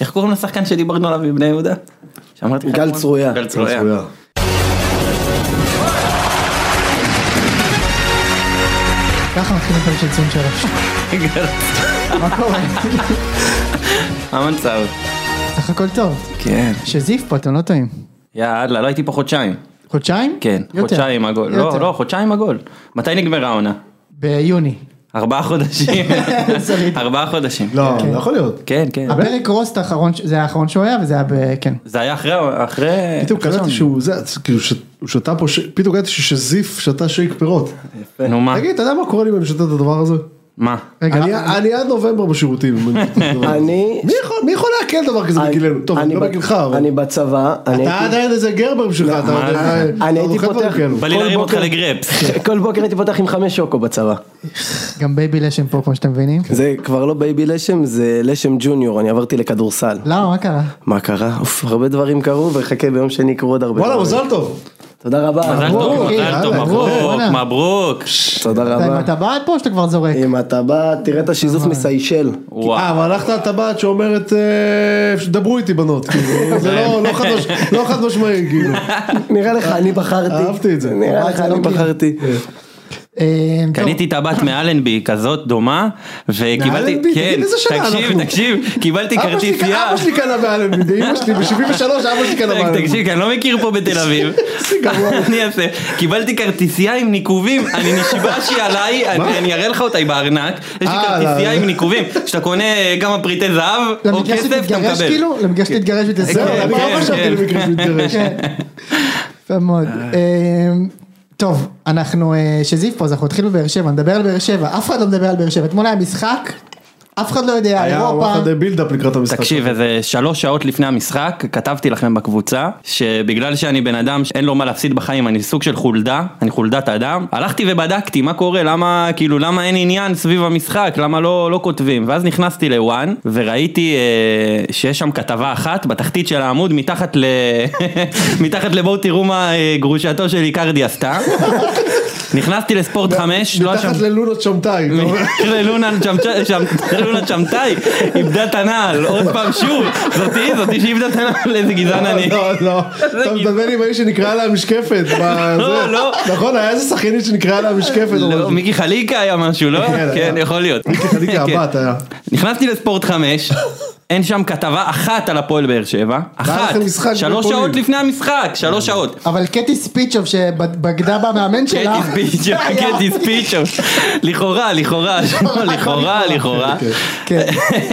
איך קוראים לשחקן שדיברנו עליו מבני יהודה? שאמרתי לך גל אתמול? צרויה. גל צרויה. ככה מתחילים פרק של ציון שלוש. מה קורה? המצב. סך הכל טוב. כן. שזיף פה, אתם לא טועים. יאללה, לא הייתי פה חודשיים. חודשיים? כן, יותר. חודשיים עגול. לא, יותר. לא, חודשיים עגול. מתי נגמרה העונה? ביוני. ארבעה חודשים. שריד. ארבעה חודשים. לא, לא יכול להיות. כן, כן. הפרק רוסט האחרון, ש- זה היה האחרון שהוא היה וזה היה ב... כן. זה היה אחרי... אחרי... פתאום אחרי קלטתי שם. שהוא, זה, כאילו, ש- הוא שתה פה, ש- פתאום קלטתי שזיף שתה שייק פירות. נו מה? תגיד, אתה יודע מה קורה לי אם אני שותה את הדבר הזה? מה? רגע, אני- למה- אני עד נובמבר בשירותים. אם אני שותה את הדבר הזה. אני- מי יכול- מי יכול לעכל דבר כזה אני- בגילנו? טוב, אני אני לא ב- בגילך, אבל... אני בצבא, אני אתה הייתי- עדיין איזה גרבר שלך, מה אתה יודע, אה, זה? אתה אני הייתי אוכל דברים פותח- כאלו. בא לי כל להרים אותך בוקר- לגרפס. כל בוקר הייתי פותח עם חמש שוקו בצבא. גם בייבי לשם פה, כמו שאתם מבינים. זה כבר לא בייבי לשם, זה לשם ג'וניור, אני עברתי לכדורסל. למה, מה קרה? מה קרה? אוף, הרבה דברים קרו, וחכה ביום שני יקרו עוד הרבה וואלה, דברים. מזל טוב. תודה רבה. מזל מברוק, טוב, אחי, מזל טוב, יאללה, מברוק, בואנה. מברוק. תודה אתה רבה. עם הטבעת פה או שאתה כבר זורק? אם אתה בא, תראה את השיזוף מסיישל. וואו. אה, אבל הלכת על טבעת שאומרת, אה, דברו איתי בנות, כאילו, זה לא- לא חד מש- לא חד משמעי, כאילו. נראה לך, אני בחרתי. אהבתי את זה. לא כן. נראה לך, אני בחרתי. אה, טוב. קניתי טבעת מאלנבי כזאת דומה וקיבלתי, מאלנבי? תגיד, כן, איזה שנה תקשיב, אנחנו? תקשיב, קיבלתי אבא שלי- כרטיסייה, אבא שלי קנה באלנבי, אמא שלי ב-73, אבא שלי קנה באלנבי. תקשיב, כי אני לא מכיר פה בתל אביב, לא- אני אעשה, קיבלתי כרטיסייה עם ניקובים, אני נשבע שהיא עליי, אני אני אראה לך אותה, היא בארנק, יש לי אה, כרטיסייה לא. עם ניקובים, שאתה קונה אה, כמה פריטי זהב או למקרה כסף אוקיי, אתה שתתגרש מקבל, כאילו? למקרה שתתגרש ותזרוק. זהו, אני כן, גם חשבתי כן. למקרה שהוא יתגרש. כן. יפה מאוד. אמ, טוב, אנחנו, אה, שזיף פה, אז אנחנו התחילו בבאר שבע, נדבר על באר שבע, אף אחד לא מדבר על באר שבע, אתמול היה משחק, אף אחד לא יודע, היה אירופה, וואחד אמ- בילדאפ לקראת המשחק. תקשיב, איזה שלוש שעות לפני המשחק, כתבתי לכם בקבוצה, שבגלל שאני בן אדם שאין לו מה להפסיד בחיים, אני סוג של חולדה, אני חולדת אדם, הלכתי ובדקתי מה קורה, למה, כאילו, למה אין עניין סביב המשחק, למה לא, לא כותבים, ואז נכנסתי לוואן, וראיתי אה, שיש שם כתבה אחת, בתחתית של העמוד, מתחת ל... מתחת לבואו תראו מה אה, גרושתו של איקרדי עשתה. נכנסתי לספורט 5, לא היה שם... לא, מתחת ללונות לא? שמטאי. אתה אומר. ללונה צ'מטאי איבדה את הנעל עוד פעם שוב זאתי זאתי שאיבדה את הנעל איזה גזען אני. לא, לא, אתה גיל. מדבר עם האיש שנקרא לה המשקפת. בזה. לא, לא. נכון, היה איזה שחקנית שנקרא לה המשקפת. או לא, משהו. מיקי חליקה היה משהו לא? כן, כן היה. יכול להיות. מיקי חליקה כן. הבת היה. נכנסתי לספורט 5 אין שם כתבה אחת על הפועל באר שבע אחת לכם משחק שלוש בפולין. אה. שעות לפני המשחק שלוש שעות. אבל קטי ספיצ'וב שבגדה במאמן שלה, קטיס פיצ'ו, קטיס פיצ'ו, לכאורה, לכאורה, לכאורה, לכאורה. כן.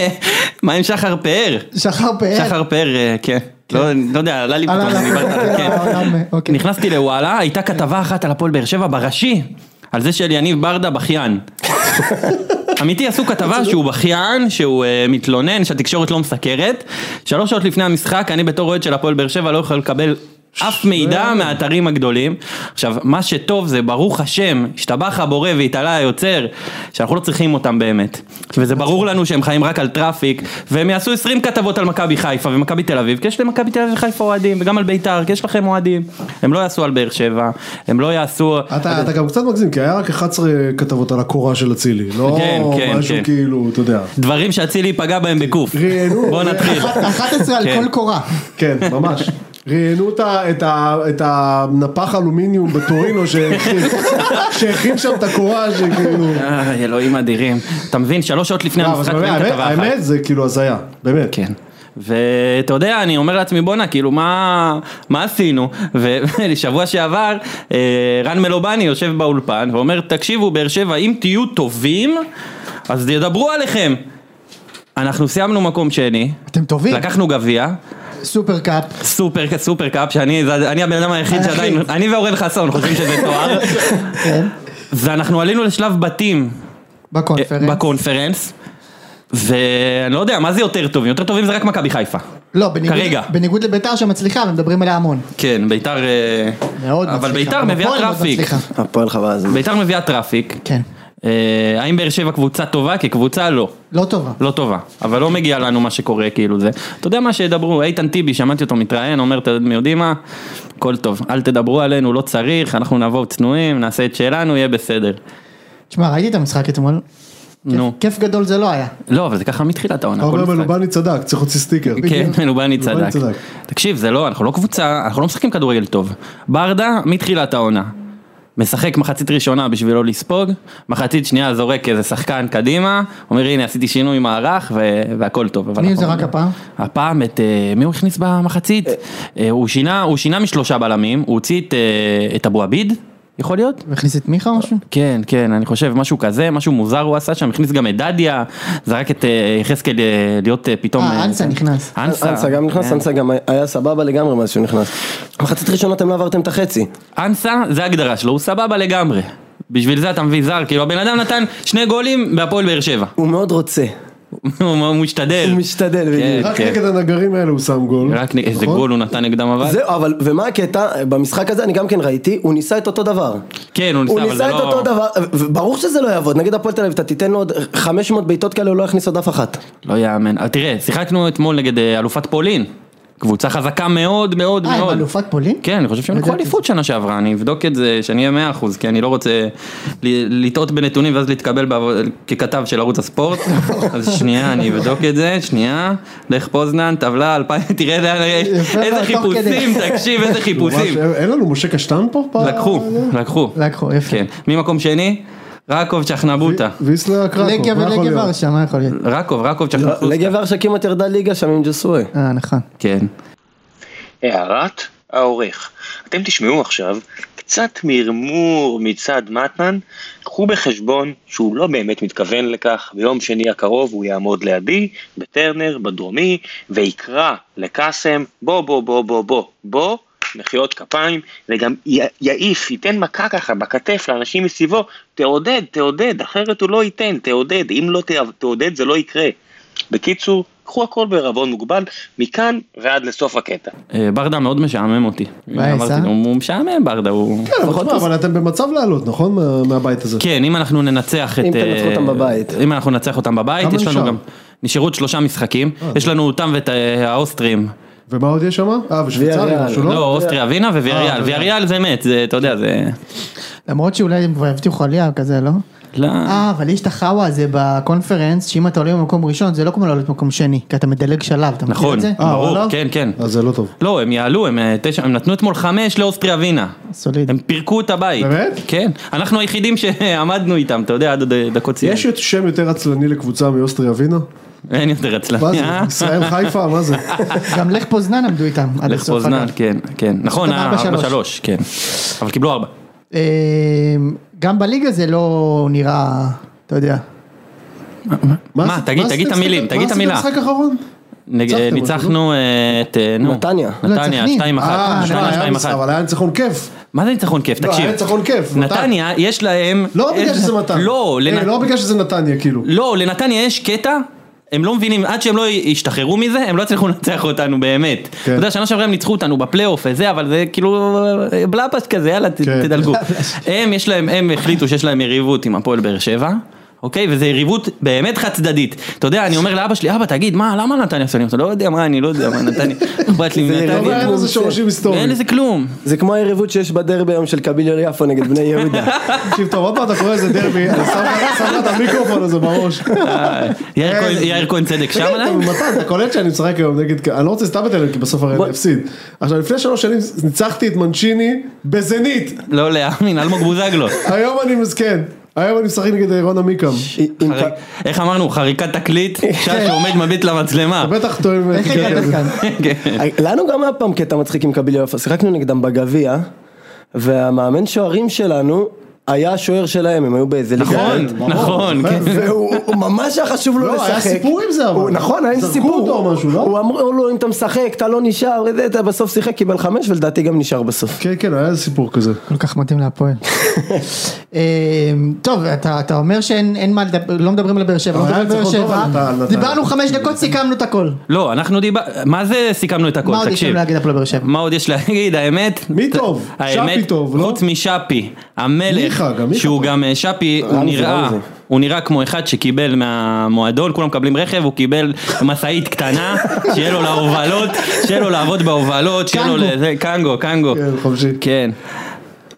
מה עם שחר פאר? שחר פאר, שחר פאר, אה, כן. לא לא יודע, עלה לי עלה פתאום, לך, אני בא- כן, כן. העולם, אה, אוקיי. נכנסתי לוואלה, הייתה כתבה אחת על הפועל באר שבע בראשי, על זה של יניב ברדה בכיין. אמיתי עשו כתבה שהוא בכיין, שהוא אה, מתלונן, שהתקשורת לא מסקרת. שלוש שעות לפני המשחק, אני בתור אוהד של הפועל באר שבע לא יכול לקבל אף מידע מהאתרים הגדולים. עכשיו, מה שטוב זה ברוך השם, השתבח הבורא והתעלה היוצר, שאנחנו לא צריכים אותם באמת. וזה ברור לנו שהם חיים רק על טראפיק, והם יעשו 20 כתבות על מכבי חיפה ומכבי תל אביב, כי יש למכבי תל אביב וחיפה אוהדים, וגם על ביתר, כי יש לכם אוהדים. הם לא יעשו על באר שבע, הם לא יעשו... אתה אתה גם קצת מגזים, כי היה רק 11 כתבות על הקורה של אצילי. לא כן, כן, משהו כן. כאילו, אתה יודע. דברים שאצילי ייפגע בהם בקוף. ראיינו, בוא נתחיל. 11 על כן. כל קורה, כן, ממש. ראיינו את ה- את ה- את הנפח אלומיניום בטורינו שהכין- שהכין שם את הקורה כאילו- שכאילו... איי, אה, אלוהים אדירים. אתה מבין, שלוש שעות לפני לא, אבל המשחק באמת, רואים האמת- כתבה אחת. האמת זה כאילו הזיה, באמת. כן. ואתה יודע, אני אומר לעצמי, בואנה, כאילו, מה, מה עשינו? ו- ולשבוע שעבר, אה, רן מלובני יושב באולפן ואומר, תקשיבו, באר שבע, אם תהיו טובים, אז ידברו עליכם. אנחנו סיימנו מקום שני, אתם טובים, לקחנו גביע, סופר קאפ, סופר סופר קאפ, שאני זה- אני הבן אדם היחיד היחיד. שעדיין, אני ואורן חסון חושבים שזה תואר, כן, אה, ואנחנו עלינו לשלב בתים בקונפרנס, בקונפרנס. ואני לא יודע, מה זה יותר טובים? יותר טובים זה רק מכבי חיפה. לא, בניגוד- כרגע. בניגוד לביתר שמצליחה ומדברים עליה המון, כן, ביתר... אה, מאוד מצליחה, אבל ביתר גם מביאה הפועל מאוד טראפיק. מצליחה. הפועל חבל הזמן. ביתר מביאה טראפיק. כן, אה, האם באר שבע קבוצה טובה? כקבוצה לא. לא טובה, לא טובה. אבל לא מגיע לנו מה שקורה כאילו זה. אתה יודע מה שידברו, איתן טיבי, שמעתי אותו מתראיין, אומר, אתם יודעים מה? הכל טוב. אל תדברו עלינו, לא כן. צריך, אנחנו נבוא צנועים, נעשה את שלנו, יהיה בסדר. תשמע ראיתי את המשחק אתמול, נו. כיף גדול זה לא היה. לא, אבל זה ככה מתחילת העונה. כל עומר נכון, משחק. מלובני צדק, צריך להוציא סטיקר. כן, מלובני צדק. צדק. תקשיב, זה לא, אנחנו לא קבוצה, אנחנו לא משחקים כדורגל טוב. ברדה, מתחילת העונה. משחק מחצית ראשונה בשביל לא לספוג, מחצית שנייה זורק איזה שחקן קדימה, אומר הנה עשיתי שינוי מערך ו- והכל טוב. אבל מי אנחנו- לא זה רק הפעם? הפעם את, אה, מי הוא הכניס במחצית? אה, הוא שינה, הוא שינה משלושה בלמים, הוא הוציא את, אה, את אבו עביד, יכול להיות? והכניס את מיכה או משהו? כן, כן, אני חושב משהו כזה, משהו מוזר הוא עשה שם, הכניס גם את דדיה, זרק את אה, יחזקאל אה, להיות אה, פתאום... אה, אנסה נכנס. אנסה, אנסה גם נכנס, כן. אנסה גם היה סבבה לגמרי מאז שהוא נכנס. מחצית ראשונה אתם לא עברתם את החצי. אנסה, זה ההגדרה שלו, הוא סבבה לגמרי. בשביל זה אתה מביא זר, כאילו הבן אדם נתן שני גולים בהפועל באר שבע. הוא מאוד רוצה. הוא הוא משתדל. הוא משתדל כן. בדיוק. רק נגד הנגרים האלה הוא שם גול. רק נ- איזה נכון? גול הוא נתן נגדם אבל. זהו, אבל, ומה הקטע? במשחק הזה אני גם כן ראיתי, הוא ניסה את אותו דבר. כן, הוא הוא ניסה, אבל זה ניסה את לא... אותו דבר, ברור שזה לא יעבוד, נגד הפועל תל אביב אתה תיתן לו עוד 500 בעיטות כאלה, הוא לא יכניס עוד אף אחת. לא יאמן. אבל תראה, שיחקנו אתמול נגד אה, אלופת פולין. קבוצה חזקה מאוד מאוד אה, עם מאוד. אלופת פולין? כן, אני חושב שהם לקחו ידעתי. אליפות שנה שעברה, אני אבדוק את זה, שאני אהיה מאה אחוז, כי אני לא רוצה ל- לטעות בנתונים ואז להתקבל בעב- ככתב של ערוץ הספורט. אז שנייה, אני אבדוק את זה, שנייה. לך פוזנן, טבלה, אלפיים, תראה לאן- יפה איזה מאוד, תוך חיפושים, תקשיב, איזה חיפושים. ממש, אין לנו משה קשטן פה? אה, פעם? לקחו, לקחו. לקחו, לא, יפה. כן. ממקום שני, רקוב צ'חנבוטה. ויסלה קרקוב, לגיה מה לא יכול ולגיה להיות? ורשה, מה יכול לא להיות? רקוב, רקוב צ'חנבוטה. לגב ורשה כמעט ירדה ליגה שם עם ג'סווי. אה, נכון. כן. הערת העורך. אתם תשמעו עכשיו קצת מרמור מצד מטמן, קחו בחשבון שהוא לא באמת מתכוון לכך, ביום שני הקרוב הוא יעמוד לידי, בטרנר, בדרומי, ויקרא לקאסם, בוא בוא בוא בוא בוא בוא, מחיאות כפיים, וגם י- יעיף, ייתן מכה ככה בכתף לאנשים מסביבו, תעודד, תעודד, אחרת הוא לא ייתן, תעודד, אם לא תע- תעודד זה לא יקרה. בקיצור, קחו הכל בערבון מוגבל, מכאן ועד לסוף הקטע. אה, ברדה מאוד משעמם אותי. מה, אמרתי, עשה? הוא הוא משעמם ברדה, הוא... כן, אבל תשמע, אבל אתם במצב לעלות, נכון? מה- מהבית הזה. כן, אם אנחנו ננצח את... אם תנצחו אה, אותם בבית. אם אנחנו ננצח אותם בבית, כמה יש לנו נשאר? גם... נשארו עוד שלושה משחקים, יש לנו אותם ואת אה, האוסטרים. ומה עוד יש שם? אה, ושוויצרים, ויאריאל. משהו, לא, לא? אוסטריה ווינה וויאריאל. וויאריאל זה מת, זה, אתה יודע, זה... למרות שאולי הם כבר הבטיחו עלייה כזה, לא? לא... אה, אבל יש את החאווה הזה בקונפרנס, שאם אתה עולה במקום ראשון, זה לא כמו לעלות במקום שני, כי אתה מדלג שלב, אתה מכיר נכון, את זה? אה, ברור, וואלה? כן, כן. אז זה לא טוב. לא, הם יעלו, הם אה, תשע, הם נתנו אתמול חמש לאוסטריה ווינה. סוליד. הם פירקו את הבית. באמת? כן. אנחנו היחידים שעמדנו איתם, אתה יודע, עד עוד, אה, דקות סיום. יש עוד שם יותר עצלני לקבוצה מאוסטריה ווינה? אין יותר אצלם. מה זה? ישראל חיפה? מה זה? גם לך פוזנן עמדו איתם. עד לך הסוף, פוזנן, אגב. כן, כן. נכון, אותם ארבע, ארבע שלוש. שלוש, כן. אבל קיבלו ארבע. אמ, גם בליגה זה לא נראה, אתה יודע. מה, תגיד, עשיתם תגיד את משחק- המילים, תגיד את המילה. מה עשיתם משחק אחרון? נג- ניצחתם, ניצחנו אה, את... אה, נו. נתניה. נתניה, לא, סכנין. 2-1. אה, נתניה, שמע, היה 2-1. משחק, אבל היה ניצחון כיף. מה זה ניצחון כיף? לא, תקשיב. היה ניצחון כיף. נתניה, יש להם... לא יש- בגלל שזה מתן. לא, לנת- אה, לא בגלל שזה נתניה, כאילו. לא, לנתניה יש קטע. הם לא מבינים, עד שהם לא ישתחררו מזה, הם לא יצליחו לנצח אותנו באמת. אתה כן. יודע, שנה שעברה הם ניצחו אותנו בפלייאוף וזה, אבל זה כאילו אה, בלאפס כזה, יאללה, ת- כן. תדלגו. הם, יש להם, הם החליטו שיש להם יריבות עם הפועל באר שבע, אוקיי? וזו יריבות באמת חד צדדית. אתה יודע, אני אומר לאבא שלי, אבא, תגיד, מה, למה נתניה שונאים אותנו? לא יודע, מה, אני לא יודע, מה, נתניה, אכפת לי לא מנתניה. אין לזה שורשים אין היסטוריים. לזה כלום. זה כמו היריבות שיש בדרבי היום של קביליו יפו נגד בני יהודה. תקשיב טוב, עוד פעם אתה קורא לזה דרבי, אני שם- שם לך את המיקרופון הזה בראש. אה, יאיר כהן- יאיר כהן צדק שם תגיד, עליהם? אבל מתן, אתה קולט שאני משחק היום נגד, אני לא רוצה סתם את אלה, כי בסוף הרי אני אפסיד. עכשיו, לפני שלוש שנים ניצחתי את מנצ'יני בזנית. לא להאמין, אלמוג בוזגלו. היום אני מזכן. היום אני משחק נגד רון עמיקם. עם- חריק- איך אמרנו, חריקת תקליט, שעה שעומד מביט למצלמה. אתה בטח טועים. איך הגעת כאן? כן. אה, לנו גם היה פעם קטע מצחיק עם קביליו יפו, שיחקנו נגדם בגביע, והמאמן שוערים שלנו היה השוער שלהם, הם היו באיזה ליגה. אחרת. נכון, נכון, כן. והוא הוא ממש היה חשוב לו לא, לשחק. היה סיפור עם זה, אבל. הוא- נכון, היה עם זרקו סיפור. אותו או משהו, לא? הוא אמרו לו, אם אתה משחק, אתה לא נשאר, וזה, אתה בסוף שיחק, קיבל חמש, ולדעתי גם נשאר בסוף. כן, כן, היה איזה סיפור כזה. כל כך מתאים להפועל. אמ, טוב, אתה אתה אומר שאין אין מה לדבר, לא מדברים על באר שבע, לא אבל היה מדברים על באר ניצחון טוב על נתן- שבע. על נתן. דיברנו חמש דקות, סיכמנו את הכל. לא, אנחנו דיבר... מה זה סיכמנו את הכל? מה עוד יש לנו תקשיב. להגיד הפועל באר שבע? מה עוד יש להגיד? האמת... מי ת- טוב? האמת, שפי טוב, לא? חוץ משאפי, המלך, מיכה, גם מיכה שהוא טוב. גם אה, שפי, הוא רמזי, נראה... רמזי. הוא נראה כמו אחד שקיבל מהמועדון, כולם מקבלים רכב, הוא קיבל משאית קטנה, שיהיה לו להובלות, שיהיה לו לעבוד בהובלות, שיהיה לו קנגו. לזה, קנגו, קנגו. כן, חופשי. כן.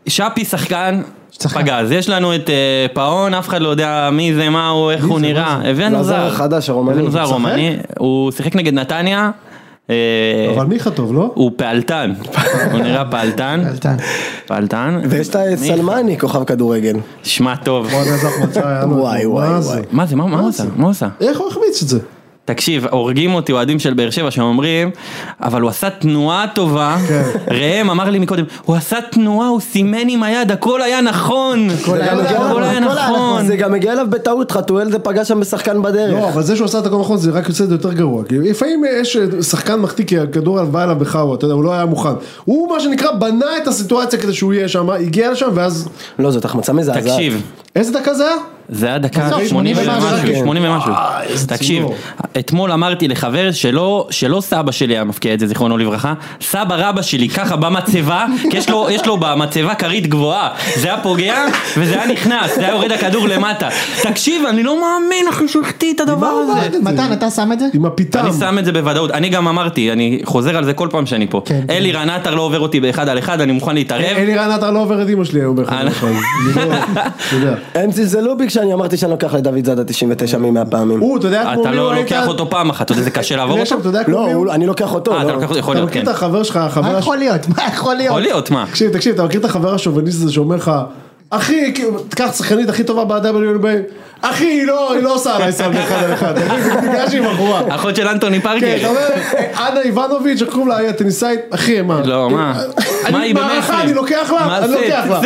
שפי שחקן שחקן. פגז, יש לנו את אה, פאון, אף אחד לא יודע מי זה, מה הוא, איך הוא נראה. הבאנו והזר זר. החדש, הרומני. הבאנו זר משחק? רומני, הוא שיחק נגד נתניה, אה, אבל מיכה טוב, לא? הוא פעלתן, הוא נראה פעלתן. פעלתן. פעלתן. ויש את מי? סלמני, כוכב כדורגל. שמע טוב. בוא נעזר מצא, היה לו- וואי, וואי, מה זה? וואי. מה זה, מה מה הוא עשה? מה הוא עשה? איך הוא החמיץ את זה? תקשיב, הורגים אותי אוהדים של באר שבע שאומרים, אבל הוא עשה תנועה טובה. כן. ראם אמר לי מקודם, הוא עשה תנועה, הוא סימן עם היד, הכל היה נכון. הכל היה הכל נכון, היה הכל היה נכון. זה גם הגיע אליו בטעות, חתואל זה פגע שם בשחקן לא, בדרך. אבל זה שהוא עשה את הכל נכון זה רק יוצא יותר גרוע. כי לפעמים יש אה, שחקן מחטיא כי הכדור בא אליו בחאווה, אתה יודע, הוא לא היה מוכן. הוא מה שנקרא בנה את הסיטואציה כדי שהוא יהיה שם, הגיע לשם ואז... לא, זאת החמצה מזעזעת. תקשיב, איזה דקה זה היה? זה היה דקה עזוב, 80 80 ומשהו, ומשהו. 80 ומשהו. וואי, איזה תקשיב, צינור. אתמול אמרתי לחבר שלא, שלא סבא שלי היה מפקיע את זה, זיכרונו לברכה, סבא רבא שלי ככה במצבה, כי יש לו, יש לו במצבה כרית גבוהה, זה היה פוגע וזה היה נכנס, זה היה יורד הכדור למטה. תקשיב, אני לא מאמין אחי שהחטיא את הדבר הזה. אמרת את זה? מתן, אתה שם את זה? עם הפיתם. אני שם את זה בוודאות, אני גם אמרתי, אני חוזר על זה כל פעם שאני פה. כן, כן. אלי רנטר לא עובר אותי באחד על אחד, אני מוכן להתערב. אלי רן עטר לא עובר את אימא שלי היום באחד אה, אחד. אני לא- אתה יודע. הם זלזלו בי כשאני אמרתי שאני לוקח לדוד זאדה 99 מ-100 פעמים. הוא, אתה יודע כמו אתה מי לא הוא לוקח איתן? אותו פעם אחת, אתה יודע, זה קשה לעבור אותו? לשם, אתה יודע כמו לא, מי הוא- הוא? אני לוקח אותו. אה, לא. אתה לוקח אותו, יכול אתה להיות, כן. מכיר את החבר שלך, מה החבר יכול להיות? מה יכול יכול להיות? להיות, מה? תקשיב, תקשיב, אתה מכיר את החבר השוביניסט הזה שאומר לך, אחי, כאילו, תיקח שחקנית הכי טובה ב-WNBA, אחי, היא לא, היא לא עושה עליי סאב אחד על אחד, אחי, זה בגלל שהיא בחורה. אחות של אנטוני כן, אתה פארקר. אומר, אנה איבנוביץ', איך קוראים לה, היא הטניסאית, אחי, מה? לא, מה? אה, אני מה היא מערכה, במאפרים? אני לוקח לה, מה אני סט? לוקח לה.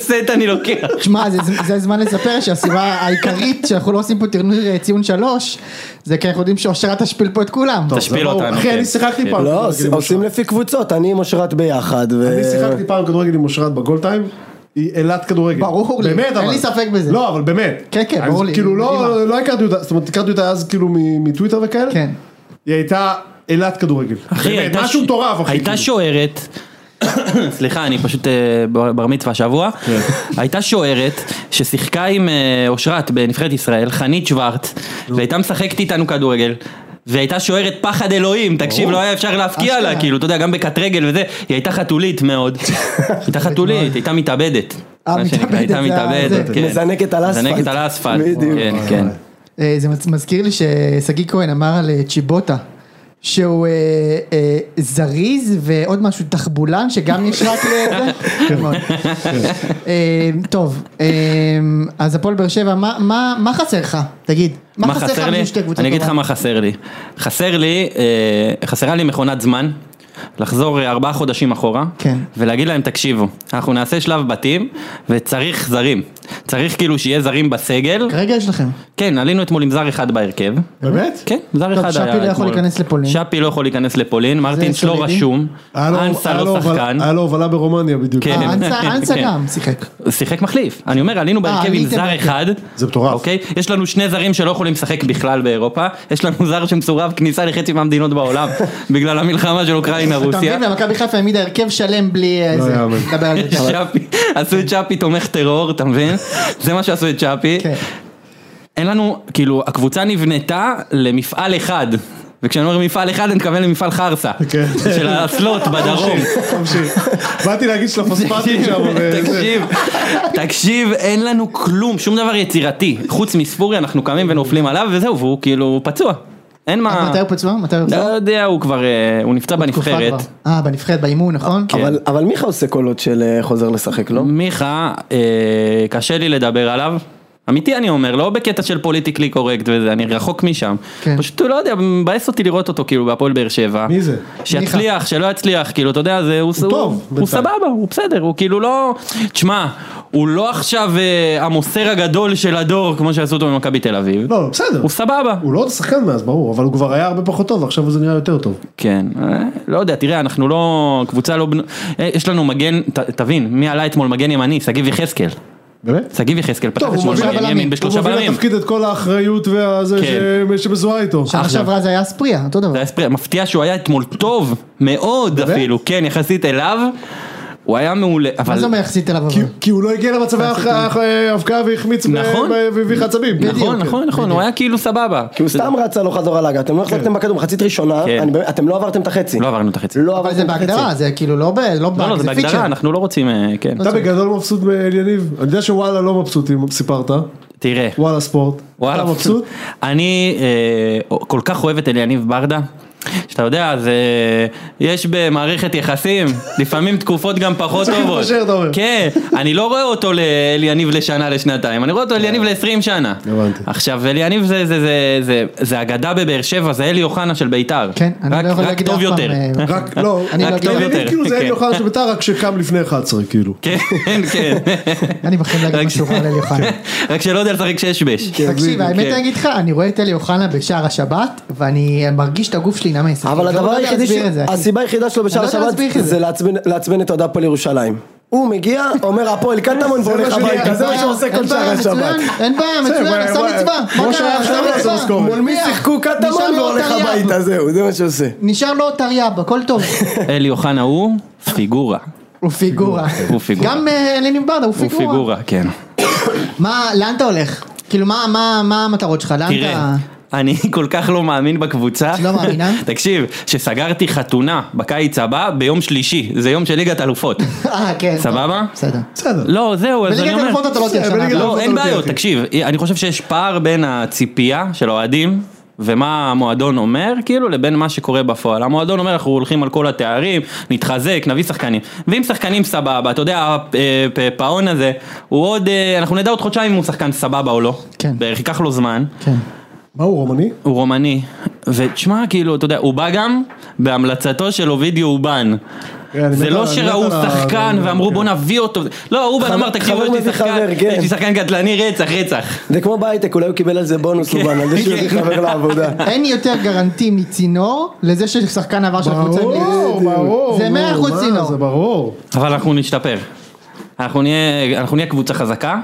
סט, סט אני לוקח. שמע, זה- זה הזמן לספר שהסיבה העיקרית שאנחנו לא עושים פה טורניר אה, ציון שלוש, זה כי אנחנו יודעים שאושרה תשפיל פה את כולם. טוב, תשפיל זה ברור. אותנו, כן. לא- אחי, אני שיחקתי פעם. לא, כדורגל עושים- עם עושים לפי קבוצות, אני עם אושרת ביחד. ו- אני שיחקתי פעם כדורגל עם אושרת בגול טיים. היא אילת כדורגל. ברור לי, באמת, אין אבל. לי ספק בזה. לא, אבל באמת. כן, כן, אז ברור לי, כאילו מדהימה. לא, לא הכרתי אותה, זאת אומרת, הכרתי אותה אז כאילו מ- מטוויטר וכאלה. כן. היא הייתה אילת כדורגל. אחי, באמת, הייתה משהו ש- מטורף, אחי. הייתה כאילו. שוערת. סליחה, אני פשוט אה, בר בר מצווה השבוע. הייתה שוערת ששיחקה עם אה, אושרת בנבחרת ישראל, חנית שוורץ, והייתה משחקת איתנו כדורגל. והייתה שוערת פחד אלוהים, תקשיב, לא היה אפשר להפקיע אשכרה. לה, כאילו, אתה יודע, גם בקט רגל וזה, היא הייתה חתולית מאוד. הייתה חתולית, הייתה מתאבדת. אה, מה שנקרא, מתאבדת, הייתה זה ה- זה. מתאבדת, כן. מזנקת על האספלט. מזנקת על האספלט, בדיוק. כן, כן. אה, זה מצ- מזכיר לי ששגיא כהן אמר על אה, צ'יבוטה. שהוא אה, אה, זריז ועוד משהו תחבולן שגם יש רק לזה. יפה מאוד. אה, טוב, אה, אז הפועל באר שבע, מה- מה מה חסר לך? תגיד. מה חסר לי? בשביל שתי קבוצות אני אגיד לך טובות? מה חסר לי. חסר לי, אה, חסרה לי מכונת זמן. לחזור אה, ארבעה חודשים אחורה, כן. ולהגיד להם תקשיבו, אנחנו נעשה שלב בתים וצריך זרים, צריך כאילו שיהיה זרים בסגל, כרגע יש לכם. כן עלינו אתמול עם זר אחד בהרכב, באמת? כן זר טוב, אחד שפי היה לא יכול אתמול. להיכנס לפולין. שפי לא יכול להיכנס לפולין, מרטינס לא סולידי. רשום, היה לו- אנסה היה לו לא הובלה- שחקן, היה לו הובלה ברומניה בדיוק. כן. אה, אנסה- אנסה כן. גם שיחק. שיחק מחליף, אני אומר עלינו בהרכב עם אה, עליתם זר בהרכב. אחד, זה מטורף. אוקיי? יש לנו שני זרים שלא יכולים לשחק בכלל באירופה, יש לנו זר שמסורב כניסה לחצי מהמדינות בעולם, בגלל המלחמה של אוקראינה אתה רוסיה, מבין, ומכבי חיפה העמידה הרכב שלם בלי אה, לא זה. יאמן. נדבר על זה. צ'אפי, עשו את צ'אפי תומך טרור, אתה מבין? זה מה שעשו את צ'אפי, כן. אין לנו, כאילו, הקבוצה נבנתה למפעל אחד. וכשאני אומר מפעל אחד אני מתכוון למפעל חרסה, כן. של האסלות בדרום. תמשיך. באתי להגיד של הפוספטים שם. וזה- תקשיב, תקשיב, אין לנו כלום, שום דבר יצירתי. חוץ מספורי אנחנו קמים ונופלים עליו וזהו, והוא כאילו פצוע. אין עד מה... אה, מתי הוא פצוע? מתי הוא לא פצוע? יודע, הוא כבר, אה, הוא נפצע תקופה בנבחרת. כן. כבר. אה, בנבחרת, באימון, נכון? אבל- אבל מיכה עושה קולות של אה, חוזר לשחק, לא? מיכה, אה, קשה לי לדבר עליו. אמיתי אני אומר, לא בקטע של פוליטיקלי קורקט וזה, אני רחוק משם. כן. פשוט, לא יודע, מבאס אותי לראות אותו כאילו בהפועל באר שבע. מי זה? שיצליח, שלא יצליח, כאילו, אתה יודע, זה, הוא, הוא, טוב, הוא בינתיים. סבבה, הוא בסדר, הוא כאילו לא... תשמע, הוא לא עכשיו אה, המוסר הגדול של הדור, כמו שעשו אותו במכבי תל אביב. לא, בסדר. הוא סבבה. הוא לא עוד שחקן מאז, ברור, אבל הוא כבר היה הרבה פחות טוב, ועכשיו זה נראה יותר טוב. כן, אה, לא יודע, תראה, אנחנו לא... קבוצה לא... בנו- אה, יש לנו מגן, ת, תבין, מי עלה אתמול מגן ימני? שגיב יחזקאל. באמת? שגיב יחזקל פתח טוב, הוא אתמול מוביל מגן לבלמים. ימין הוא בשלושה מוביל בלמים. לתפקיד את כל האחריות והזה כן. ש- שמזוהה איתו. שנה שעברה זה היה ספריה, אותו דבר. זה היה ספרי- מפתיע שהוא היה אתמול טוב מאוד אפילו, כן, יחסית אליו. הוא היה מעולה, אבל... מה זה אומר יחסית אליו כי- אבל? כי הוא לא הגיע למצבי ההכ- ההבקעה והחמיץ ב- נכון. ב- והביא עצבים. כן. נכון, נכון, נכון, הוא היה כאילו סבבה. כי הוא סתם רץ הלוך חזור על הגה, אתם לא החזקתם בכדור, מחצית ראשונה, כן. אני באמת- אתם לא עברתם את החצי. לא עברנו את החצי. לא אבל עברתם זה את החצי. בהגדרה, זה כאילו לא ב... לא לא, באג, לא, זה בהגדרה, אנחנו לא רוצים, אה, כן. אתה בגדול מבסוט מאל יניב? אני יודע שוואלה לא מבסוטים, סיפרת. תראה. וואלה ספורט. וואלה, אתה מבסוט? אני אה, כל כך אוהב את אליניב ברדה, שאתה יודע, אז אה, יש במערכת יחסים, לפעמים תקופות גם פחות צריך טובות. להתפשר, אתה אומר. כן, אני לא רואה אותו לאליניב לשנה, לשנתיים, אני רואה אותו אליניב אה, ל-20 שנה. הבנתי. עכשיו, אליניב זה- זה- זה- זה- זה אגדה בבאר שבע, זה אלי אוחנה של בית"ר. כן, אני רק- לא יכול רק להגיד אף טוב פעם... יותר. אה, רק לא, אני לא רק אגיד אל יניב יותר. כאילו זה כן. אלי יוחנן של בית"ר רק שקם לפני 11 כאילו. כן, כן. אני בחיים לא אגיד רק- משהו רע על אלי אוחנה. רק שלא יודע לשחק שש בש. תקשיב, האמת כן. אני אגיד לך, אני רואה את אלי אוחנה בשער השבת, ואני מרגיש את הגוף שלי נמס. אבל אני לא הדבר יודע היחידי, ש- להסביר את זה, אחי. הסיבה היחידה שלו בשער אני לא יודע השבת להסביר את זה. זה לעצבן- לעצבן את אוהדי הפועל ירושלים. הוא מגיע, אומר הפועל קטמון והולך שהוא הביתה, יהיה, זה מה אין שהוא עושה כל אין שער בעיה, השבת. מצוין, לא אין בעיה, בסדר, מצוין, עשה וואי, וואי. מצווה. כמו מה שהיה קרה? עכשיו, עשה הוא עשה מצווה. סקור. מול מי נניח. שיחקו נשאר קטמון לו והולך תרי"ב. הביתה, זהו, זה מה שהוא עושה. נשאר לו תרי"ב, הכל טוב. אלי אוחנה הוא פיגורה. הוא פיגורה. הוא פיגורה. גם אה, אלני ברדה הוא הוא פיגורה. פיגורה, כן. מה, לאן אתה הולך? כאילו, מה- מה מה המטרות שלך? לאן תראה, אתה... אני כל כך לא מאמין בקבוצה. לא מאמינה? תקשיב, שסגרתי חתונה בקיץ הבא ביום שלישי, זה יום של ליגת אלופות. אה, כן. טוב, סבבה? בסדר. בסדר. לא, זהו, אז אני בליגת אומר... אלופות אתה לא תהיה בסדר, שנה. בליגת לא, הבאה. אלופות אין אתה לא בעיות, תהיה. תקשיב, אני חושב שיש פער בין הציפייה של האוהדים. ומה המועדון אומר, כאילו, לבין מה שקורה בפועל. המועדון אומר, אנחנו הולכים על כל התארים, נתחזק, נביא שחקנים. ואם שחקנים סבבה, אתה יודע, הפעון הזה, הוא עוד, אה, אנחנו נדע עוד חודשיים אם הוא שחקן סבבה או לא. כן. בערך ייקח לו זמן. כן. מה הוא רומני? הוא רומני, ותשמע כאילו, אתה יודע, הוא בא גם בהמלצתו של אובידיו אובן. כן, אני זה מת לא על- שאראו מת על ה- שחקן זה- ואמרו כן. בוא נביא אותו, לא, אובן חבר- אמר תקשיבו חבר יש לי מביא שחקן, חבר, כן. יש לי שחקן גדלני רצח רצח. זה כמו בהייטק, אולי הוא קיבל על זה בונוס לובן, על זה שהוא הביא חבר לעבודה. אין יותר גרנטי מצינור לזה ששחקן עבר של הקבוצה ברור, האנגלית. ברור. זה נו, מאה אחוז מה, צינור. זה ברור. אבל אנחנו נשתפר, אנחנו נהיה אנחנו נהיה קבוצה חזקה,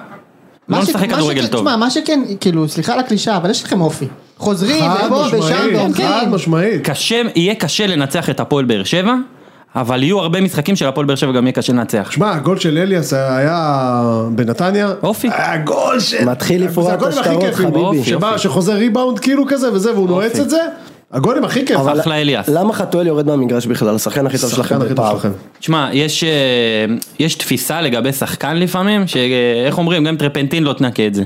מה לא ש- נשחק מה כדורגל שכן- טוב. תשמע, מה שכן, כאילו, סליחה על הקלישאה, אבל יש לכם אופי. חוזרים, חד ופה כן, ושם, משמעית, חד ועומדים. משמעית. קשה, יהיה קשה לנצח את הפועל באר שבע, אבל יהיו הרבה משחקים של הפועל באר שבע גם יהיה קשה לנצח. שמע, הגול של אליאס היה בנתניה. אופי. הגול של... מתחיל זה לפרוע את הגולים הכי השטרות, כיפים, חביבי. שבא- אופי. שחוזר ריבאונד כאילו כזה וזה, והוא נועץ את זה. הגולים הכי כיפים. אבל אחלה אליאס. למה חתואל יורד מהמגרש בכלל? השחקן הכי טוב שלכם השחקן הכי טוב בפער. שלכם. תשמע, יש, אה, יש תפיסה לגבי שחקן לפעמים, שאיך אומרים, גם טרפנטין לא תנקה את זה.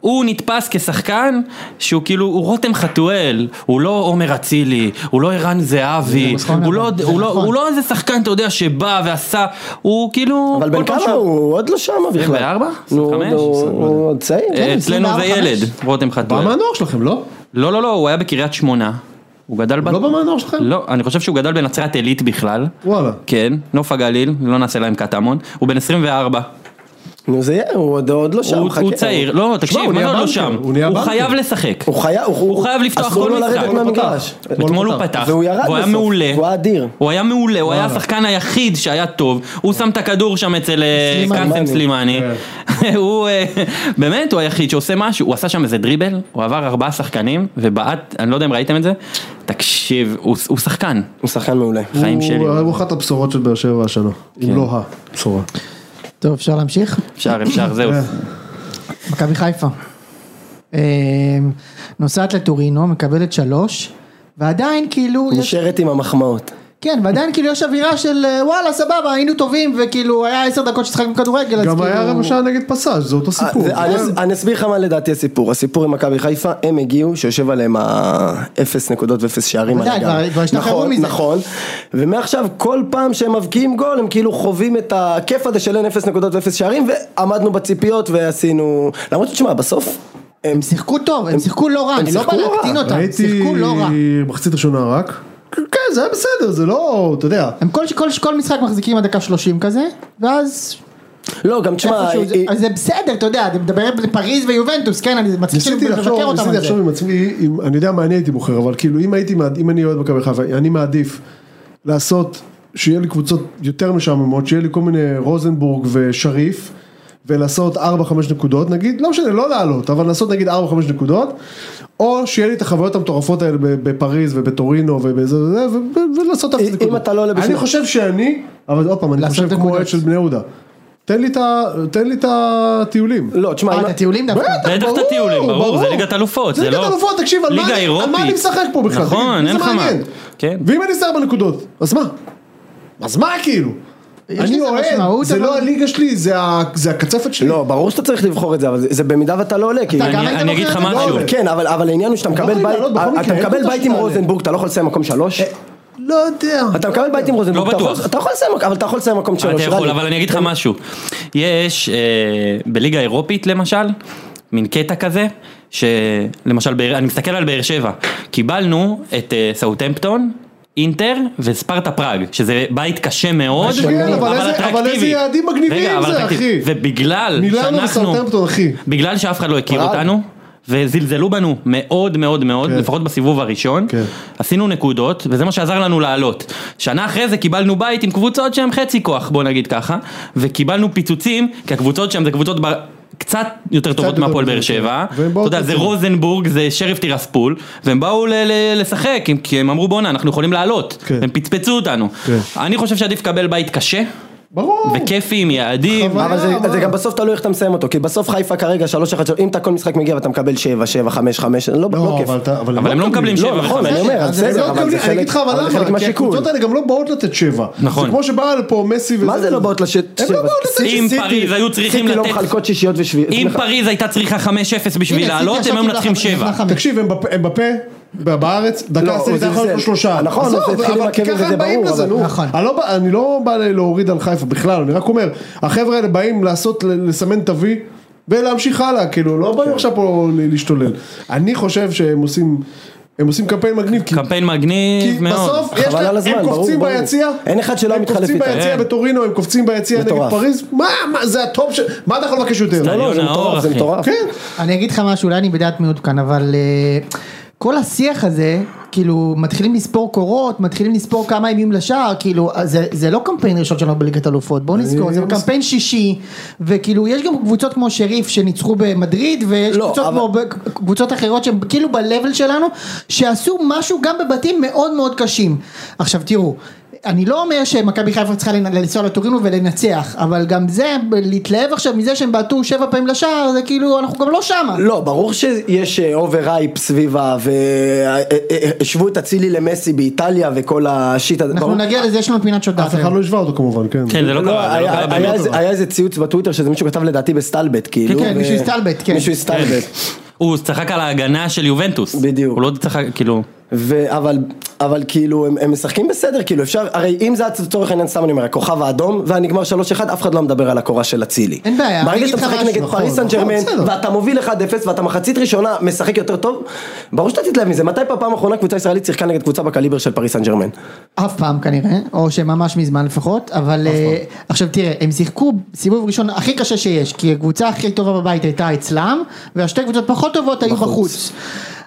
הוא נתפס כשחקן שהוא כאילו, הוא רותם חתואל, הוא לא עומר אצילי, הוא לא ערן זהבי, נכון, הוא לא- אבל- זה הוא לא- נכון. הוא לא איזה שחקן, אתה יודע, שבא ועשה, הוא כאילו... אבל בן כל פעם כמה ש- הוא? הוא עוד לא שמה בכלל. 24? נו, 25? הוא- הוא עוד צעיר. אה, כן. אצלנו זה 24, ילד, רותם בא חתואל. מהנוער שלכם, לא? לא, לא, לא, הוא היה בקריית שמונה. הוא גדל ב... לא בא מהנוער שלכם? לא, אני חושב שהוא גדל בנצרת עילית בכלל. וואלה. כן, נוף הגליל, לא נעשה להם קטמון. הוא בן 24. נו זה יהיה, הוא עוד- עוד לא שם. הוא- הוא חכה. צעיר, לא, תקשיב, הוא מה נהיה זה לא בנקר, שם? הוא נהיה הוא בנקר. חייב לשחק. הוא חייב, הוא חייב לפתוח אסור לו כל משחק. לרדת מהמגרש. אתמול הוא פתח, והוא ירד והוא היה בסוף, מעולה, והוא היה אדיר. הוא היה מעולה, הוא היה השחקן היחיד שהיה טוב, הוא שם את הכדור שם אצל אה, סלימני. קאסם סלימני, הוא אה, באמת הוא היחיד שעושה משהו, הוא עשה שם איזה דריבל, הוא עבר ארבעה שחקנים ובעט, אני לא יודע אם ראיתם את זה, תקשיב, הוא הוא שחקן, הוא שחקן מעולה. חיים הוא- שלי, כן. הוא אחת הבשורות של באר שבע השנה. אם לא הבשורה. טוב, אפשר להמשיך? אפשר אפשר זהו, מכבי חיפה. אה, נוסעת לטורינו, מקבלת שלוש, ועדיין כאילו... יש- נשארת עם המחמאות. כן, ועדיין כאילו יש אווירה של אה, וואלה סבבה היינו טובים וכאילו היה עשר דקות ששחקנו כדורגל אז גם כאילו... אה, היה רבע שעה נגד פסאז', זה אותו סיפור. אה, כן. זה- אני אס- אני אסביר לך מה לדעתי הסיפור, הסיפור עם מכבי חיפה, הם הגיעו שיושב עליהם האפס נקודות ואפס שערים על בוודאי, הגב. כבר- כבר השתחררו נכון, מזה. נכון, ומעכשיו כל פעם שהם מבקיעים גול הם כאילו חווים את הכיף הזה של אין אפס נקודות ואפס שערים ועמדנו בציפיות ועשינו, למרות שתשמע בסוף, הם- הם שיחקו טוב, הם שיחקו לא רע, הם אני לא בא שיחקו לא רע. להקטין אותם, ראיתי שיחקו לא רע. מחצית ראשונה רק. כן, זה היה בסדר, זה לא, אתה יודע. הם כל, כל, כל משחק מחזיקים עד דקה 30 כזה, ואז לא גם תשמע, איפשהו זה, היא- אז זה בסדר, אתה יודע, אתה מדבר על פריז ויובנטוס, כן, אני מצליח ניסיתי כאילו לבקר לחשוב, אותם ניסיתי על זה. לחשוב עם עצמי, אם- אני יודע מה אני הייתי בוחר, אבל כאילו אם הייתי, מעד- אם אני אוהד מכבי חיפה, אני מעדיף לעשות, שיהיה לי קבוצות יותר משעממות, שיהיה לי כל מיני רוזנבורג ושריף, ולעשות 4-5 נקודות נגיד, לא משנה, לא לעלות, אבל לעשות נגיד 4-5 נקודות, או שיהיה לי את החוויות המטורפות האלה ב- בפריז ובטורינו ובזה וזה, ו- ו- ולעשות את אם- אם אתה לא עולה אני בשביל- חושב שאני, אבל עוד פעם, אני לעשות חושב כמו נקודות. העד של בני יהודה. תן לי את ה- תן לי את הטיולים. לא, תשמע, אה, אם- את הטיולים דווקא. בטח, בטח את הטיולים, ברור, זה ליגת אלופות, זה זה לא... ליגת אלופות, תקשיב, על מה ליגה אני- על מה אירופית. אני משחק פה בכלל? תגיד, נכון, מי אין זה לך מה. מעניין? כן. ואם אני שר בנקודות, אז מה? אז מה כאילו? יש לזה אני אוהד, משמעות, זה אבל- לא הליגה שלי, זה ה- זה הקצפת שלי. לא, ברור שאתה צריך לבחור את זה, אבל זה- זה במידה ואתה לא עולה, כי... אתה גם לא, אני- היית אני אגיד בוחר לך את זה? משהו. לא, כן, אבל אבל העניין הוא שאתה יכול מקבל בית, לעלות בכל אתה מקרה, אין מקבל אותו בית עם שתעלה. רוזנבורג, אתה לא יכול לסיים מקום שלוש? אה, לא יודע. אתה מקבל בית עם רוזנבורג, לא אתה יכול- בטוח. אתה יכול לסיים, אבל אתה יכול לסיים מקום שלוש. אתה יכול, רדי. אבל אני אגיד לך משהו. יש אה, בליגה האירופית למשל, מין קטע כזה, שלמשל, באר- אני מסתכל על באר שבע, קיבלנו את אה, סאוטהמפטון. אינטר וספרטה פראג, שזה בית קשה מאוד, משוגע, אבל איזה- אבל אטרקטיבי. איזה יעדים מגניבים רגע, אבל זה, אטרקטיבי. אחי. ובגלל מילאנו שאנחנו, וסאוטהמפטון, אחי. בגלל שאף אחד לא הכיר פראג. אותנו, וזלזלו בנו מאוד מאוד מאוד, כן. לפחות בסיבוב הראשון, כן. עשינו נקודות, וזה מה שעזר לנו לעלות. שנה אחרי זה קיבלנו בית עם קבוצות שהן חצי כוח, בוא נגיד ככה, וקיבלנו פיצוצים, כי הקבוצות שם זה קבוצות בר... קצת יותר טובות יותר מהפועל טובות, באר כן. שבע, והם אתה באו יודע, זה טובים. רוזנבורג, זה שריף טירספול, והם באו ל- ל- לשחק, כי הם- כי הם אמרו בואנה, אנחנו יכולים לעלות, כן. הם פצפצו אותנו. כן. אני חושב שעדיף לקבל בית קשה, ברור. וכיפי, עם יעדים, חבל. אבל זה- מה? זה גם בסוף תלוי איך אתה מסיים אותו, כי בסוף חיפה כרגע 3-1, אם אתה כל משחק מגיע ואתה מקבל 7, 7, 5, 5, לא לא לא, כיף. אבל אתה- אבל הם לא מקבלים שבע לא, נכון, וחמש. אני אומר, אז הם בסדר, לא אבל זה מקבלים, אני חלק אגיד לך אבל אבל זה חלק למה, כי מהשיקול. הקבוצות האלה גם לא באות לתת שבע. נכון. זה כמו שבא לפה מסי וזה. מה זה לא באות לשט? הם לא באות לתת אם סיטי- פריז היו צריכים סיטי לא לתת, מחלקות שישיות ושביעיות. אם פריז הייתה צריכה 5-0 בשביל הנה, לעלות, סיטי הם היו עכשיו מנצחים קיבלה חמש- 7. קיבלה חמש. תקשיב, הם בפ- הם בפה, בארץ, דקה לא, עשירית הוא אתה יכול זלזל. להיות שלושה. נכון, עזוב, הוא התחיל עם אבל כי הכאב ככה הזה, הם באים ברור, לזה, אבל- נו. נכון. אני לא בא- אני לא בא להוריד על חיפה בכלל, אני רק אומר, החבר'ה האלה באים לעשות, ל- לסמן תווי. ולהמשיך הלאה, כאילו, לא כן. באים עכשיו פה ל- להשתולל. אני חושב שהם עושים, הם עושים קמפיין מגניב, כי קמפיין כי מגניב מאוד. בסוף יש חבל על להם, הזמן, הם ברור, קופצים ברור. ביציע, אין אחד שלא הם מתחלף קופצים איתם. ביציע כן. בטורינו, הם קופצים ביציע נגד מטורף. פריז, מה, מה, זה הטופ של, מה אתה יכול לבקש יותר? סטדיון. לא, לא, זה יונה אור, מטורף, זה אחי. מטורף. כן, אני אגיד לך משהו, אולי אני בדעת מיעוט כאן, אבל אה, כל השיח הזה, כאילו, מתחילים לספור קורות, מתחילים לספור כמה ימים לשער, כאילו, אז זה, זה לא קמפיין ראשון שלנו בליגת אלופות, בואו נזכור, זה מס- קמפיין שישי, וכאילו, יש גם קבוצות כמו שריף שניצחו במדריד, ויש לא, קבוצות, אבל- כמו, ב- קבוצות אחרות שהן כאילו ב-level שלנו, שעשו משהו גם בבתים מאוד מאוד קשים. עכשיו תראו, אני לא אומר שמכבי חיפה צריכה לנ- לנסוע לטורינו ולנצח, אבל גם זה, ב- להתלהב עכשיו מזה שהם בעטו שבע פעמים לשער, זה כאילו, אנחנו גם לא שמה. לא, ברור שיש אוברייפ סביבה, אה, והשוו את אצילי למסי באיטליה וכל השיט הזה. אנחנו ברור. נגיע לזה, יש לנו פינת שודעת. אף אחד היום. לא השווה אותו כמובן, כן. כן, זה לא לא, קרה, זה לא היה- קרה היה באמת. איזה- היה איזה ציוץ בטוויטר שזה מישהו כתב לדעתי בסטלבט, כאילו. כן, ו- מישהו הסטלבט, כן. מישהו הסטלבט. הוא צחק על ההגנה של יובנטוס. בדיוק. הוא לא צחק, כאילו... ו- אבל, אבל כאילו הם, הם משחקים בסדר, כאילו אפשר, הרי אם זה לצורך העניין סתם אני אומר, הכוכב האדום והנגמר 3-1, אף אחד לא מדבר על הקורה של אצילי. אין בעיה, אני ברגע אגיד שאתה לך משחק משהו, נגד נכון, פריס סן נכון, ג'רמן, בסדר. ואתה מוביל 1-0 ואתה מחצית ראשונה משחק יותר טוב, ברור שאתה תתלהב מזה, מתי פעם האחרונה קבוצה ישראלית שיחקה נגד קבוצה בקליבר של פריס סן ג'רמן? אף פעם כנראה, או שממש מזמן לפחות, אבל אה, עכשיו תראה, הם שיחקו סיבוב ראשון הכי קשה שיש, כי הקבוצה הכי טובה בבית הייתה אצלם, והשתי קבוצות פחות טובות היו בחוץ.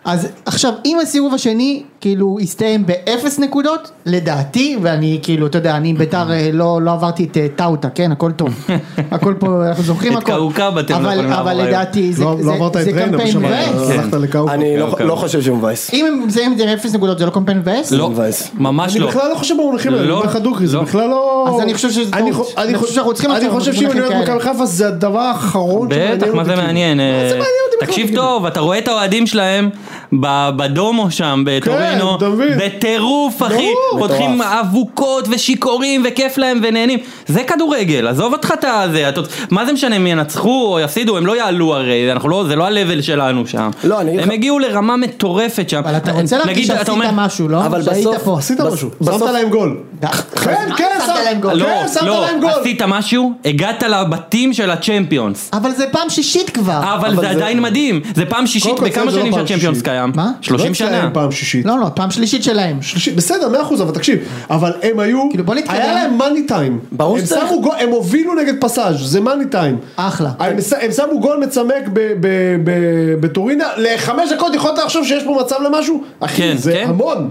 אז עכשיו, אם הסיבוב השני כאילו הסתיים באפס נקודות, לדעתי, ואני כאילו, אתה יודע, אני עם ביתר אה, לא לא עברתי את אה, טאוטה, כן, הכל טוב. הכל פה, אנחנו זוכרים את הכל. קאוקאב אתם לא אבל- יכולים לעבור אבל היום. לדעתי זה לא זה- לא עברת את כן. זה ריינה, קמפיין פשוט מבאס. הלכת לקאוקו. אני לא- אוקיי. לא חושב שהוא מבאס. אם הם מסיימים את זה באפס נקודות, זה לא קמפיין מבאס? לא, מבאס. ממש אני לא. בכלל לא חושב במונחים האלה, אני לא, אומר לך דוגרי, זה לא. בכלל לא... אז אני חושב שזה אני טעות. חו- אני אני חושב שאנחנו צריכים אני לעצור חושב שאם אני במונחים אוהד מכבי כאלה. חיפה זה הדבר האחרון בטח, מה זה אותי, מעניין? כאילו. מה זה אה, מעניין אותי בכלל? תקשיב כאילו? טוב, אתה רואה את האוהדים שלהם ב- בדומו שם, בטורינו, כן, אתה מבין? בטירוף אחי, ברור. פותחים מטורף. אבוקות ושיכורים וכיף להם ונהנים, זה כדורגל, עזוב אותך את הזה, אתה- מה זה משנה אם ינצחו או יפסידו, הם לא יעלו הרי, אנחנו לא, זה לא ה-level שלנו שם, לא, אני אגיד הם לך- הגיעו לרמה מטורפת שם, אבל אתה רוצה נגיד, להרגיש אתה שעשית אומר- משהו, לא? אבל שהיית בסוף- פה. עשית בס- משהו, בסוף- שמת להם גול. די. כן, מה כן, שמת שם- להם גול? לא, כן, שמת לא, להם גול. עשית משהו, הגעת לבתים של הצ'מפיונס. אבל זה פעם שישית כבר. אבל אבל זה זה- עדיין מדהים, זה פעם שישית קודם כל, בכמה זה לא שנים פעם שהצ'מפיונס שישית. קיים? מה? 30 לא שנה. אצלהם פעם שישית. לא, לא, פעם שלישית שלהם. שלישי, בסדר, מאה אחוז, אבל תקשיב, אבל הם היו, כאילו, בוא נתקדם. היה להם מאני טיים, ברור הם שצריך. שמו גול, הם הובילו נגד פסאז', זה מאני טיים, אחלה. הם, ש- הם שמו גול מצמק ב- ב- ב- בטורינה, לחמש דקות יכולת לחשוב שיש פה מצב למשהו, אחי, כן, זה כן. המון,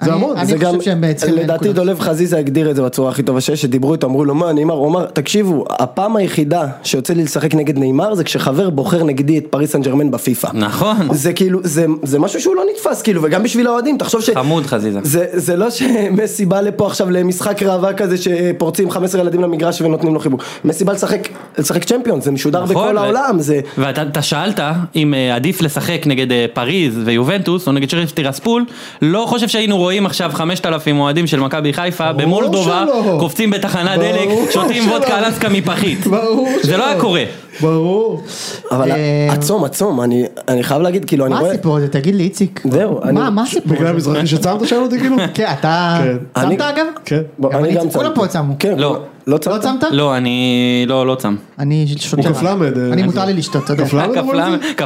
זה אני- המון. אני זה חושב גם, שהם צריכים לדעתי נקודות. דולב חזיזה הגדיר את זה בצורה הכי טובה שיש, שדיברו איתו, אמרו לו מה נאמר, הוא אמר, תקשיבו, הפעם היחידה שיוצא לי לשחק נגד נאמר זה כשחבר בוחר נגדי את פריס סן ג'רמן בפיפא. נכון. זה כאילו, זה, זה משהו שהוא לא נתפס, כאילו, וגם בשביל האוהדים, תחשוב ש... חמוד חזיזה. זה, זה לא שמסי בא לפה עכשיו למשחק ראווה כזה שפורצים 15 ילדים למגרש ונותנים לו חיבוק. מסי בא לשחק, לשחק צ'מפיון, זה משודר נכון, בכל ו- העולם, זה... ואתה אתה שאלת אם אה, עדיף לשחק נגד אה, פריז ויובנטוס או נגד שריף טירספול, לא חושב שהיינו רואים עכשיו 5,000 אוהדים של מכבי חיפה ברור במולדובה, שלא. קופצים בתחנת ברור דלק, שותים שלא. וודקה אלסקה מפחית. ברור זה שלא. לא היה קורה. ברור. אבל אה, עצום, עצום, אני, אני חייב להגיד, כאילו, אני מה רואה... הסיפור הזה? תגיד לי, איציק. זהו, אני- מה, מה הסיפור בגלל הזה? המזרחי שצם אתה שואל אותי כאילו? כן, אתה... כן. צמת אני- אגב? כן. בוא, גם אני אני- גם כולם צמתי. פה צמו. כן, לא. כולם- לא צמת? לא צמת? לא, אני לא, לא צם. אני שותה. הוא כף רק. למד, אה, אני זה- מותר לי לשתות, אתה יודע. כף למד? למה אתה אה,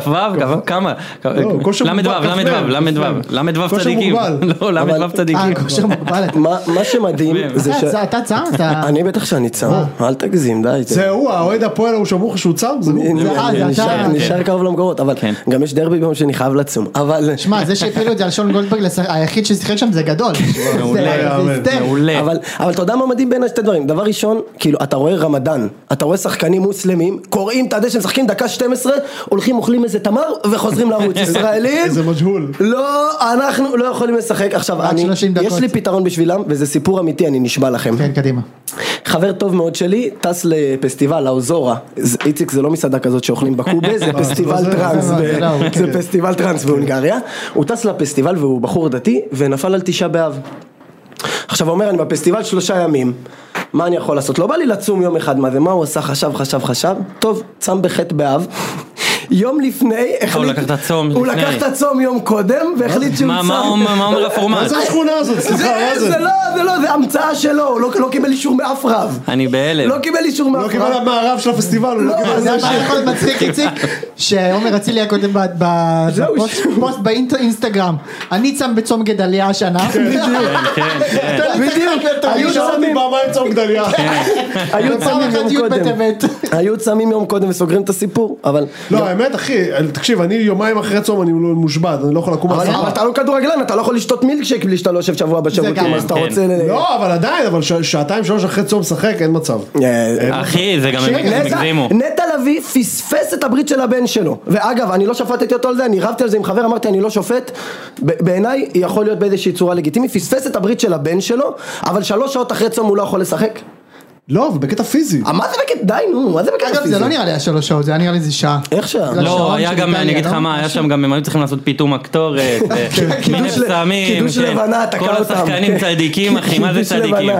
כ"ו, אומר את כ"ו, כמה? לא, כושר ל"ו, מוגבל, כ"ו, ל"ו, כ"ו. ל"ו, ל"ו כושר צדיקים. מוגבל. לא, ל"ו אבל- צדיקים. אה, כושר מוגבל. אתה- מה, מה שמדהים זה ש... אה, אתה- אה. אתה צם? אתה... אני בטח שאני צם, אל תגזים, די. זה- זה הוא, האוהד הפועל ההוא שאמרו לך שהוא צם? זה הוא. הנה, אה, אני זה נשאר- אתה. נשאר קרוב למקורות, אבל כן. גם יש דרבי ביום שני, חייב לצום, אבל... שמע, זה שהפילו את זה על שון גולדברג, לש- היחיד ששיחק שם זה גדול. זה- מעולה, זה היסטרי. מעולה. אבל, אבל אתה יודע מה מדהים בין השתי דברים, דבר ראשון, כאילו, אתה רואה רמדאן, אתה רואה שחקנים מוסלמים, קוראים את הדשא, משחקים דקה 12, הולכים אוכלים איזה תמר, וחוזרים לערוץ, ישראלים, איזה מג'הול. לא, אנחנו לא יכולים לשחק, עכשיו, רק אני, 30 דקות. יש לי פתרון בשבילם, וזה סיפור אמיתי, אני נשבע לכם, כן, קדימה. חבר טוב מאוד שלי, טס לפסטיבל, לאוזורה, זה- איציק זה לא מסעדה כזאת שאוכלים בקובה, זה פסטיבל זה- טראנס, אה, זה- ב- זה לא, זה כן. פסטיבל טראנס בהונגריה, הוא טס לפסטיבל והוא בחור דתי, ונפל על תשעה באב. עכשיו הוא אומר אני בפסטיבל שלושה ימים, מה אני יכול לעשות? לא בא לי לצום יום אחד, מה זה, מה הוא עשה? חשב, חשב, חשב, טוב, צם בחטא באב. יום לפני, החליט, אה, לקח את הצום הוא לפני. לקח את הצום יום קודם, והחליט שהוא מה צם. מה אומר מה אומר מה הפורמט? זה השכונה הזאת? סליחה, מה זה, זה? זה לא, זה לא, זה המצאה שלו, הוא לא, לא קיבל אישור מאף רב. אני בהלם. לא קיבל אישור מאף לא רב. קיבל מהרב של הפסטיבל, הוא לא קיבל אתה זה יודע מה ש... יכול להיות מצחיק איציק? שעומר אצילי היה קודם ב- ב- זהו, בפוסט- שהוא- פוסט באינסטגרם. אני צם בצום גדליה השנה. כן, כן. בדיוק. היו שמתי פעמיים צום גדליה. היו פעם צמים אחת יום י' קודם. בטבת. היו צמים יום קודם וסוגרים את הסיפור, אבל... לא, האמת, אחי, אל- תקשיב, אני יומיים אחרי צום אני מושבת, אני לא יכול לקום אבל מהספה. אבל אתה לא כדורגלן, אתה לא יכול לשתות מילקשייק בלי שאתה לא יושב שבוע גם- בשירותים, אז אתה כן. רוצה... ל- לא, אבל עדיין, אבל ש- שעתיים שלוש אחרי צום לשחק, אין מצב. אה, אחי, זה גם הם נטע- הם הגזימו. נטע לביא פספס את הברית של הבן שלו. ואגב, אני לא שפטתי אותו על זה, אני רבתי על זה עם חבר, אמרתי אני לא שופט. ב- בעיניי, יכול להיות באיזושהי צורה לגיטימית. פספס את הברית של הבן שלו, אבל שלוש שעות אחרי צום הוא לא יכול לשחק. לא, אבל בקטע פיזי. אה, מה זה בקטע? די נו, מה זה בקטע אגב זה פיזי? לא נראה לי היה שלוש שעות, זה היה נראה לי איזה שעה. איך שעה? בגלל לא, השעון היה של גם, אני איטליה, אגיד לך לא? מה, היה שם גם, הם היו צריכים לעשות פיתום הקטורת, ו- קידוש מנף ל- סמים, קידוש כן. לבנה, תקע כל אותם, השחקנים כן. צדיקים, אחי, מה זה קידוש צדיקים? לבנה. מה,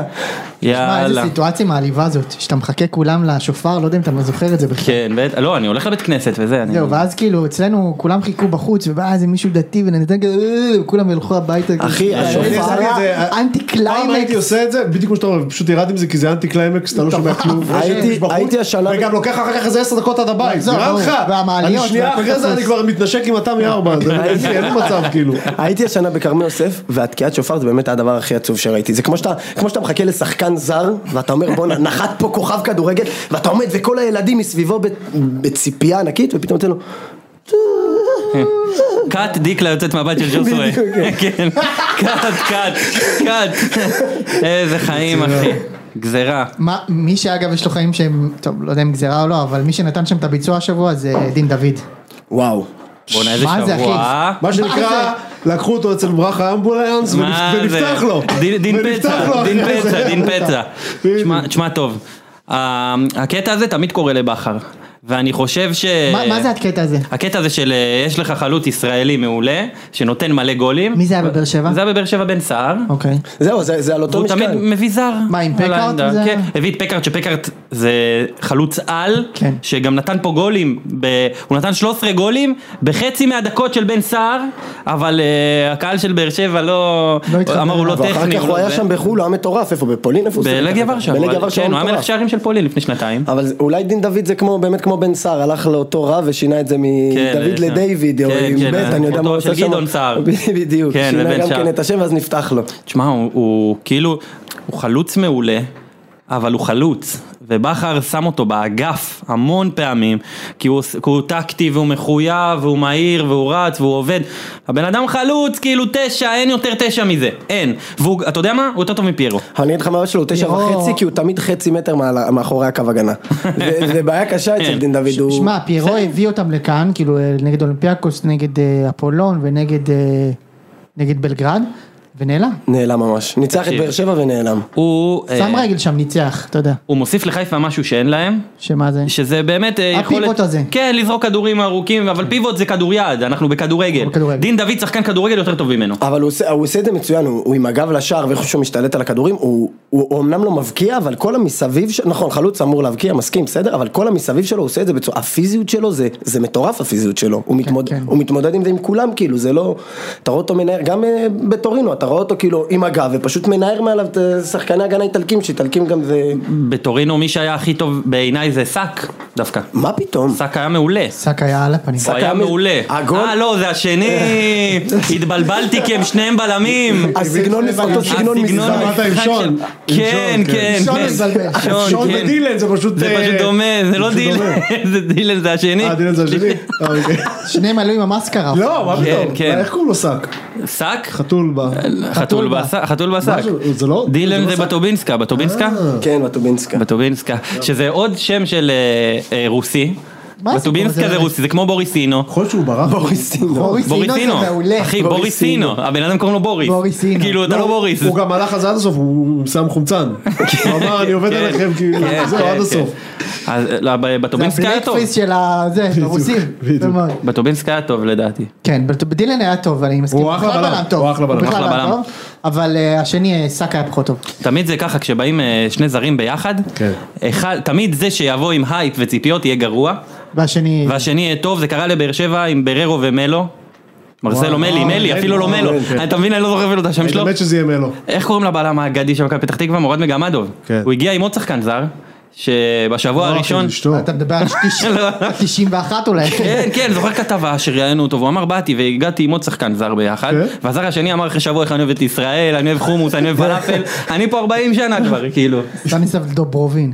איזה יאללה. סיטואציה מעליבה זאת, שאתה מחכה כולם לשופר, לא יודע אם אתה זוכר את זה בכלל. כן, בטח, לא, אני הולך לבית כנסת וזה, אני... זהו, ואז כאילו אצלנו כולם חיכו בחוץ, ובא איזה מישהו דתי ונתן כזה, "אה", כולם ילכו הביתה. אחי, כאילו, השופר- זה היה זה- אה, אנטי פעם הייתי קליימקס. עושה את זה, בדיוק כמו שאתה אומר, פשוט ירד עם זה כי זה אנטי קליימקס, אתה לא שומע כלום. הייתי- יש בחוץ, הייתי השנה- וגם לוקח אחר כך איזה עשר דקות עד הבית, לחזור, נראה ברור. לך? אני והמעליות, שנייה והכל אחרי זה תפוס. אני כבר מתנשק עם התמי ארבע, זה אין לי- אין לי מצב כאילו. הייתי השנה בכרמי יוסף, והתקיעת שופר זה באמת הדבר הכי עצוב שראיתי. זה כמו שאתה, כמו שאתה מחכה לשחקן זר, ואתה אומר בואנה, נחת פה כוכב כדורגל, ואתה עומד וכל הילדים מסביבו ב- בציפייה ענקית, ופתאום אתה לו, קאט דיקלה יוצאת מהבית של ג'וסווה. כן, קאט, קאט, קאט. איזה חיים, אחי. גזרה. מה, מי שאגב יש לו חיים שהם, טוב, לא יודע אם גזירה או לא, אבל מי שנתן שם את הביצוע השבוע זה דין דוד. וואו. בואנה, איזה מה זה, אחי? שבוע. אה? מה שנקרא, לקחו אותו אצל ברכה אמבולנס מה ונפ- זה? ונפתח לו. דין- דין ונפתח פצע, לו דין אחרי פצע, זה. דין פצע. בדיוק. תשמע- תשמע טוב, ה- הקטע הזה תמיד קורה לבכר, ואני חושב ש... מה מה זה הקטע הזה? הקטע הזה של אה, יש לך חלוץ ישראלי מעולה, שנותן מלא גולים. מי זה היה בבאר שבע? זה היה בבאר שבע בן סער. אוקיי. זהו, זה, זה על אותו והוא תמיד משקל. מביא זר. מה, עם על פקארט? העמדה. זה- כן, הביא את פקארט, שפקארט זה חלוץ על, כן. שגם נתן פה גולים, ב- הוא נתן 13 גולים בחצי מהדקות של בן סער, אבל אה, הקהל של באר שבע לא... לא התחבר. אמר הוא לא ואחר טכני. כך הוא לא היה זה. שם בחו"ל, הוא היה מטורף, איפה? בפולין? איפה הוא שיחק? בלגיה ורשה. בלגיה הוא- ורשה כן, הוא הוא היה מלך מטורף. שערים של פולין לפני שנתיים. אבל זה- אולי דין דוד זה כמו, באמת כמו בן סער, הלך לאותו רב ושינה את זה כן, מדוד לשם. לדיוויד, או כן, עם כן, בית, אני יודע מה הוא אותו של עושה שם. גדעון סער. בדיוק, כן, שינה לבן גם שער. כן את השם ואז נפתח לו. תשמע, הוא, הוא כאילו, הוא חלוץ מעולה, אבל הוא חלוץ, ובכר שם אותו באגף המון פעמים, כי הוא, כי הוא טקטי והוא מחויב והוא מהיר והוא רץ והוא עובד. הבן אדם חלוץ, כאילו תשע, אין יותר תשע מזה, אין. והוא, אתה יודע מה? הוא יותר טוב מפיירו. אבל אני אגיד לך מה הבעיה שלו, הוא תשע יואו. וחצי, כי הוא תמיד חצי מטר מעל- מאחורי הקו הגנה. זה- זה בעיה קשה אצל כן. דין דוד. הוא- שמע, פיירו הביא אותם לכאן, כאילו אה, נגד אולימפיאקוס, נגד אה, אפולון ונגד אה, נגד בלגרד, ונעלם. נעלם ממש. ניצח את תקשיב. באר שבע ונעלם. הוא... שם אה, רגל שם, ניצח, אתה יודע. הוא מוסיף לחיפה משהו שאין להם, שמה זה? שזה באמת אה, הפיבוט הזה. כן, לזרוק כדורים ארוכים, אבל פיבוט זה כדוריד, אנחנו בכדורגל. אנחנו בכדורגל. דין דוד שחקן כדורגל יותר טוב ממנו. אבל הוא עושה, הוא עושה את זה מצוין, הוא, הוא עם הגב לשער ואיך שהוא משתלט על הכדורים, הוא, הוא, הוא אמנם לא מבקיע, אבל כל המסביב, ש... נכון, חלוץ אמור להבקיע, מסכים, בסדר, אבל כל המסביב שלו הוא עושה את זה בצורה, הפיזיות שלו זה, זה מטורף הפיזיות שלו, הוא, כן, מתמוד, כן. כן. הוא מתמודד עם זה עם כולם, כאילו, זה לא, אתה רואה אותו מנער, גם אה, בטורינו, אתה רואה אותו כאילו עם הגב, ופשוט מנער מעליו את אה, שחקני הגנה איטלקים, שאיטלקים גם זה, בטורינו מי שהיה הכי טוב בעיניי זה סאק דווקא. מה פתאום? סאק היה מעולה. שק היה על הפנים. הוא היה היה מ- מעולה. הגול- אה לא, זה השני. התבלבלתי כי הם שניהם בלמים. אה, הסגנון, אותו סגנון הסגנון מזמן. אמרת המשחק עם שון. של- כן, עם שון, כן, שון כן. מבלבל. שון, שון כן. ודילן זה פשוט... זה אה, פשוט דומה, זה לא פשוט דילן, דומה. זה דילן זה השני. אה, דילן זה השני? אה, אוקיי. שניהם עלו עם המאסקרה. לא, מה כן, פתאום? כן. איך קוראים לו שק? שק? אה, חתול ב... חתול ב- בשק, חתול בשק. משהו, זה לא- זה דילן לא זה אה. שק. בטובינסקה, בטובינסקה? כן, וטובינסקה. בטובינסקה, שזה עוד שם של אה, אה, רוסי. מה הסיפור בטובינסקה הזה? זה רוסי, זה כמו בוריסינו. יכול להיות שהוא ברח? נכון. לא. בוריסינו. בוריס סינו זה מעולה. אחי, בוריס בוריסינו, הבן אדם קוראים לו בוריס. בוריסינו. כאילו, אתה לא, לא בוריס. הוא גם הלך על זה עד הסוף, הוא שם חומצן. הוא אמר, אני עובד כן, עליכם, כאילו, כן, זהו, כן, עד הסוף. כן. אז, לא, ב- זה בטובינסקה היה הבלק טוב. פייס של ה... זה, הרוסים. בדיוק. טוב מאוד. בטובינסקה היה טוב לדעתי. כן, בל- בדילן היה טוב, אני מסכים. הוא אחלה בכלל בלם, טוב. הוא אחלה בלם, בכלל אחלה בלם בלם. טוב, אבל אה, השני, אה, שק היה פחות טוב. תמיד זה ככה, כשבאים אה, שני זרים ביחד, כן. אחד, תמיד זה שיבוא עם הייפ וציפיות יהיה גרוע, והשני... כן. והשני יהיה טוב, זה קרה לבאר שבע עם בררו ומלו. מרסלו מלי, מלי, מלי, אפילו לא וואו, מלו. כן. אתה מבין, אני לא זוכר אפילו את השם שלו. באמת שזה יהיה מלו. איך קוראים לבלם האגדי של מכבי פתח תקווה? מורד מגמדוב. כן. הוא הגיע עם עוד שחקן זר, שבשבוע לא, הראשון... אחי, זה אשתו. אתה מדבר על 90 לא. 91 אולי. כן, כן, זוכר כתבה שראיינו אותו, והוא אמר באתי והגעתי עם עוד שחקן זר ביחד, כן. והזר השני אמר אחרי שבוע איך אני אוהב את ישראל, אני אוהב חומוס, אני אוהב פלאפל, אני פה 40 שנה כבר, כאילו. סטניסלב דוברובין.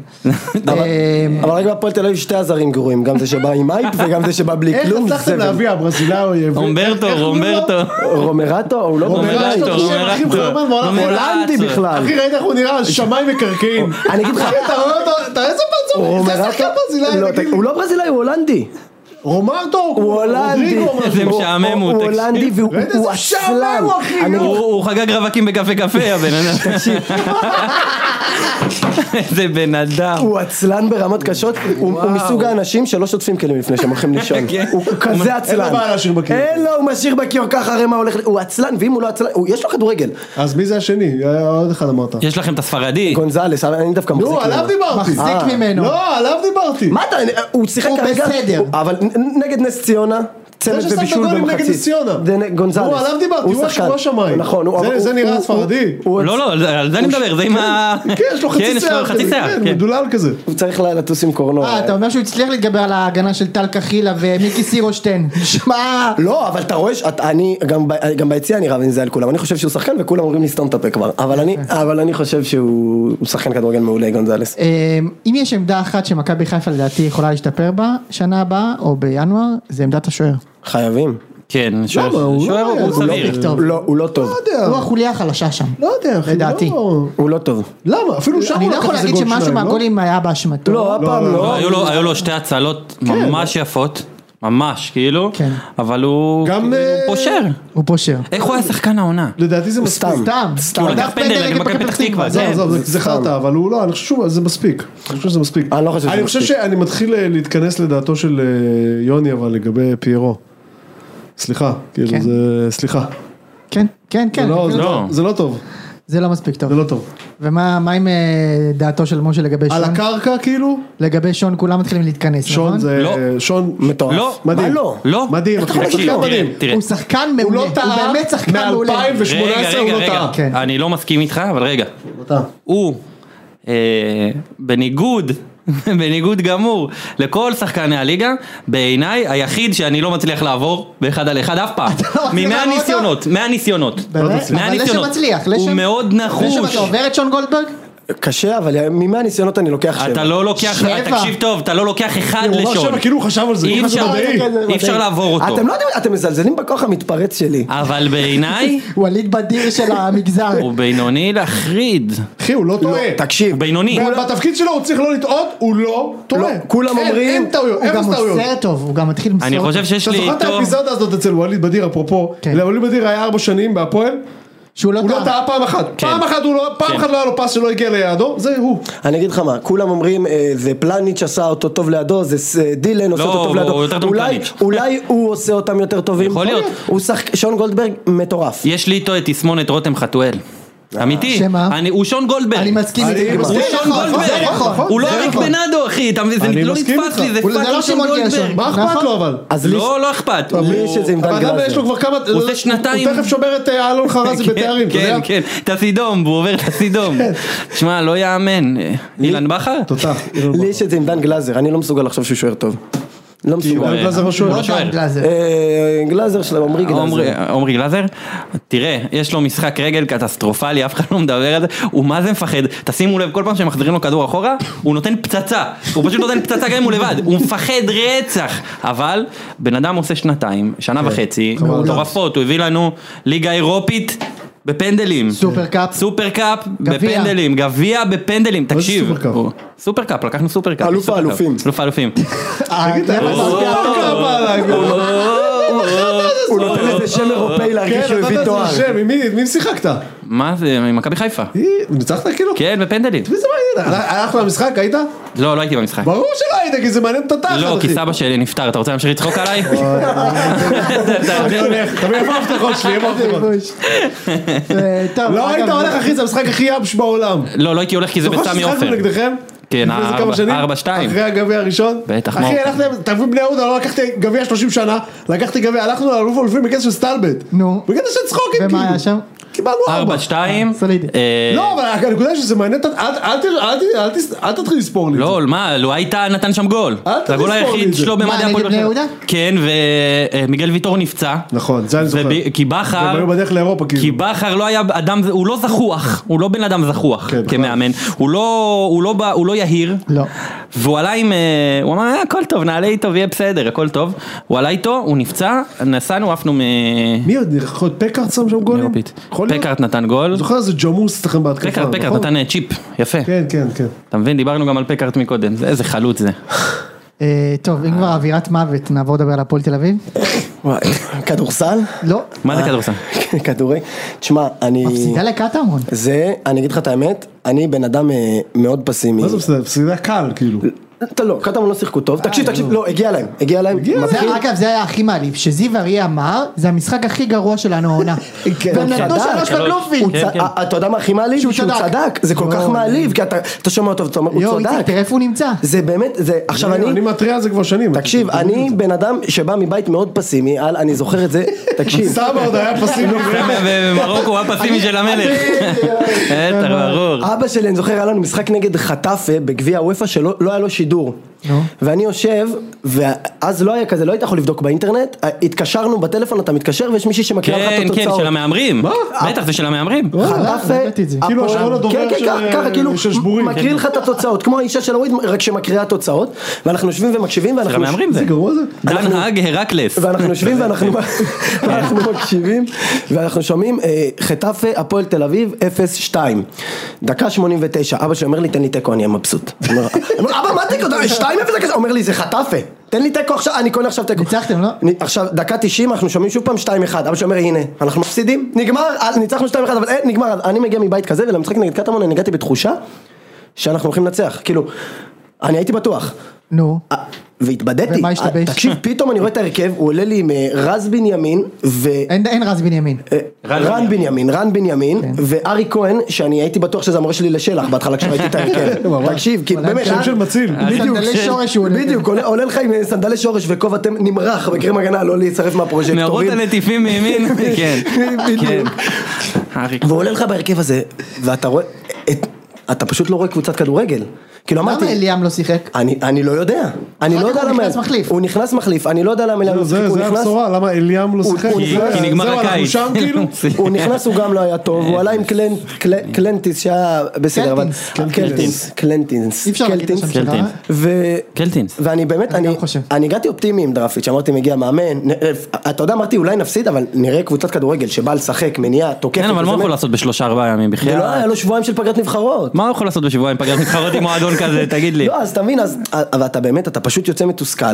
אבל- אה, אבל רק בהפועל תל אביב שתי הזרים גרועים, גם זה שבא עם אייפ וגם זה שבא בלי איך כלום. הצלחתם זבל. להביא הברזילאי? רומברטו, לא- רומברטו. רומרטו, הוא לא רומרטו, רומרטו. השם הכי מכוער בעולם. רומרטו. הולנדי בכלל. אחי, ראית איך הוא נראה? שמיים מקרקעין. אני אגיד לך- אחי, אתה רואה אותו? אתה איזה פרצוף? זה רומרטו, שחקן ברזילאי. לא, תגיד לי. הוא לא ברזילאי, הוא הולנדי. רומרטו? הוא הולנדי. רודריגו, משהו. זה משעמם, הוא, הוא תקשיב. הולנדי והוא ראית איזה הוא משעמם עצלן. הוא, אחי, לא. אני- הוא הוא חגג רווקים בקפה קפה, הבן אדם. איזה בן אדם. הוא עצלן ברמות קשות, הוא הוא מסוג האנשים שלא שוטפים כלים לפני שהם הולכים לישון. כן. הוא כזה עצלן. בעיה להשאיר בכיור. אין לו, הוא משאיר בכיור ככה, הרי מה הולך, הוא עצלן, ואם הוא לא עצלן, הוא- יש לו כדורגל. אז מי זה השני? היה עוד אחד אמרת. יש לכם את הספרדי? גונזלס, אני דווקא מחזיק ממנו. נו, לא, עליו דיברתי. מחזיק אה. ממנו. לא, עליו דיברתי. מה אתה, הוא שיחק הוא כרגע, בסדר. הוא- אבל נ- נגד נס ציונה, צמד זה ששם את ובישול הגולים לא, נגד במחצית, נס ציונה. זה נ- גונזלס, הוא, עליו דיברתי, הוא שחקן. השבוע שמיים. נכון, הוא- זה- הוא- זה נראה הוא- ספרדי. הוא- לא, לא, על זה- על זה אני מדבר, זה עם ה... כן, יש לו כן, חצי יש לו שיער. חצי כזה, שיער, כן, כן. מדולל כזה. הוא צריך ל- לטוס עם קורנור, אה, אתה אומר שהוא הצליח להתגבר על ההגנה של טל קחילה ומיקי סירושטיין. שמע, לא, אבל אתה רואה, שאת- אני, גם ב- גם ביציע אני רב עם זה על כולם, אני חושב שהוא שחקן וכולם אומרים לי סתום את הפה כבר, אבל אני- אבל אני חושב שהוא הוא שחקן כדורגל מעולה, גונזלס. אמ, אם יש עמדה אחת שמכבי חיפה לדעתי יכולה להשתפר בה שנה הבאה או בינואר, זה עמדת השוער. חייבים. כן, שוער למה? הוא שוער לא- הוא הוא לא סביר. מספיק טוב. הוא לא- הוא לא טוב, לא יודע. הוא החוליה החלשה שם. לא יודע, אחי. לדעתי. לא- הוא לא טוב. למה? אפילו שם אני הוא לא לקח יכול איזה להגיד גול שמשהו שניים, לא? מהגולים היה באשמתו. לא, אף פעם לא, לא. היו לו- היו לו שתי הצלות ממש יפות, ממש, כאילו, כן. אבל הוא גם, כאילו, אה, פושר. הוא פושר. איך הוא היה שחקן העונה? לדעתי זה מספיק. סתם. סתם. סתם. הוא הוא לקח לקח פנדל פנדל נגד נגד מכבי פתח תקווה, כן. עזוב, זה- עזוב, זה- זה חרטא, אבל הוא לא, אני חושב שהוא- זה מספיק. אני חושב שזה מספיק. אני לא חושב שזה אני חושב מספיק. שאני מתחיל אה, להתכנס לדעתו של אה, יוני, אבל לגבי פיירו. סליחה, כאילו כן. זה, סליחה. כן, כן, זה כן. לא- זה- זה לא. לא- זה לא טוב, זה לא מספיק טוב. זה לא טוב. ומה מה עם אה, דעתו של משה לגבי על שון? הקרקע כאילו, לגבי שון כולם מתחילים להתכנס, נכון? שון זה, לא. שון, מטורף. לא, מדהים. מה לא? לא. מדהים, אתה אחי, יכול שחקן להגיד, מדהים. תראה, תראה. הוא שחקן הוא מעולה, לא הוא טעה, באמת שחקן מעולה. מ-2018 רגע, הוא רגע, לא טעה. כן. רגע, אני לא מסכים איתך, אבל רגע. הוא טעה. הוא, אה, בניגוד, בניגוד גמור לכל שחקני הליגה, בעיניי היחיד שאני לא מצליח לעבור באחד על אחד אף פעם. לא מצליח ממאה לעבור אותו? ניסיונות, מאה ניסיונות. באמת? מאה אבל לשם ניסיונות. מצליח, לשם- הוא מאוד לשם נחוש. אתה עובר את שון גולדברג? קשה, אבל מהניסיונות אני לוקח שבע. אתה לא לוקח, שבע. תקשיב טוב, אתה לא לוקח אחד הוא אמר לשון. שם, כאילו הוא חשב על זה, אי כאילו זה אפשר- מדעי. כן, אי אפשר לעבור אותו. אתם לא יודעים, אתם מזלזלים בכוח המתפרץ שלי. אבל בעיניי, ווליד בדיר של המגזר. הוא בינוני להחריד. אחי, הוא לא אה, טועה. תקשיב, הוא בינוני. ב- בתפקיד שלו הוא צריך לא לטעות, הוא לא טועה. לא, כולם אין- אומרים- אין טעויות, הוא אין גם טעויות. עושה טוב, הוא גם מתחיל למסור. אני חושב שיש אתה לי זוכר את איתו... האפיזודה הזאת אצל ווליד בדיר, אפרופו? כן. ווליד בדיר היה ארבע שנים בהפועל, שהוא לא הוא לא טעה. טעה פעם אחת. פעם אחת הוא לא, פעם כן. אחת לא היה לו פס שלא הגיע ליעדו, זה הוא. אני אגיד לך מה, כולם אומרים אה, זה פלניץ' עשה אותו טוב לידו, זה ס- אה, דילן עושה לא, אותו טוב הוא לידו, יותר טוב אולי- מפלניץ'. אולי הוא עושה אותם יותר טובים, יכול להיות. הוא שחק, שון גולדברג מטורף, יש לי איתו את תסמונת רותם חתואל. אמיתי. שמה? אני- הוא שון גולדברג. אני מסכים אני איתך. הוא מסכים זה שון נכון, זה גולדברג. נכון. הוא לא זה אריק נכון. בנאדו אחי. אתה מבין? זה אני לא מסכים נתפס לי, איתך. זה הוא- זה פאקינג לא שון שמעון גולדברג. גרשון. מה אכפת נכון. לו אבל? אז לי- לא, לא אכפת. לי הוא- יש איזה עם דן הבן אדם גלאזר. יש לו כבר כמה... הוא עושה שנתיים. הוא תכף שובר את אה, אלון חרזי כן, בתארים, אתה כן, יודע? כן, את הסידום, הוא עובר את הסידום. שמע, לא יאמן. אילן בכר? תותח. אילן לי בכר. יש את זה עם דן גלאזר, אני לא מסוגל לחשוב שהוא שוער טוב, לא הוא מסוגל, היה גלאזר השוער. הוא השוער. דן גלאזר. אה, גלאזר שלו, עמרי גלאזר, עומרי- עומרי גלאזר, תראה, יש לו משחק רגל קטסטרופלי, אף אחד לא מדבר על זה, הוא מה זה מפחד, תשימו לב, כל פעם שמחזירים לו כדור אחורה, הוא נותן פצצה, הוא פשוט נותן פצצה גם אם הוא לבד, הוא מפחד רצח, אבל בן אדם עושה שנתיים, שנה וחצי, מטורפות, הוא הביא לנו ליגה אירופית. בפנדלים, סופר קאפ. סופר קאפ גביע. בפנדלים, גביע בפנדלים, תקשיב, סופר קאפ? הוא- סופר קאפ, לקחנו סופר קאפ, אלוף סופר קאפ. האלופים. אלוף האלופים, אה, תגיד, אתה זה מה יודע לא- מה קרה עליי? הוא נותן אה, איזה שם אירופאי כן, להרגיש שהוא נתת הביא איזה תואר, שם, עם מי- עם מי שיחקת? מה זה, מכבי חיפה, אי, ניצחת כאילו? כן בפנדלים, מי זה מעניין? אה, הלך- הלכת למשחק, היית? לא, לא הייתי במשחק. ברור שלא היית, כי זה מעניין את התחת. לא, אחי. כי סבא שלי נפטר, אתה רוצה להמשיך לצחוק עליי? אני הולך, תביא איפה ההבטחות שלי, איפה ההבטחות? בוש. אה, טוב, לא אגב, היית הולך, אחי, זה המשחק הכי יבש בעולם. לא, לא הייתי הולך כי זה זוכר בסמי עופר. ששיחקנו נגדכם? כן, לפני איזה ארבע- כמה שנים? ארבע, שתיים. אחרי הגביע הראשון? בטח, מה אחי, הוא- הלכתם, תביא בני יהודה, לא לקחתי גביע 30 שנה, לקחתי גביע, הלכנו לאלוף אלופים בקטע של סטלבט. נו. בקטע של צחוקים, כאילו. ומה היה שם? קיבלנו ארבע. ארבע, שתיים. סולידי. אה, לא, אבל הנקודה היא שזה מעניין, את- אל- אל ת- אל ת- אל תס- אל תתחיל לספור לי את זה. לא, מה, הוא הייתה, נתן שם גול. אל זה הגול תזכור לי את היחיד זה. שלו במדי מה, נגד הפועל באר בני שבע. יהודה? כן, ומיגל ויטור נפצע. נכון, זה אני זוכר. וב- כי בכר... הם היו בדרך לאירופה, כאילו. כי בכר לא היה אדם, הוא לא זחוח, הוא לא בן אדם זחוח כן, בכלל. כמאמן, הוא לא, הוא לא, בא- הוא לא יהיר, לא. והוא עלה עם, אה, הוא אמר "אה, הכל טוב, נעלה איתו ויהיה בסדר, הכל טוב, הוא עלה איתו, הוא נפצע, נסענו, עפנו מ... מי עוד? יכול להיות פקארט שם שם גולים? אירופית. יכול להיות? פקארט נתן גול, זוכר איזה ג'מוס אצלכם בהתקפה, פקארט, פקארט נכון? נתן אה, צ'יפ, יפה, כן, כן, כן. אתה מבין, דיברנו גם על פקארט מקודם, זה- איזה חלוץ זה, אה, טוב, אם כבר אווירת מוות, נעבור לדבר על הפועל תל אביב? וואי, כדורסל, לא. מה אה. זה כדורסל? כדורי, תשמע, אני, מפסידה לקטמון. זה, אני אגיד לך את האמת, אני בן אדם אה, מאוד פסימי, מה זה בסדר? בסדר, קל, כאילו. אתה לא, קטמון לא שיחקו טוב, תקשיב, תקשיב, לא, הגיע להם, הגיע להם, מתחיל- זה, אגב זה היה הכי מעליב, שזיו אריה אמר זה המשחק הכי גרוע שלנו העונה. כן, והם הוא נתנו צדק. שלוש שלוש. בבלומפילד. הוא כן, צ- כן. אה, אתה יודע מה הכי מעליב? שהוא שהוא צדק. צדק, זה כל כך יואו. מעליב, כי אתה אתה שומע אותו ואתה אומר, יואו, הוא איציק, צדק, תראה איפה הוא נמצא. זה באמת, זה, עכשיו אני אני אני, מתריע על זה כבר שנים. תקשיב, אתם- אני בן אדם שבא מבית מאוד פסימי, על- אני זוכר את זה, תקשיב, סבא עוד היה פסימי. במרוקו הוא הפסימי של המלך, בטח, ברור, אה, אבא שלי, אני זוכר, היה לנו משחק נגד חטאפה בגביע וופא שלא לא היה לו שידור. נו. ואני יושב, ואז לא היה כזה, לא היית יכול לבדוק באינטרנט, התקשרנו בטלפון, אתה מתקשר ויש מישהי שמקריאה לך את כן, כן, התוצאות. של המהמרים, בטח זה של המהמרים, אה? חטף, לא ידעתי את זה. כאילו הפועל- השעון הדובר כן, כן, של- ככה, ככה, כאילו, של שבורים. מקריא לך את התוצאות, כמו האישה של הוויד, רק שמקריאה תוצאות, ואנחנו יושבים ומקשיבים, של ואנחנו המהמרים זה, זה גרוע זה? דן האג אה? הרקלס, ואנחנו יושבים ואנחנו ואנחנו מקשיבים ואנחנו שומעים אה, חטאפה הפועל תל אביב 0-2 דקה 89 אבא שלי אומר לי תן לי תיקו אני אהיה מבסוט. אני אומר, אבא מה תיקו? 2-0 זה כזה?" אומר לי זה חטאפה תן לי תיקו עכשיו אה, אני קונה עכשיו תיקו. ניצחתם, לא? אני- עכשיו דקה 90 אנחנו שומעים שוב פעם 2-1 אבא שלי אומר הנה אנחנו מפסידים נגמר אה, ניצחנו 2-1 אבל אין נגמר אני מגיע מבית כזה ולמשחק נגד קטמון אני הגעתי בתחושה שאנחנו הולכים לנצח כאילו אני הייתי בטוח נו. אה, והתבדיתי, ומה השתבש? אה, תקשיב פתאום אני רואה את ההרכב, הוא עולה לי עם אה, רז בנימין ו... אין כן. אין רז בנימין. אה, רן רן בנימין, רן בנימין, וארי כהן, שאני הייתי בטוח שזה המורה שלי לשלח בהתחלה כשראיתי את ההרכב, ממש. תקשיב, כאילו וואלה, באמת, שם של מציל. בדיוק, סנדלי של- שורש הוא עולה. בדיוק, עולה- עולה לך עם אה, סנדלי שורש וכובע תם- נמרח בקרם הגנה, לא להישרף נערות מהפרוז'קטורים, הנטיפים מימין, כן, כן, בדיוק. אריק. והוא עולה לך בהרכב הזה, ואתה רואה, את- אתה פשוט לא רואה קבוצת כדורגל. כאילו אמרתי... למה אליאם לא שיחק? אני, אני לא יודע, אני אחר לא כך יודע הוא למה, נכנס מחליף. הוא נכנס מחליף, אני לא יודע למה אליאם לא, לא שיחק, זה הוא זה נכנס, הבשורה, למה אליאם לא שיחק? הוא זה- נכנס- כי נגמר זהו, אנחנו הקיץ. שם כאילו? הוא נכנס הוא גם לא היה טוב, הוא עלה עם קלנ- קל- קלנטיס שהיה בסדר, אבל, אה, קלטינס, קלטינס, קלנטינס, אי אפשר להגיד את השם קלטינס. שלך. ו- קלטינס. ואני באמת, אני אני, גם חושב. אני הגעתי אופטימי עם דראפיץ', אמרתי מגיע מאמן, נ- אה, אתה יודע, אמרתי אולי נפסיד, אבל נראה קבוצת כדורגל שבאה לשחק, מניעה, תוקפת, כן, אבל מה הוא וזה- יכול לעשות בשלושה ארבעה ימים זה בחייאת? לא היה לו שבועיים של פגרת נבחרות. מה הוא יכול לעשות בשבועיים פגרת מתחרות עם מועדון כזה, תגיד לי. לא, אז אתה מבין, אז, אבל אתה באמת, אתה פשוט יוצא מתוסכל,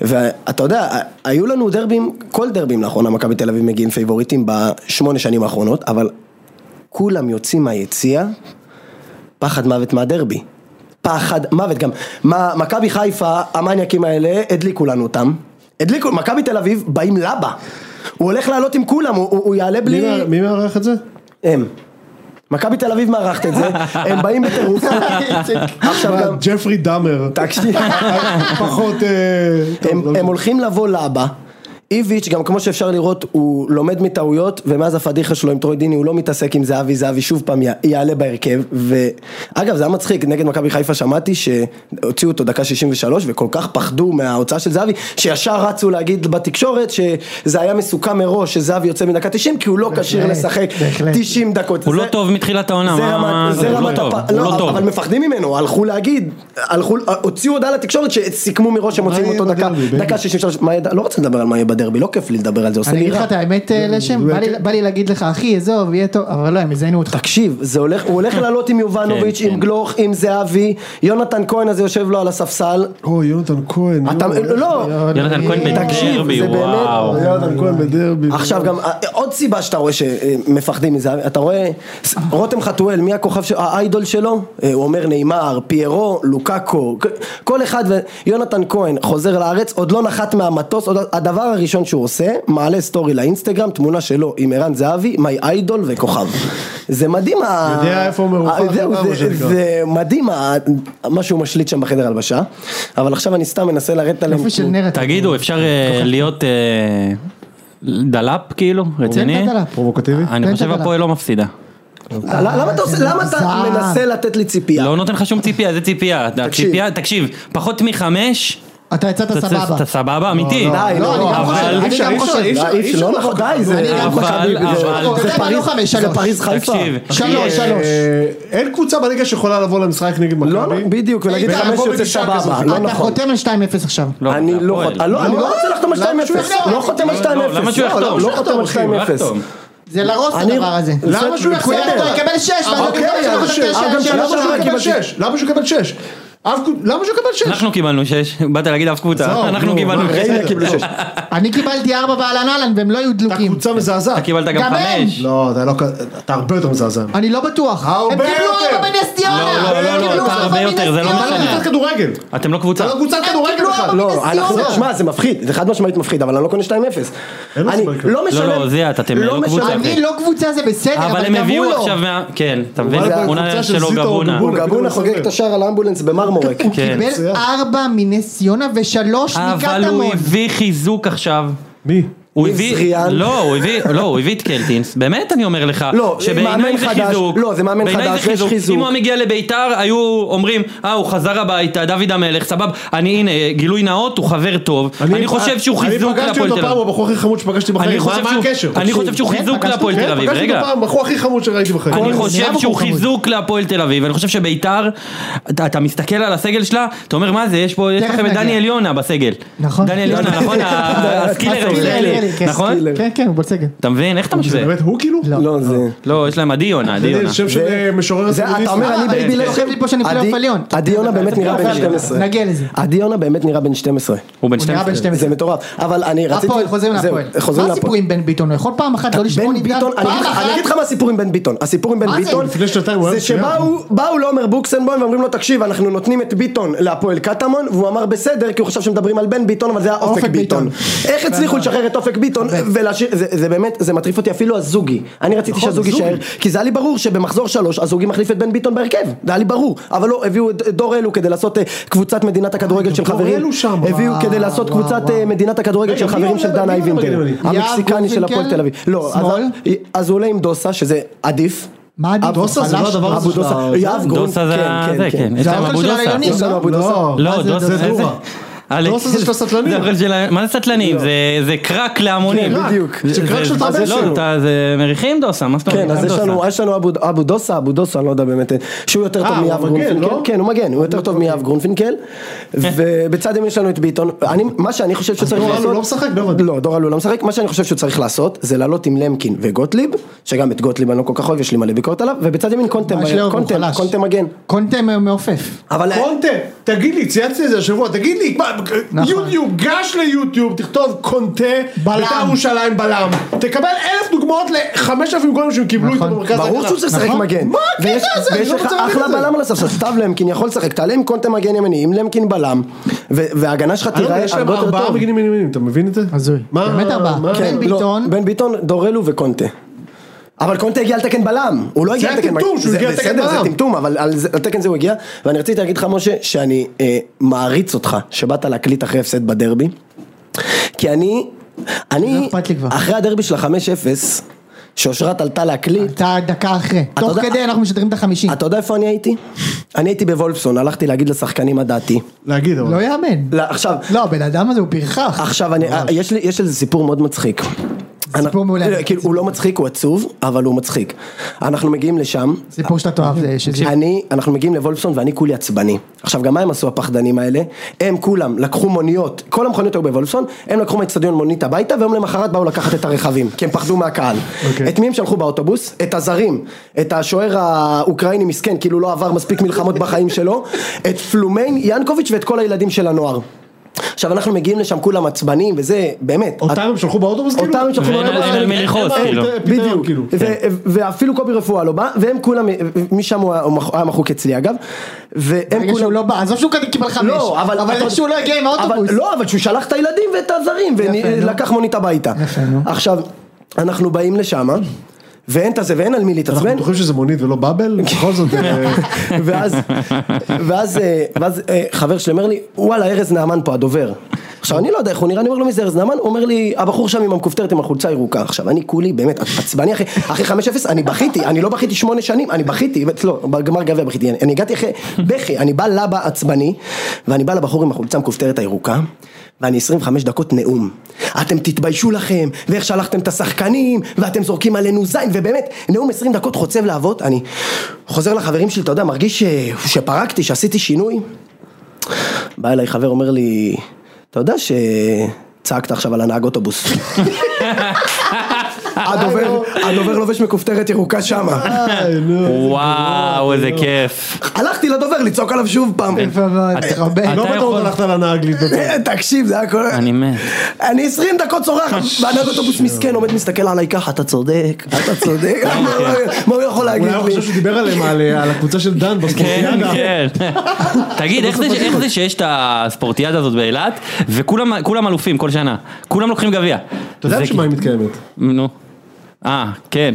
ואתה יודע, היו לנו דרבים, כל דרבים לאחרונה, מכבי תל אביב מגיעים פייבוריטים בשמונה שנים האחרונות, אבל כולם יוצאים מהיציע, פחד מוות מהדרבי. פחד מוות גם. מה, מכבי חיפה, המניאקים האלה, הדליקו לנו אותם. הדליקו, מכבי תל אביב, באים לבה. הוא הולך לעלות עם כולם, הוא, הוא, הוא יעלה בלי... מי מה- מי מארח את זה? הם. מכבי תל אביב מארחת את זה, הם באים בטירוף. עכשיו מה, גם... ג'פרי דאמר. תקשיב. פחות... אה, טוב, הם, לא הם משנה. הולכים לבוא לאבא. איביץ', גם כמו שאפשר לראות, הוא לומד מטעויות, ומאז הפדיחה שלו עם טרוידיני הוא לא מתעסק עם זהבי, זהבי שוב פעם י- יעלה בהרכב. ואגב, זה היה מצחיק, נגד מכבי חיפה שמעתי שהוציאו אותו דקה 63, וכל כך פחדו מההוצאה של זהבי, שישר רצו להגיד בתקשורת שזה היה מסוכם מראש, שזהבי יוצא מדקה 90, כי הוא לא כשיר לשחק בהחלט. 90 דקות. הוא לא זה- טוב מתחילת העונה, זה מה- רמת- הוא זה לא רמת טוב, הפ... הוא לא לא, טוב. אבל מפחדים ממנו, הלכו להגיד, הלכו, הוציאו הודעה לתקשורת שסיכמו מראש שהם מוציאים יהיה אותו דקה, בדרבי, באמת? דקה 63, מה ידע, לא רוצה לדבר על מה יהיה בדרבי, לא כיף לי לדבר על זה, עושה אני לי אגיד לך רע. את האמת אה, לשם, בא לי- בא לי להגיד לך אחי, עזוב, יהיה טוב, אבל לא, הם יזיינו אותך. תקשיב, זה הולך, הוא הולך לעלות עם יובנוביץ', כן, עם כן. גלוך, עם זהבי, יונתן כהן הזה יושב לו על הספסל, אוי, יונתן כהן. אתה, יואו, איך לא, יונתן כהן תקשיב, בדרבי, זה באמת- וואו. יונתן כהן בדרבי. עכשיו גם, אה, עוד סיבה שאתה רואה שמפחדים מזהבי, אתה רואה, ס- רותם חתואל, מי הכוכב, ש- האיידול שלו? אה, הוא אומר נאמר, פיירו, לוקאקו, כ- כל אחד, ויונתן כהן חוזר לארץ, עוד לא נחת מהמטוס, עוד- הדבר הראשון שהוא עושה, מעלה סטורי לאינסטגרם, תמונה שלו עם ערן זהבי, מיי איידול וכוכב. זה מדהים, ה- יודע איפה הוא מרופא, ה- זהו, מה זה- שנקרא. זה מדהים, ה- מה שהוא משליט שם בחדר הלבשה, אבל עכשיו אני סתם מנסה לרדת עליהם. יופי של נרטיב. תגידו, אפשר אה, להיות אה, דלאפ כאילו? רציני? תן את הדלאפ. פרובוקטיבי? אני תן חושב את הדלאפ. הפועל לא מפסידה. למה אתה עושה- למה אתה זעם. מנסה לתת לי ציפייה? לא נותן לך שום ציפייה, זה ציפייה. הציפייה, תקשיב, פחות מחמש, אתה יצאת אתה- סבבה. אתה סבבה, אמיתי. די, לא, אני גם אבל- חושב, אני גם חושב. אי אפשר, לא נכון, די, זה אני גם אבל- אבל- זה זה פריז- לא חמש, זה שלוש. פריז חיפה. תקשיב, שלוש, שלוש. אה, אין קבוצה בליגה שיכולה לבוא למשחק נגד מכבי. לא, לא, בדיוק, ולהגיד ולבוא חמש יוצא בגישה סבבה, כזאת. לא אתה נכון. חותם על 2-0 עכשיו. לא, אני זה לא הפועל. חותם, לא, אני לא רוצה לחתום על 2-0, למה שהוא יחתום? לא חותם על 2-0, לא, למה שהוא לא, יחתום? לא, לא חותם על הוא לא 2-0. יחתום. זה להרוס את אני- הדבר הזה. למה בסדר, שהוא הוא בסדר. יחתום, יקבל 6, אוקיי, אז שש. אה, גם למה שלוש שהוא לא יקבל קיבלתי. שש? למה שהוא יקבל שש? אף קב- למה שהוא יקבל שש? אנחנו קיבלנו שש, באת להגיד אף עזוב, קבוצה, אנחנו נו, קיבלנו מה, שש. ריינה קיבלו שש. אני קיבלתי 4 ואהלן אהלן והם לא היו אתה דלוקים. קבוצה מזעזעת. אתה קיבלת גם גם הם. חמש. לא, אתה לא... כ- אתה הרבה יותר מזעזע. אני לא בטוח. הרבה הם קיבלו יותר. 4 בנס ציונה. לא, לא, לא, הם לא, קיבלו אתה ארבע הרבה מנס יותר, זה לא ציונה. אתה לא משנה. קבוצת כדורגל. אתם לא אתה קבוצה. לא קבוצת הם כדורגל קיבלו בכלל. ארבע לא, אנחנו, ציונה. שמע, זה מפחיד, זה חד משמעית מפחיד, אבל אני לא קונה 2-0. אין לו אני סיבה לקנות. לא משלם, לא, לא, זיאת, אתם לא קבוצה. משלם- אני לא קבוצה זה בסדר, אבל אבל לא. הם תבוא הביאו לו. עכשיו מה... כן, אתה מבין? אבל תמונה הקבוצה של שלו זיטו גבונה. גבונה. גבונה חוגג את השער על האמבולנס במרמורק. הוא כן. קיבל 4 מנס ציונה ושלוש אה, אבל מקטמון. הוא הביא חיזוק עכשיו. מי? הוא ניב הביא, זריאן. לא, הוא הביא, לא, הוא הביא את קלטינס, באמת אני אומר לך, לא, מאמן שבעיניי זה חדש, חיזוק, לא, זה מאמן בעיניי חדש, זה יש חיזוק. אם הוא היה מגיע לביתר, היו אומרים, אה, הוא חזר הביתה, דוד המלך, סבב, אני, הנה, גילוי נאות, הוא חבר טוב, אני חושב שהוא חיזוק אני פגשתי להפועל אותו תל פעם, הוא אביב, הבחור הכי חמוד שפגשתי אני בחיים. מה חושב מה שהוא- הקשר? אני חושב שהוא כן, חיזוק פגשתי להפועל אותו, תל כן, אביב, פגשתי רגע. אותו פעם, הבחור הכי חמוד שראיתי בחיים. אני זה חושב נראה שהוא בחור חמוד. חיזוק להפועל תל אביב, אני חושב שביתר, אתה אתה מסתכל על הסגל שלה, אתה אומר מה זה, יש פה, יש תכף לכם את נגיע. דני עליונה בסגל. נכון. דני עליונה, נכון? ה- הסקילר הישראלי, כן, נכון? סקילר. כן, כן, הוא בצגל. אתה מבין? איך אתה זה משווה? באמת הוא כאילו? לא, זה... לא, יש להם עדי יונה, עדי זה יונה. שם של זה- אה, משורר זה, אתה הסטודיסטי. אומר, אני אה, בייבי כן. לא כותב לי פה שאני פלייאוף עליון. עדי יונה באמת נראה בן פלייאוף עליון. 12. נגיע לזה. עדי יונה באמת נראה בן 12. הוא בן הוא נראה 12. בן זה 12. מטורף. אבל אני רציתי... הפועל, חוזרים זהו, להפועל. חוזרים מה להפועל. הסיפור עם בן ביטון? הוא יכול פעם אחת לא לשמור בן נגדם? ביטון, אני פעם אגיד לך- אחת? אני אגיד לך מה הסיפור עם בן ביטון, הסיפור עם בן מה זה? ביטון, לפני שנתיים הוא היה זה מצוין. שבאו באו לו עומר בוקסנבוים ואומרים לו תקשיב אנחנו נותנים את ביטון להפועל קטמון והוא אמר בסדר כי הוא חשב שמדברים על בן ביטון אבל זה היה אופק אופק ביטון, ביטון. איך הצליחו לשחרר את אופק ביטון ולהשאיר, זה- זה באמת, זה מטריף אותי אפילו הזוגי, אני רציתי נכון, שהזוגי יישאר, כי זה היה לי ברור שבמחזור שלוש הזוגי מחליף את בן ביטון בהרכב, זה היה לי ברור, אבל לא, הביאו את דור אלו כדי לעשות אה, קבוצת מדינת הכדורגל של דור חברים, אלו שם. הביאו וואו, כדי לעשות וואו, קבוצת וואו. אה, מדינת הכדורגל רגע, של מי חברים עולה- של מי דן עולה אייבינדר, בגרמני? המקסיקני של יעקב הפועל וינקל? תל אביב. לא, אז- שמאל? אז הוא עולה עם דוסה, שזה עדיף. מה עדיף? אבו-דוסה זה לא חלש? הדבר הזה אבו דוסה, של ה- יאב גרון, דוסה זה כן, זה, כן. יש זה להם האוכל אבו של דוסה. הרעיונים. דוסה, אבו דוסה. לא, לא, זה דוסה זה... דורה. אלכס, דוסה זה של הסטלנים. זה אוכל של ה- מה זה סטלנים? זה- זה קרק להמונים. קרק, בדיוק. זה- זה קרק זה- של זה- טרבלסון. לא, אתה- זה מריחים דוסה, מה זאת אומרת? כן, אז יש דוסה. לנו, יש לנו אבו, אבו דוסה, אבו דוסה, אני לא יודע באמת, שהוא יותר אה, טוב הוא מיאב מגן, גרונפינקל, לא? כן, הוא מגן, הוא יותר טוב מיאב גרונפינקל, ובצד ימין יש לנו את ביטון, אני, מה שאני חושב שצריך דורלו לעשות, לא משחק, לא הבנתי. לא, דורלו לא משחק, מה שאני חושב שצריך לעשות, זה לעלות עם למקין וגוטליב, שגם את גוטליב אני לא כל כך אוהב, יש לי מלא ביקורת עליו, ובצד ימין קונטה, מה יש לאור, הוא קונטה, חלש. קונטה מגן, קונטה מ- מעופף. אבל קונטה, תגיד לי, צייצתי את זה השבוע, תגיד לי, מה, נכון. יוטיוב, גש ליוטיוב, תכתוב קונטה, בלם. בית"ר ירושלים בלם, תקבל אלף דוגמאות לחמשת אלפים גולים שהם קיבלו איתו נכון. במרכז ברור שהוא צריך לשחק נכון. מגן. מה הקטע ויש- הזה? אני ויש לא לך רוצה להבין אחלה את זה. בלם על הספסל, סתיו למקין יכול לשחק, תעלה עם קונטה מגן ימני, עם למקין בלם, ו- וההגנה שלך אני לא יודע, תיראה יש להם הרבה יותר ארבעה טוב. מגנים ימינים, אתה מבין את זה? הזוי. מה- באמת ארבעה. מה- כן. בן לא, ביטון. בן ביטון, דורלו וקונטה. אבל קונטה הגיע על תקן בלם, הוא לא הגיע על תקן הטמטום, שהוא זה הגיע על תקן בסדר, בלם. זה טמטום, אבל על זה- על תקן זה הוא הגיע, ואני רציתי להגיד לך משה, שאני אה, מעריץ אותך, שבאת להקליט אחרי הפסד בדרבי, כי אני, לא אני, אכפת לי כבר. אחרי הדרבי של ה-5-0, שאושרת עלתה להקליט, אתה דקה אחרי. תוך יודע- כדי אנחנו משדרים את החמישים. אתה יודע איפה אני הייתי? אני הייתי בוולפסון, הלכתי להגיד לשחקנים מה דעתי. להגיד, אבל. לא יאמן. לא, עכשיו, לא, הבן אדם הזה הוא פרחח. עכשיו אני, יש לי, יש איזה סיפור מאוד מצחיק. אנחנו- מעולה. לא, כאילו, הוא לא מצחיק, הוא עצוב, אבל הוא מצחיק. אנחנו מגיעים לשם, סיפור שאתה תאהב. זה- שזה- אני, אנחנו מגיעים לוולפסון ואני כולי עצבני. עכשיו גם מה הם עשו הפחדנים האלה? הם כולם לקחו מוניות, כל המכוניות היו בוולפסון, הם לקחו מהאצטדיון מונית הביתה ויום למחרת באו לקחת את הרכבים, כי הם פחדו מהקהל. אוקיי. את מי הם שלחו באוטובוס? את הזרים, את השוער האוקראיני מסכן, כאילו לא עבר מספיק מלחמות בחיים שלו, את פלומיין ינקוביץ' ואת כל הילדים של הנוער. עכשיו אנחנו מגיעים לשם כולם עצבנים וזה, באמת. אותם הם שלחו באוטובוס כאילו? אותם הם שלחו ואין- באוטובוס, אין אבל- על מי לכעוס, אין כאילו. להם פתרון, בדיוק, כאילו. ו- ואפילו קובי רפואה לא בא, והם כולם, משם הוא היה- הוא היה מחוק אצלי אגב, והם ברגע שהוא כולם, לא בא, עזוב שהוא כזה קיבל חמש. לא, אבל, אבל איך שהוא לא הגיע עם האוטובוס. אבל, לא, אבל שהוא שלח את הילדים ואת הזרים, יפה, נו. ולקח מונית הביתה. יפה, נו. עכשיו, אנחנו באים לשם, ואין את הזה ואין על מי אנחנו להתעצבן, בטוחים שזה מונית ולא באבל? כן. בכל זאת, אה, ואז, ואז, אה, ואז אה, חבר שלי אומר לי, וואלה, ארז נעמן פה, הדובר. עכשיו, אני לא יודע איך הוא נראה, אני אומר לו, מי זה ארז נעמן? הוא אומר לי, הבחור שם עם המכופתרת עם החולצה הירוקה. עכשיו, אני כולי, באמת, עצבני אחרי, אחרי 5-0, אני בכיתי, אני לא בכיתי שמונה שנים, אני בכיתי, ו- לא, בגמר גביע בכיתי, אני, אני הגעתי אחרי בכי, אני בא לבא עצבני, ואני בא לבחור עם החולצה המכופתרת הירוקה. ואני 25 דקות נאום. אתם תתביישו לכם, ואיך שלחתם את השחקנים, ואתם זורקים עלינו זין, ובאמת, נאום 20 דקות חוצב להבות, אני חוזר לחברים שלי, אתה יודע, מרגיש ש... שפרקתי, שעשיתי שינוי. בא אליי חבר, אומר לי, אתה יודע שצעקת עכשיו על הנהג אוטובוס. הדובר, הדובר לובש מכופתרת ירוקה שמה. איי, נו. וואו, איזה כיף. הלכתי לדובר לצעוק עליו שוב פעם. יפה מאוד, תכבד. אתה לא בטעות יכול- הלכת לנהג להתנדב. אה, תקשיב, זה היה כל... אני מת. אני 20 דקות צורח, והנהג אוטובוס מסכן עומד מסתכל עליי ככה, אתה צודק, אתה צודק, מה הוא יכול להגיד אוקיי. אולי הוא לי? חושב שהוא דיבר עליהם, על אה, על הקבוצה של דן כן, בספורטיאדה. כן. תגיד, איך זה ש- איך זה שיש את הספורטיאדה הזאת באילת, וכולם כולם אלופים כל שנה. כולם לוקחים גביע. אתה יודע זה בשביל מה היא מתקיימת. נו. אה, כן,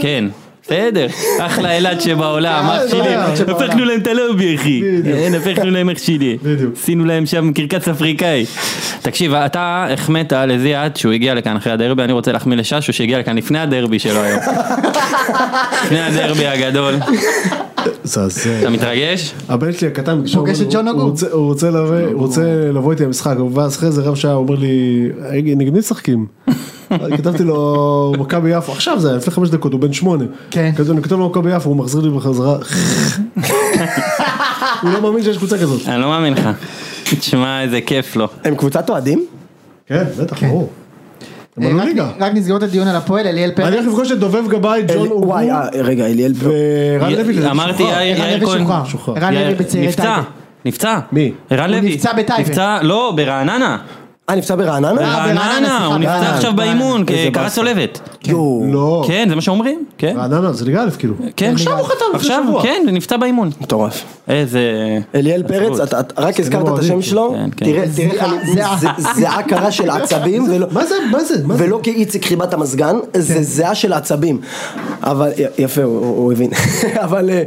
כן. בסדר, אחלה אילת שבעולם, כן, אח שלי, אילת הפכנו להם את הלובי אחי, בדיוק. אין, הפכנו להם אח שלי, בדיוק. עשינו להם שם קרקס אפריקאי. תקשיב, אתה החמאת לזיאד שהוא הגיע לכאן אחרי הדרבי, אני רוצה להחמיא לששו שהגיע לכאן לפני הדרבי שלו היום. לפני הדרבי הגדול, זעזע. אתה מתרגש? הבן שלי הקטן, כשהוא פוגש אומר, את ג'ון הוא- אגו. הוא רוצה- הוא רוצה לבוא- הוא רוצה לבוא איתי למשחק, ואז אחרי זה רבע שעה הוא אומר לי, "רגע, נגד מי משחקים? אז כתבתי לו מכבי יפו, עכשיו זה היה לפני חמש דקות, הוא בן שמונה. כן. כתבתי לו, אני כותב לו מכבי יפו, הוא מחזיר לי בחזרה. הוא לא מאמין שיש קבוצה כזאת. אני לא מאמין לך. תשמע, איזה כיף לו. הם קבוצת אוהדים? כן, בטח, כן. ברור. הם אה, עלו לא רק- ליגה. רק נסגור את הדיון על הפועל, אליאל אני פרץ. הולך לפגוש את דובב גבאי, ג'ון אל- אוגו וואי, אה, רגע, אליאל... ורן י- לוי. אמרתי, שוחרר. יאיר ערן יאיר לוי כהן. שוחרר. שוחרר. ערן לוי יאיר- בצעירי נפצע, טייבה. נפצע. מי? ערן הוא לוי. נפצע בטייבה. נפצע, לא, ברעננה. אה, נפצע ברעננה? ברעננה, ברעננה, סליחה, הוא נפצע ברעננה. עכשיו באימון, איזה קרע באסה. צולבת. אה, יואו. לא. כן, זה מה שאומרים? כן. רעננה זה ליגה א' כאילו. כן, עכשיו הוא חתם עכשיו, כן, זה נפצע באימון. מטורף. איזה... אליאל פרץ, עצבות. אתה- אתה- רק הזכרת את אוהדים, השם כן. שלו, כן, כן. תראה, תראה, איך אני- זיעה, זה- זיעה קרה של עצבים, ולא- מה זה, מה זה, מה זה? כן. ולא כאיציק חיבת המזגן, זה זיעה של עצבים. אבל, י- יפה, הוא- הוא הוא הבין. אבל, אה,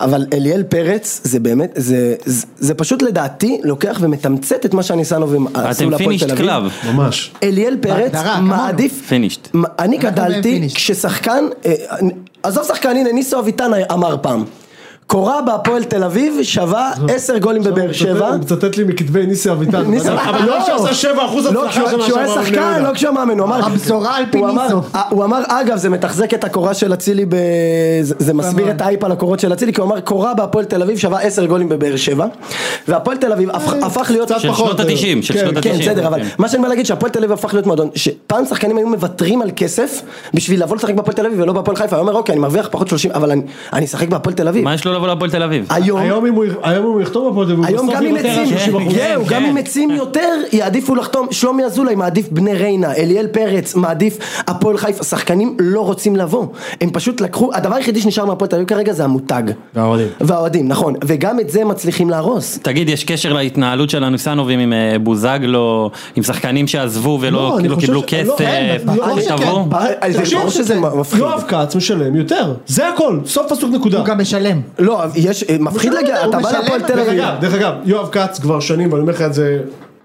אבל אליאל פרץ, זה באמת, זה- זה זה פשוט לדעתי לוקח ומתמצת את מה שהניסנובים עשו אתם להפועל פינישט תל אביב. קלאב. ממש. אליאל פרץ בהגדרה, כמונו. מעדיף, פינישט. מ- אני אנחנו גדלתי בפיניש. כששחקן, אה, עזוב שחקן, הנה ניסו אביטן אמר פעם. קורה בהפועל תל אביב שווה 10 גולים בבאר שבע. הוא מצטט לי מכתבי ניסי אביטן. ניסי- אבל לא שעשה 7% לא, הצלחה כשהוא שנה כשהוא היה שעברה בבני שחקן, יהודה. לא כשהוא מאמן, הוא אמר... הבשורה על פי הוא אמר- ניסו. הוא אמר, אגב, זה מתחזק את הקורה של אצילי, ב... זה, זה מסביר את האייפ על הקורות של אצילי, כי הוא אמר, קורה בהפועל תל אביב שווה 10 גולים בבאר שבע, והפועל תל אביב הפך, אה. הפך להיות... של שנות ה-90, של כן, שנות כן, ה-90. בסדר, אבל מה שאני בא להגיד שהפועל תל אביב הפך להיות מועדון, שפעם שחקנים היו מוותרים על כסף בשביל לבוא לשחק בהפועל תל אביב ולא בהפועל חיפה, היום אומר אוקיי אני מרוויח פחות 30 אבל אני- אני אשחק בהפועל תל אביב, מה יש לו לבוא להפועל תל אביב? היום היום אם הוא- היום הוא יכתוב הפועל תל אביב, היום בסוף גם אם יוותר על עצים, 30%. כן, זהו, כן. גם אם עצים יותר, יעדיפו לחתום, שלומי אזולאי מעדיף בני ריינה, אליאל פרץ מעדיף הפועל חיפה, שחקנים לא רוצים לבוא, הם פשוט לקחו, הדבר היחידי שנשאר מהפועל תל אביב כרגע זה המותג. והאוהדים. והאוהדים, נכון, וגם את זה הם מצליחים להרוס. תגיד, יש קשר להתנהלות של הנוסנובים עם אה, בוזגלו, עם שחקנים שעזבו ולא לא, אני לא חושב קיבלו ש- לא, כסף, אין, ברור אל שכן, תבואו? אה, זה תקשיב, ברור שזה מפחיד. יואב כץ משלם יותר, זה הכל, סוף פסוק נקודה. הוא גם משלם. לא, יש, אה, מפחיד משלם, להגיע, הוא אתה בא משלם, להפועל תל דרך אביב. אגב, דרך אגב, יואב כץ כבר שנים, ואני אומר לך את זה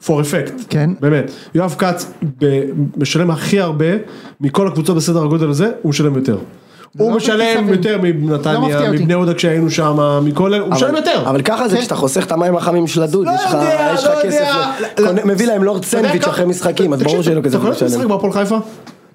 for effect. כן. באמת. יואב כץ ב- משלם הכי הרבה מכל הקבוצות בסדר הגודל הזה, הוא משלם יותר. הוא לא מפתיע משלם אותי. יותר לא מנתניה, מפתיע אותי. מבני יהודה כשהיינו שם, מכל אלה, הוא משלם יותר. כן. אבל ככה זה כשאתה חוסך את המים החמים של הדוד, לא יש לך יודע, יש לא לך כסף, יודע. ל- קונה- מביא להם לורד אתה יודע סנדוויץ' כמה- אחרי משחקים, אז תקשיב, ברור שיהיה לו כסף אתה קודם משחק בהפועל חיפה?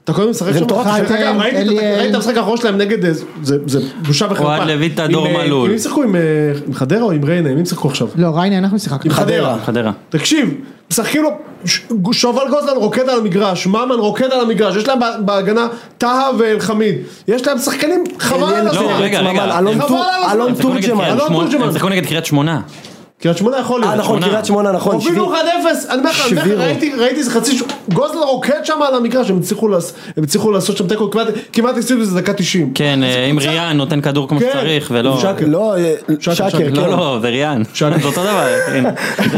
אתה קודם משחק זה שם? מטורף, דרך חתם, אגב, ראיתי את התק- אליאל. ראיתי את המשחק האחרון שלהם נגד, אה, זה זה בושה וחרפה. אוהד לויט, הדור עם, אה, מלול. עם מי שיחקו עם אה, עם חדרה או עם ריינה? עם מי שיחקו עכשיו? לא, ריינה, אנחנו שיחקנו. עם חדרה. חדרה. תקשיב, משחקים לו, ש- שובל גוזלן רוקד על המגרש, ממן רוקד על המגרש, יש להם בה- בהגנה טהא ואלחמיד, יש להם שחקנים חבל על אליאל לא, הזמן. רגע, ממש, רגע. אלון הם- טור- חבל על אלון הזמן. הם שיחקו נגד תורג'מן, קריית אלון שמונה- תורג'מן. הם שיחקו נגד קריית שמונה. קריית שמונה יכול אה להיות. נכון, שמונה. קריית שמונה נכון, הובילו שביעי. 1-0, אני אומר לך, אני אומר לך, שבירו. ראיתי- ראיתי איזה חצי, ש- גוזלן רוקד שם על המגרש, הם הצליחו לעש- הם הצליחו לעשות שם תיקו, כמעט- כמעט הפסידו איזה דקה 90. כן, אה, עם ריאן נותן כדור כמו כן. שצריך, ולא... שקר. לא, אה, שקר, שקר, שקר. כן. לא, לא, זה ריאן. זה שאני- אותו דבר. כן.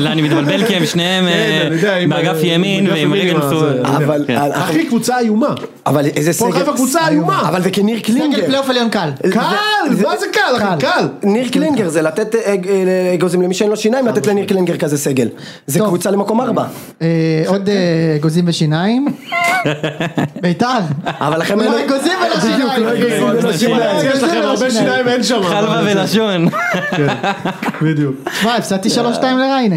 לא, אני מתבלבל כי הם שניהם אה, כן, אני יודע, עם- באגף עם- ימין עם ועם אגף ימין רגל עם הזה. סוערת. אני אבל, כן. אה, אחי, אחי, קבוצה איומה. אבל איזה סגל, הפועל חיפה קבוצה איומה. אבל זה כניר סגל קלינגר, פלייאוף עליון קל. אה, קל, מה זה קל, אחי, קל. קל. ניר קלינגר זה לתת אה, אה, אגוזים למי שאין לו שיניים, לתת לניר קלינגר כזה סגל, זה טוב. קבוצה למקום ארבע, אה, עוד אה, אגוזים ושיניים. ביתר. אבל לכם לא אין- אגוזים ולא שיניים. לא אגוזים ולא לא שיניים. אגוזים יש לכם ולא הרבה שיניים. שיניים, אין שם. חלבה ולשון. בדיוק. תשמע, הפסדתי 3-2 לריינה.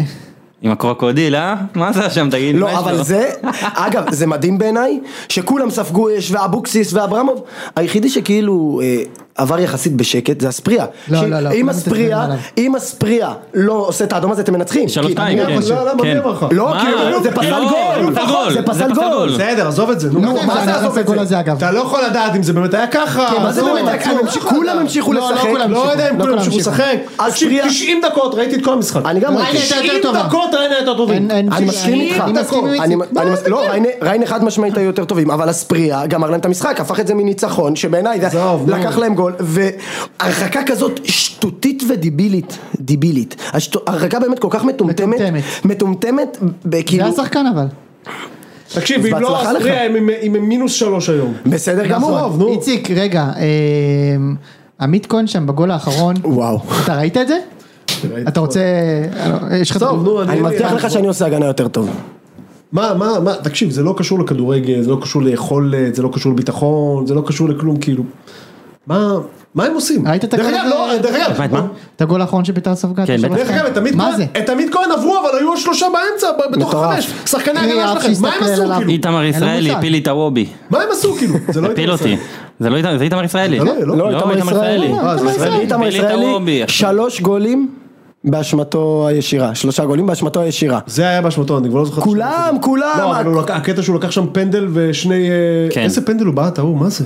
עם הקרוקודיל, אה? מה זה שם, תגיד? מה יש לא אבל לו? זה, אגב זה מדהים בעיניי, שכולם ספגו אש ואבוקסיס ואברמוב, היחידי שכאילו אה, עבר יחסית בשקט זה הספריה, לא, לא, לא, אם כולם הספריה, מתעצבנים אם הספריה לא עושה את האדום הזה אתם מנצחים, שלוש כי- שתיים, אני- כן. אבל לא, למה, כן. מי אמר לך? לא, לא, מה? כאילו, זה פסל לא, גול, זה פסל גול, זה פסל גול, בסדר, עזוב את זה, נו, לא יודע אם מה זה זה היה עזוב הפסל את גול זה? הזה, אגב. אתה לא יכול לדעת אם זה באמת היה ככה. כן, מה זה עזוב, באמת, אתה הם לא המשיכו- יכול כולם לדעת. המשיכו לא, לא לשחק, כולם לא יודע אם לא כולם כולם המשיכו המשיכו. לשחק. אז תקשיב, פריאה- 90 דקות ראיתי את כל המשחק. אני גם ריינה הייתה יותר 90 טובה. דקות ריינה הייתה טובה. אין- אין- אני מסכים אני- איתך, אני מסכים עם אני- איציק. אני מסכים, לא, ריינה- ריינה חד משמעית היו יותר טובים, אבל הספריה גמר להם את המשחק, הפך את זה מניצחון, שבעיניי זה- עזוב, נו. לקח להם גול, והרחקה כזאת שטותית ודיבילית, דיבילית, השטו- הרחקה באמת כל כך מטומטמת, מטומטמת. מטומטמת, זה בכאילו, היה שחקן אבל. תקשיב, אז אם לא בהצלחה לך. אסטריה הם הם- הם מינוס שלוש היום. בסדר גמור, עזוב, נו. איציק, רגע, אמ, עמית כהן שם בגול האחרון, וואו, אתה ראית את זה? אתה רוצה... אה, יש לך... טוב, נו, אני מבטיח לך שאני עושה הגנה יותר טוב, מה, מה, מה, תקשיב, זה לא קשור לכדורגל, זה לא קשור ליכולת, זה לא קשור לביטחון, זה לא קשור לכלום, כאילו. מה, מה הם עושים? ראית את דרך הגול אגב, הזה? לא, דרך אגב, את מה? את הגול האחרון שביתר ספגה? כן, אתה בטח. שלוש דרך אגב, אה, את עמית מה כהן- זה? את עמית כהן עברו, אבל היו עוד שלושה באמצע, ב- בתוך מטורף. חמש. שחקני אני ההגנה אף שלכם, מה הם שהסתכל עשו, עליו. כאילו? איתמר אין לו ישראלי מושג. הפיל לי את הוובי. מה הם עשו, כאילו? זה לא הפיל אותי. זה לא איתמר- זה איתמר ישראלי. זה לא- לא, איתמר ישראלי. לא, לא, אה, זה ישראלי. איתמר הפיל לי את ישראלי, הוובי. שלוש גולים באשמתו הישירה, שלושה גולים באשמתו הישירה, זה היה באשמתו, אני כבר לא זוכר. כולם, כולם, לא, אבל הוא לקח- הקטע שהוא לקח שם פנדל ושני... אה, כן. איזה פנדל הוא בעט, ההוא, מה זה?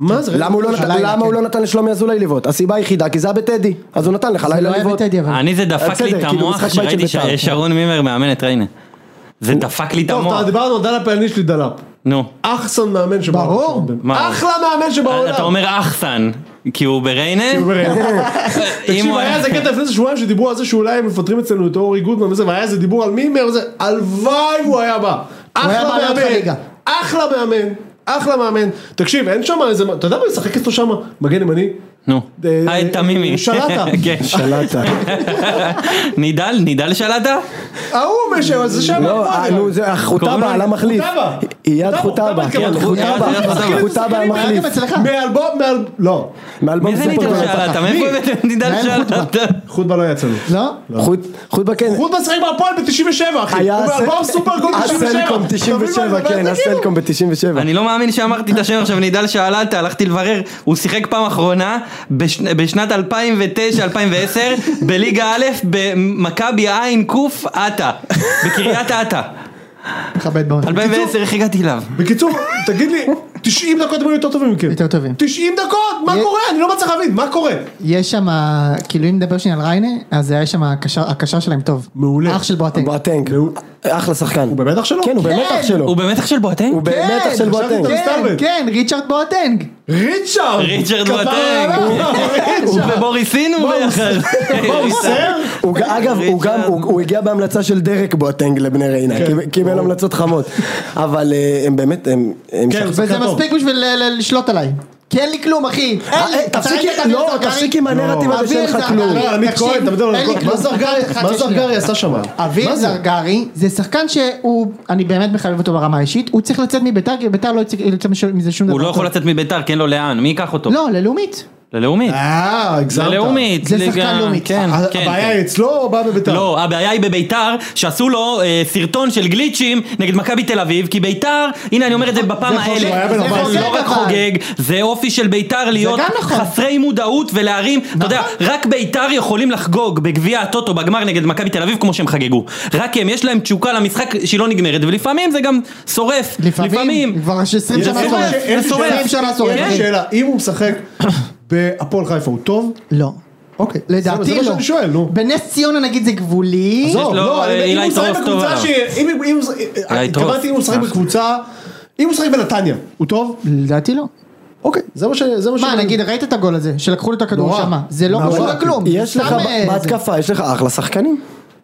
מה זה? למה הוא לא נתן- הלילה, למה הוא כן. לא נתן לשלומי אזולאי לבעוט? הסיבה היחידה, כי זה היה בטדי, אז הוא נתן לך זה לילה לא היה לבעוט. בטדי אבל. אני זה דפק בסדר, לי את כאילו, משחק המוח בית של שראיתי ש- בית"ר. שרון מימר מאמן את ריינה. זה דפק לי את טוב, המוח. טוב, דיברנו על דלאפ, אני יש לי דלאפ. נו. אחסן מאמן שבעולם. ברור. מה? אחלה מאמן שבעולם. אתה אומר אחסן, כי הוא בריינה? הוא אומר, אם תקשיב, הוא היה היה- כן. איזה קטע לפני איזה שבועיים שדיברו על זה שאולי הם מפטרים אצלנו את אורי גודמן וזה, והיה איזה דיבור על מימר וזה, הלוואי הוא היה בא. היה אחלה בא לעלות מאמן, לליגה. אחלה מאמן, אחלה מאמן. תקשיב, אין שם איזה, אתה יודע מה, לשחק אצלו שם, מגן ימני, נו. אה, היי תמימי. שלטה. כן. שלטה. לא, נידל, נידל שלטה? ההוא משם, אז זה שם. לא, אה, נו, זה החוטבה, קוראים לו- על המחליף. חוטבה. אייד חוטבה, חוטבה. חוטבה התכוונתי. חוטבה. אייד חוטבה. חוטבה היה המחליף. גם אצלך. מאלבום, מאל... לא. מאלבום מי זה נידל סופרגול. שלטה? מאיפה הבאתם נידל מנהל שלטה? חוטבה לא יצא לי. לא? חוט- חוטבה כן. חוטבה שיחק בהפועל ב-97 אחי. היה הוא באלבום הס- סופרגול ב-97. הסלקום 97, כן, הסלקום ב-97. אני לא מאמין שאמרתי את השם עכשיו נידל שאלת, הלכתי לברר, הוא שיחק פעם אחרונה בש- בשנת 2009-2010 בליגה א' במכבי עין קוף עטה, בקריית עטה. מכבד מאוד. 2010 איך הגעתי אליו? בקיצור, תגיד לי, 90 דקות הם היו יותר טובים מכם. יותר טובים. 90 דקות? מה יה- קורה? אני לא מצליח להבין, מה קורה? יש שם, כאילו אם נדבר שנייה על ריינה, אז היה שם הקשר, הקשר שלהם טוב. מעולה. אח של בועטנק. בואטנק. אחלה שחקן. הוא במתח שלו? כן, הוא במתח שלו. הוא במתח של בועטנק? הוא במתח של חשבתי בואטנק. אתה כן, מסתלבט. כן, ריצ'רד בועטנק. ריצ'רד! ריצ'רד כפרה בואטנק. עליו, הוא ריצ'רד. ובוריסין הוא ביחד. מה הוא עושה? הוא ג- אגב, הוא גם, הוא הוא הגיע בהמלצה של דרק בואטנג לבני ריינה, כן. קיבל- קיבל המלצות חמות, אבל אה, הם באמת, הם... הם כן, שחקנים. שחקן וזה טוב. מספיק בשביל ל- ל- לשלוט עליי. כי אין לי כלום, אחי. אין לי. אה, אתה תפסיק, ראית את לא, אביר זרגרי? תפסיק עם הנרטיב הזה אביר שאין לך זרגרי, כלום. לא, עמית תקשיב, כהן, אתה מדבר על אין לי הכל. כלום. מה זרגרי- אחת, מה שנייה. זרגרי עשה שם? אביר מה זה? זרגרי זה שחקן שהוא, אני באמת מחבב אותו ברמה האישית, הוא צריך לצאת מביתר, כי ביתר לא יצא- יוצא מש- מזה שום דבר. הוא לא יכול טוב. לצאת מביתר, כי אין לו לאן, מי ייקח אותו? לא, ללאומית. ללאומית. אה, הגזמת. ללאומית. זה ליגה- שחקן לאומית. כן, ה- כן. הבעיה היא אצלו או הבעיה בביתר? לא, הבעיה היא בביתר, שעשו לו אה, סרטון של גליצ'ים נגד מכבי תל אביב, כי ביתר, הנה אני אומר את זה בפעם זה חוגג, הוא היה בן האלף, ארבע עשרה. זה לא רק אבל. חוגג, זה אופי של ביתר להיות גם נכון. חסרי מודעות ולהרים, אתה יודע, רק ביתר יכולים לחגוג בגביע הטוטו בגמר נגד מכבי תל אביב כמו שהם חגגו. רק הם, יש להם תשוקה למשחק שהיא לא נגמרת, ולפעמים זה גם שורף. לפעמים. כבר יש 20 יש שנה לי שורף. שאלה- אין לי 20 שנה כן. שאלה- שורף. אין לי שאלה, אם הוא משחק בהפועל חיפה הוא טוב? לא. אוקיי. לדעתי זה לא. מה שאני שואל, נו. בנס ציונה נגיד זה גבולי. יש עזוב, לו, לא, אה, אני- אם אילי הוא משחק טרוף טוב בקבוצה עליו. ש... אם- אם- אם- טרוף. התכוונתי אם הוא משחק בקבוצה... אם הוא משחק בנתניה, הוא טוב? לדעתי לא. אוקיי, זה מה ש... זה מה ש... מה נגיד ראית את הגול הזה שלקחו לו את הכדור נורא. שמה זה לא נורא. קשור לכלום. זה יש לך, סתם, ב- אה, זה. בהתקפה, יש לך אחלה שחקנים.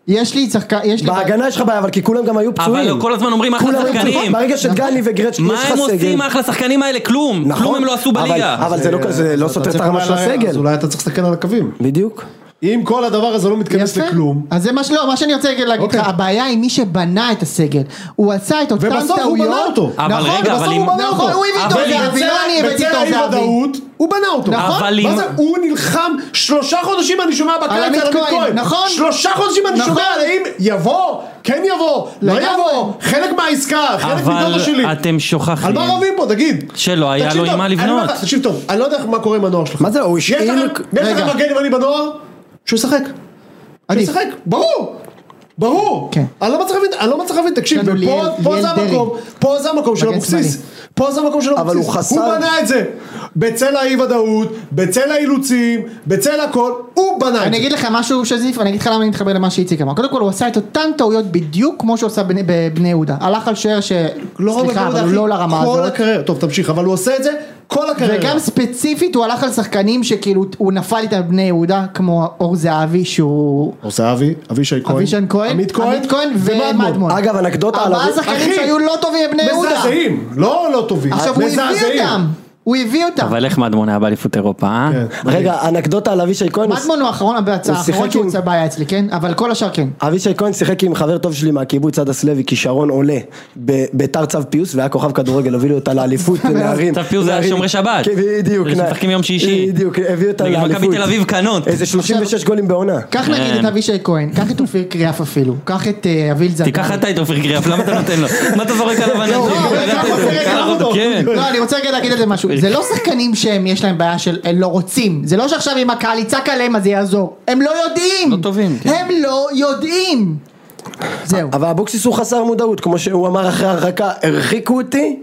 יש לי שחקן כן. יש לי בהגנה יש לך בעיה, אבל כי כולם גם היו פצועים. אבל לא כל הזמן אומרים אחלה כולם היו שחקנים. פצועים. ברגע נכון. שדגני וגרצ'קי יש לך מה הם סגל. עושים אחלה שחקנים האלה? כלום. נכון, כלום הם לא עשו אבל- בליגה. אבל זה לא- זה לא אז אה, אתה סותר את צריך הרמה אולי- של הסגל. אז אולי אתה צריך להסתכל על הקווים. בדיוק. אם כל הדבר הזה לא מתכנס יפה. לכלום, אז זה מה שלא מה שאני רוצה להגיד לך אוקיי. הבעיה היא מי שבנה את הסגל הוא עשה את אותם טעויות. ובסוף הוא בנה אותו. אבל נכון, רגע, ובסוף אבל אם- הוא בנה אותו. נכון, הוא הביא אבל אותו אם- זהבי לא אני הבאתי בצל אותו זהבי. האי-ודאות, הוא בנה אותו. נכון. אבל מה אם- זה? הוא נלחם שלושה חודשים אני שומע בקיץ על על עמית עמית כהן, כהן. נכון. שלושה חודשים אני נכון. שומע על האם יבוא, כן יבוא, לא לגמרי. יבוא, חלק מהעסקה, חלק מגודל אבל שלי. אתם שוכחים. על מה רבים פה, תגיד? שלא היה תקשיב לו עם טוב, מה אני לבנות. אומר לך, תקשיב טוב, אני לא יודע מה קורה עם הנוער שלך. מה זה, הוא יש השאיל- לכם- יש לכם רגע. מגן ימני בנוער? שהוא ישחק. עדיף. שישחק, ברור. ברור. כן. אני לא מצליח להבין, אני לא מצליח להבין, תקשיב, יש לנו ופה- ליאל- פה ליאל זה דרעי. המקום, פה זה המקום של מגן אבוקסיס. שמאלי. פה זה המקום של אבל אבוקסיס. הוא חסר- הוא בנה את זה. בצל האי ודאות, בצל האילוצים, בצל הכל, הוא בנה את אני זה. אגיד לך משהו שזיף, אני אגיד לך למה אני מתחבר למה שאיציק אמר. קודם כל הוא עשה את אותן טעויות בדיוק כמו שהוא עשה בני- בבני יהודה. הלך על שער ש... לא סליחה, רק בקריירה, אבל הוא אחי, לא לרמה כל הזאת. הקריירה, טוב תמשיך, אבל הוא עושה את זה כל הקריירה. וגם ספציפית הוא הלך על שחקנים שכאילו הוא נפל איתם בבני יהודה כמו אור זהבי שהוא... הוא עושה אבי, אבישי כהן, אבישן כהן, עמית כהן, ומדמון. אגב, אנקדוטה על ארבעה אבי- שחקנים אחי, שהיו לא טובים בבני יהודה. מזעזעים, לא לא טובים, עכשיו הוא הביא מזעזעים. אותם. הוא הביא אותם. אבל איך מדמון היה באליפות אירופה, אה? כן. רגע, אנקדוטה על אבישי כהן. מדמון הוא האחרון, הוא האחרון שיחק שהוא עם- יוצא בעיה אצלי, כן? אבל כל השאר כן. אבישי כהן שיחק עם חבר טוב שלי מהקיבוץ הדס לוי, כישרון עולה, בביתר צו פיוס, והיה כוכב כדורגל, הובילו אותה לאליפות, נערים. צו פיוס זה היה נערים. שומרי שבת. כן, בדיוק. אלה נע- שמשחקים יום שישי. בדיוק, הביאו אותה נגד לאליפות. מכבי תל אביב קנות. איזה 36 גולים בעונה. קח נגיד כן. את אבישי כהן, קח את אופיר קריאף אפילו, קח את אה, אביל זגן. תיקח אתה את עופר קריאף, למה אתה נותן לו? מה אתה זורק עליו אנשים? לא, אבל קח קח אותו, אותו, קח אותו, כן. לא, אני רוצה רגע להגיד על זה משהו. זה לא שחקנים שהם, יש להם בעיה של אה, לא רוצים. זה לא שעכשיו אם הקהל יצעק עליהם אז זה יעזור. הם לא יודעים. לא טובים, כן. הם לא יודעים. זהו. אבל אבוקסיס הוא חסר מודעות, כמו שהוא אמר אחרי הרחקה, הרחיקו אותי,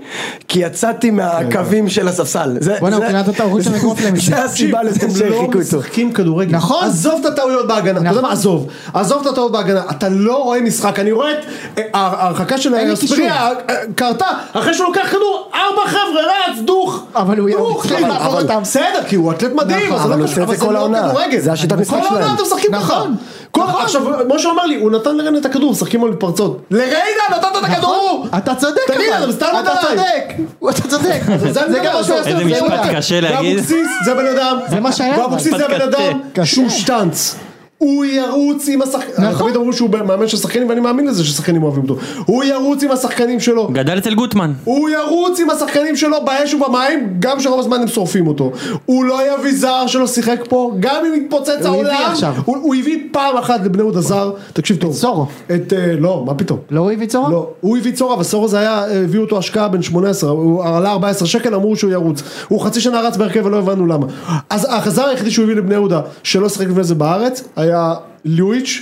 כי יצאתי מהקווים של הספסל. זה- בואנה, זה- הוא פינת אותה, הוא רוצה זה- לקרוא להם. זה תקשיב, הסיבה לזה אתם לא שהרחיקו אותו. משחקים כדורגל. נכון. עזוב את הטעויות בהגנה. אתה יודע נכון. מה? עזוב. עזוב את הטעויות בהגנה. אתה לא רואה משחק. אני רואה את אה, הה- ההרחקה של אין לי קישור. האספריה קרתה אחרי שהוא לוקח כדור, ארבע חבר'ה רץ, דוך. אבל הוא- דוך, אבל- כאילו, אבל- בסדר, כי הוא אתלט מדהים. נכון, אז זה לא אבל הוא קשור, עושה את זה אבל כל לא העונה. כדורגל. זה השיטת כל משחק העונה שלהם. אתם משחקים ככה. נכון. כל נכון. עכשיו, משה אמר לי, הוא נתן לרן את הכדור, משחקים על מתפרצות. לריינה נתת את הכדור! נכון, אתה צודק אבל, תגיד, אתה סתם אתה נותן להם. צודק, אתה צודק, זה אני זה גם אומר, מה שהוא עזוב, עשה, איזה זה משפט לא- קשה להגיד. ואבוקסיס זה בן אדם, זה מה שהיה, אבל. ואבוקסיס זה משפט בן אדם קשה. שהוא שטנץ. הוא ירוץ עם השחקנים, נכון. תמיד אמרו שהוא מאמן של שחקנים ואני מאמין לזה ששחקנים אוהבים אותו. הוא ירוץ עם השחקנים שלו, גדל אצל גוטמן. הוא ירוץ עם השחקנים שלו באש ובמים, גם שרוב הזמן הם שורפים אותו. הוא לא יביא זר שלא שיחק פה, גם אם יתפוצץ הוא הביא העולם. עכשיו. הוא הוא הביא פעם אחת לבני יהודה זר, תקשיב טוב. סורו. את, אה, לא, מה פתאום. לא הוא הביא צהוב? לא, הוא הביא צורה, אבל סורו זה היה, אה, הביאו אותו השקעה בין 18, הוא עלה 14 שקל, אמרו שהוא ירוץ. הוא חצי שנה רץ בהרכב ולא הבנו למה. אז החזר היחידי שהוא הביא לבני יהודה, שלא שיחק לפני זה בארץ, היה ליואיץ',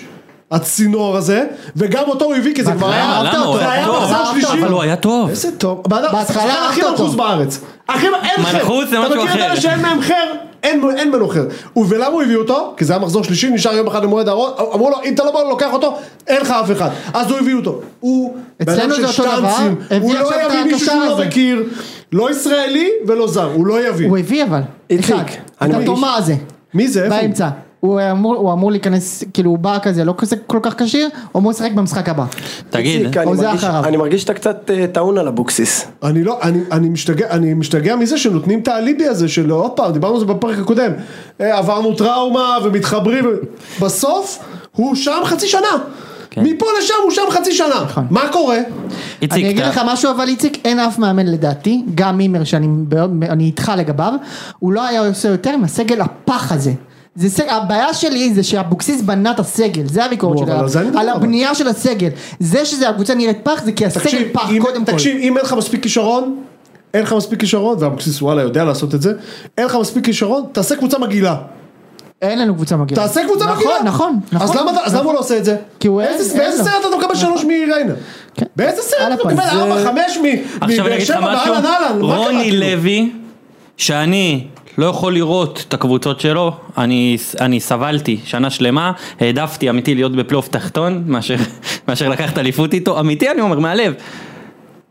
הצינור הזה, וגם אותו הוא הביא, כי זה כבר היה... למה? למה? הוא זה היה היה טוב. מחזור שלישי. אבל הוא היה טוב. איזה טוב. בהתחלה בהתחלה אהבת הכי אותו. מנחוס בארץ. הכי, אין חר. מנחוס זה משהו אתה מכיר את אלה אחר. שאין מהם חר? אין, אין ממנו חר. ולמה הוא הביא אותו? כי זה היה מחזור שלישי, נשאר יום אחד למועד הארון, אמרו לו, אם אתה לא בא לוקח אותו, אין לך אף אחד. אז הוא הביא אותו. הוא בן אצלנו אדם זה של אותו דבר, שטנצים. הביא הוא עכשיו לא את יביא הקשר מישהו שהוא לא הזה. מכיר, לא ישראלי ולא זר, הוא לא יביא. הוא הביא אבל, איציק, אחד, את אני מרגיש- התומה הזה, מי זה? איפה הוא? באמצע, הוא אמור- הוא אמור להיכנס, כאילו הוא בא כזה, לא כזה כל כך כשיר, הוא אמור לשחק במשחק הבא, תגיד. איציק, אני או זה מרגיש- אחריו. אני מרגיש שאתה קצת אה, טעון על אבוקסיס. אני לא, אני, אני, משתגע, אני משתגע מזה שנותנים את האליבי הזה של עוד פעם, דיברנו על זה בפרק הקודם, אה, עברנו טראומה ומתחברים, בסוף הוא שם חצי שנה, כן. כן. מפה לשם הוא שם חצי שנה, נכון. מה קורה? איציק, אני אגיד אתה- לך משהו אבל איציק, אין אף מאמן לדעתי, גם מימר שאני מאוד- אני איתך לגביו, הוא לא היה עושה יותר מהסגל הפח הזה. זה סג... הבעיה שלי זה שאבוקסיס בנה את הסגל, זה הביקורת נו, שלי, אבל על זה אני עליו. על מדבר, אבל. הבנייה של הסגל. זה שזה הקבוצה נראית פח זה כי הסגל תקשיב, פח אם, קודם כל. תקשיב, אם אין לך מספיק כישרון, אין לך מספיק כישרון, ואבוקסיס וואלה יודע לעשות את זה, אין לך מספיק כישרון, תעשה קבוצה מגעילה, אין לנו קבוצה מגעילה. תעשה קבוצה נכון, מגעילה, נכון, נכון. אז למה אתה- אז למה הוא לא עושה את זה? כי הוא אין- באיזה אין באיזה לו. נכון. סרט אתה מקבל שלוש מריינה? כן. באיזה על סרט אתה הפנים. מקבל זה- ארבע, חמש מ- עכשיו אני מבאר אגיד לך שבע משהו, ואהלן אהלן, מה קרה, רוני כאילו? לוי, שאני לא יכול לראות את הקבוצות שלו, אני, אני סבלתי שנה שלמה, העדפתי אמיתי להיות בפלייאוף תחתון, מאשר, מאשר לקחת אליפות איתו, אמיתי אני אומר, מהלב.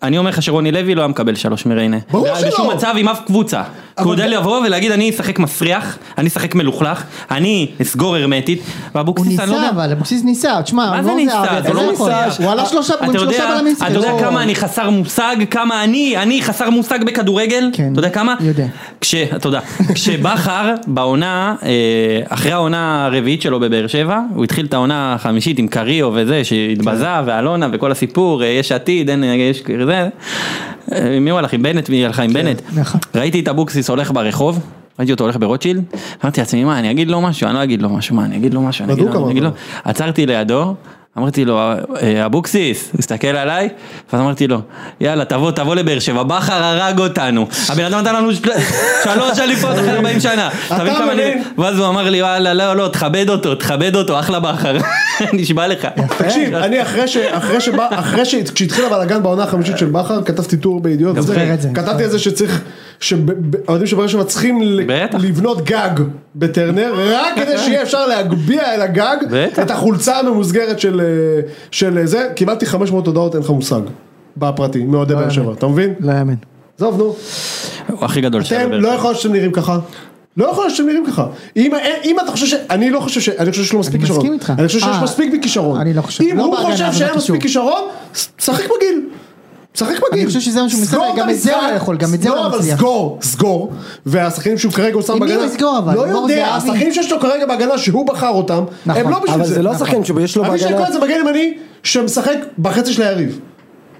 אני אומר לך שרוני לוי לא היה מקבל שלוש מריינה. ברור לא היה שלא. בשום מצב עם אף קבוצה. כי הוא יודע לבוא ולהגיד אני אשחק מסריח, אני אשחק מלוכלך, אני אסגור הרמטית, הוא ואבוקסיס אני לא ניסה יודע. אבל, אבוקסיס ניסה, תשמע, מה הוא זה לא ניסה? אהב את זה לא נכון. ניסה. הוא עלה שלושה אתה עם יודע- שלושה בלמים, אתה יודע כאילו. כמה אני חסר מושג? כמה אני? אני חסר מושג בכדורגל? כן. אתה יודע כמה? יודע. כש... תודה. כשבכר בעונה, אה, אחרי העונה הרביעית שלו בבאר שבע, הוא התחיל את העונה החמישית עם קריו וזה, שהתבזה, כן. ואלונה וכל הסיפור, אה, יש עתיד, אין, יש זה. אה, מי הוא הלך עם בנט? מי הלכה עם בנט? נכון. ראיתי את אבוקסיס הולך ברחוב. ראיתי אותו הולך ברוטשילד, אמרתי לעצמי מה אני אגיד לו משהו, אני לא אגיד לו משהו, מה אני אגיד לו משהו, אני אגיד בדוק לו, אני אמרת אגיד לו. לו, עצרתי לידו, אמרתי לו, "אה, אבוקסיס, תסתכל עליי, ואז אמרתי לו, יאללה, תבוא, תבוא לבאר שבע, בכר הרג אותנו, הבן אדם נתן לנו של- שלוש אליפות אחרי 40 שנה, אתה מבין כמה אני- מבין? ואז הוא אמר לי, וואלה, לא, לא, תכבד אותו, תכבד אותו, אחלה בכר, נשבע לך. תקשיב, אה, אני אחרי ש... אחרי שבא... אחרי ש... כשהתחיל הבלאגן בעונה החמישית של בכר, כתבתי טור בידיעות. וזה. זוכר את זה. כתבתי על זה שצריך... שהאוהדים של באר שבע צריכים ל- בטח. לבנות גג בטרנר, רק כדי שיהיה אפשר להגביה אל הגג בטח. את החולצה הממוסגרת של, אה, של אה, זה. קיבלתי 500 הודעות, אין לך מושג. בפרטי, מאוהדי באר שבע, אתה מבין? לא יאמן. עזוב נו. הוא הכי גדול שהיה אתם בבאר לא שבע. יכול להיות שאתם נראים ככה. לא יכול להיות שאתם נראים ככה. אם, אם אתה חושב ש... אני לא חושב ש... אני חושב שיש לו מספיק אני כישרון. מסכים איתך. אני חושב שיש אה, מספיק בכישרון. אני לא חושב. אם לא הוא בהגנה, חושב אבל שאין בקישור. מספיק כישרון, שחק בגיל. שחק בגיל. חושב שזה מה שהוא סגור מסתדר, את גם את זה הוא המשחק. לא יכול, גם את זה הוא לא לא, אבל מצליח. סגור, סגור. והשחקנים שהוא כרגע הוא שם עם מי בהגנה... הוא יסגור, אבל? לא מור יודע, זהבי? השחקנים שיש לו כרגע בהגנה שהוא בחר אותם, הם נכון. לא בשביל אבל זה. זה לא השחקן שיש לו אבישי בהגנה. כהן זה מגן ימני שמשחק בחצי של היריב.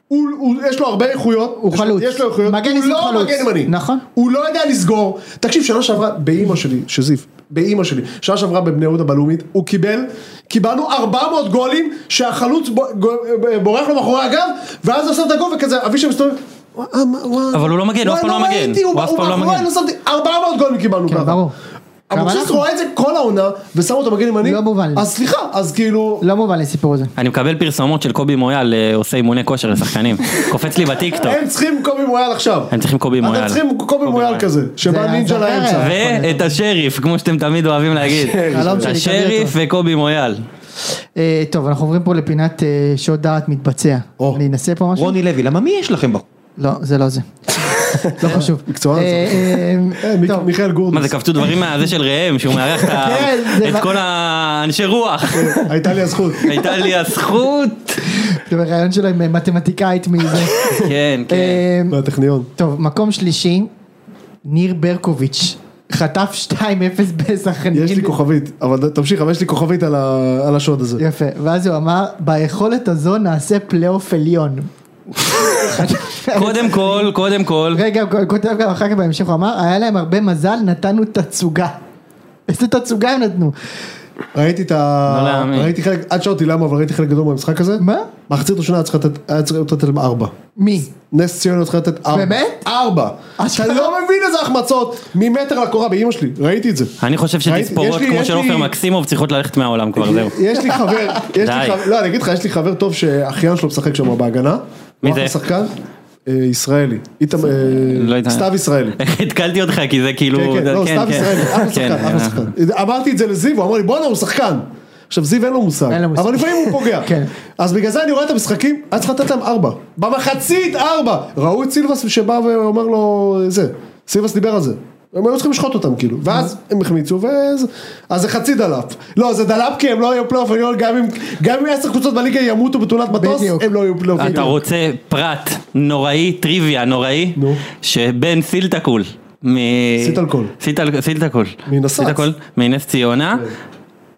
הוא, הוא, יש לו הרבה איכויות, הוא יש לו- חלוץ. יש לו איכויות, מגן הוא ימני לא חלוץ. מגן ימני, נכון. הוא לא יודע לסגור, תקשיב שנה שעברה באימא שלי, שזיף, באימא שלי, שנה שעברה בבני יהודה בלאומית, הוא קיבל, קיבלנו 400 גולים שהחלוץ ב- ג- בורח לו מאחורי הגב, ואז עושה את הגול וכזה, אבישי מסתובב, "וואי, מה, וואי, אבל הוא לא מגן, הוא אף פעם וואי, לא מגן. ראיתי, הוא הוא אף הוא פעם לא מאחורי, מגן. לא שמתי, 400 גולים קיבלנו כן, ככה, ברור. גם אבוקסיס אנחנו. רואה את זה כל העונה, ושם אותו מגן ימני, לא מובן לי. אז סליחה, אז כאילו, לא מובן לי הסיפור הזה. אני מקבל פרסומות של קובי מויאל אה, עושה אימוני כושר לשחקנים, קופץ לי בטיקטוק, הם צריכים קובי מויאל עכשיו. לא. הם צריכים קובי מויאל. אתם צריכים קובי מויאל כזה, זה- שבא זה נינג'ה לאמצע. אחרת. ואת השריף, כמו שאתם תמיד אוהבים להגיד, חלום שלי, השריף תביא וקובי מויאל. אה, טוב אנחנו עוברים פה לפינת אה, שוד דעת מתבצע. או. אני אנסה פה משהו? רוני לוי, למה מי יש לכם בו? לא זה לא זה. לא חשוב. מקצוען זה. אה, אה, אה, מיק- טוב. מיכאל גורדוס. מה זה קפצו דברים מהזה של ראם שהוא מארח את ה- כן, זה את מה- כל האנשי רוח. אה, הייתה לי הזכות. הייתה לי הזכות. זה בריאיון שלו עם אה, מתמטיקאית מזה. כן, כן. אה, מהטכניון. טוב, מקום שלישי, ניר ברקוביץ', חטף 2-0 בסכנין. יש לי כוכבית, אבל תמשיך, אבל יש לי כוכבית על ה- על השוד הזה. יפה, ואז הוא אמר, ביכולת הזו נעשה פלייאוף עליון. אה, קודם כל, קודם כל. רגע, הוא כותב גם אחר כך בהמשך, הוא אמר, היה להם הרבה מזל, נתנו תצוגה. איזה תצוגה הם נתנו? ראיתי את ה... לא להאמין. ראיתי חלק, עד שאלתי למה, אבל ראיתי חלק גדול מהמשחק הזה. מה? מחצית ראשונה היה צריך לתת- היה צריך לתת להם ארבע. מי? נס ציונה היה צריך לתת ארבע. באמת? ארבע. אתה אשכרה? לא מבין איזה החמצות. ממטר לקורה באימא שלי, ראיתי את זה. אני חושב ראיתי- שתספורות אה, יש לי- כמו יש של לי- עופר מקסימוב צריכות ללכת מהעולם כבר, זהו. יש לי חבר, יש לי די. חבר, לא אני אגיד לך, יש לי חבר טוב שאחיין שלו משחק שם בהגנה. מי הוא אחלה זה? שחקן? אה, ישראלי. איתם- אה, לא יודע. סתיו ישראלי. איך התקלתי אותך כי זה כאילו... כן, כן, אה. לא, סתיו ישראלי, אחלה כן, שחקן, אחלה שחקן. אמרתי את זה לזיו, הוא אמר לי בואנה הוא שחקן. עכשיו זיו אין לו מושג, אין לו מושג. אבל לפעמים הוא פוגע. כן. אז בגלל זה אני רואה את המשחקים, היה צריך לתת להם ארבע. במחצית ארבע! ראו את סילבס שבא ואומר לו זה, סילבס דיבר על זה. הם היו צריכים לשחוט אותם כאילו, אה. ואז הם החמיצו, ואז אז זה חצי דלאפ. לא, זה דלאפ כי הם לא היו פלייאוף עליון, גם אם- גם אם עשר קבוצות בליגה ימותו בתאונת מטוס, בדיוק. הם לא היו פלייאוף אתה עליון. רוצה פרט נוראי, טריוויה נוראי, נו. שבן סילטקול. מ... סילטלקול. סילטל- סילטקול. מנצרת. סילטקול, מנס ציונה. כן.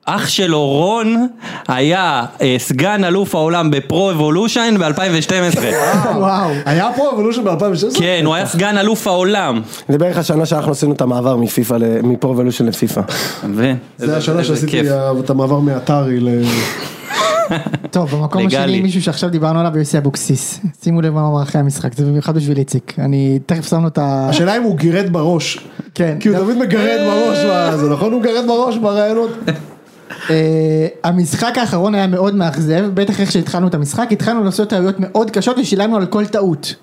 אח שלו רון היה אה, סגן אלוף העולם בפרו אבולושן ב-2012. וואו. היה פה לא אבולושן ב-2016? כן, הוא היה סגן אלוף העולם. זה בערך השנה שאנחנו עשינו את המעבר מפיפא, ל- מפרו ולושן לפיפא. ו... זה השנה שעשיתי את המעבר מאתרי ל... טוב, במקום לגלי. השני מישהו שעכשיו דיברנו עליו, יוסי אבוקסיס. שימו לב מה הוא אמר אחרי המשחק, זה במיוחד בשביל איציק. אני תכף שם לו את ה... השאלה אם הוא גירד בראש. כן. כי הוא תמיד מגרד בראש, מה זה נכון? הוא מגרד בראש בראיונות. אה, המשחק האחרון היה מאוד מאכזב, בטח איך שהתחלנו את המשחק, התחלנו לעשות טעויות מאוד קשות ושילמנו על כל טעות.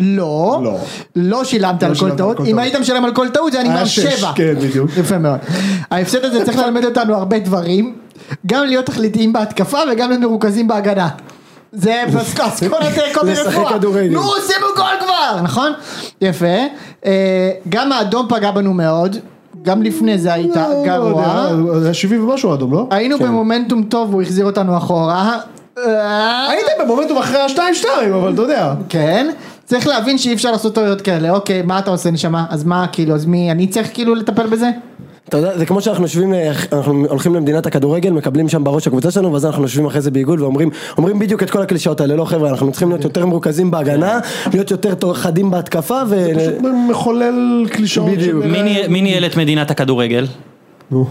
לא, לא. לא שילמת על כל שילמת על טעות, כל אם טעות. היית משלם על כל טעות זה היה נגמר היה שש, שבע. כן, בדיוק. יפה מאוד. ההפסד הזה צריך ללמד אותנו הרבה דברים, גם להיות תכליתיים בהתקפה וגם להיות מרוכזים בהגנה. זה פסקס, כל התיקו לשחק ברפואה. כדורגל. נו, שימו גול כבר, נכון? יפה. אה, גם האדום פגע בנו מאוד, גם לפני זה לא, היית גרוע. היה 70 ומשהו אדום, לא? כן. היינו במומנטום טוב, הוא החזיר אותנו אחורה. אה, הייתם במומנטום אחרי השתיים-שתיים, אבל אתה יודע. כן. צריך להבין שאי אפשר לעשות טעויות כאלה. אוקיי, מה אתה עושה נשמה? אז מה, כאילו, אז מי, אני צריך כאילו לטפל בזה? אתה יודע, זה כמו שאנחנו יושבים, אה, אנחנו הולכים למדינת הכדורגל, מקבלים שם בראש הקבוצה שלנו, ואז אנחנו יושבים אחרי זה בעיגול ואומרים, אומרים בדיוק את כל הקלישאות האלה, לא חבר'ה, אנחנו צריכים להיות יותר מרוכזים בהגנה, להיות יותר תור- חדים בהתקפה, ו... פשוט מחולל קלישאות. בדיוק. מי שבאלה- ניהל- מי ניהל את מדינת הכדורגל? נו.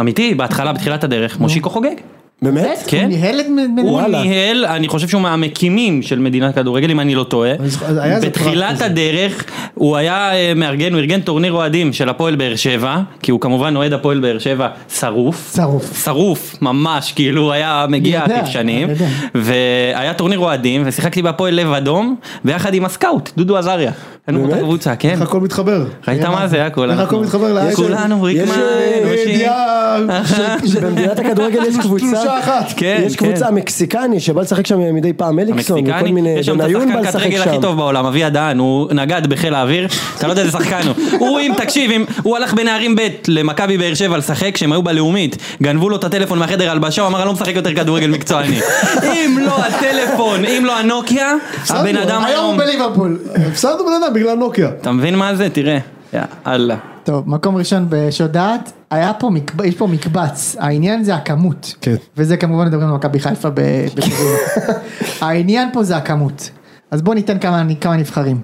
אמיתי, בהתחלה, בתחילת הדרך, מושיקו חוגג. באמת? כן. הוא ניהל את מ- הוא מ- וואלה. ניהל, אני חושב שהוא מהמקימים של מדינת כדורגל, אם אני לא טועה. זוכר, היה איזה פרט בתחילת כזה. הדרך, הוא היה אה, מארגן, הוא ארגן טורניר אוהדים של הפועל באר שבע, כי הוא כמובן אוהד הפועל באר שבע שרוף. שרוף. שרוף, ממש, כאילו, הוא היה מגיע אני יודע, עטיפשנים. אני יודע. והיה טורניר אוהדים, ושיחקתי בהפועל לב אדום, ביחד עם הסקאוט, דודו עזריה. היינו באותה קבוצה, כן. איך הכל מתחבר. ראית מה זה, הכל. איך הכל אנחנו- מתחבר לאייטם? כולנו יש, ריקמן, אה, יושי. לידיעה, במדינת הכדורגל יש תלושה קבוצה, כן. אחת. כן, יש כן. קבוצה מקסיקני שבא לשחק שם מדי פעם אליקסון, וכל מקסיקני, מיני, יש שם את בניון השחקן בא קט לשחק רגל שם. הכי טוב בעולם, אבי הדהן, הוא נגד בחיל האוויר, אתה לא יודע איזה שחקן הוא. הוא, אם תקשיב, אם הוא הלך בנערים ב' למכבי באר שבע לשחק, כשהם היו בלאומית, גנבו לו את הטלפון מהחדר הלבשה, הוא אמר, אני לא משחק יותר כדורגל מקצועני. אם לא הטלפון, אם לא הנוקיה, הבן אדם היום היום... הוא בליברפול. הפסדנו בן אדם בגלל נוקיה. אתה מבין מה זה? תראה. יאללה. טוב, מקום ראשון בשודעת, היה פה, מקב- יש פה מקבץ, העניין זה הכמות. כן. וזה כמובן מדברים על מכבי חיפה ב- בחירום. העניין פה זה הכמות. אז בואו ניתן כמה, כמה נבחרים.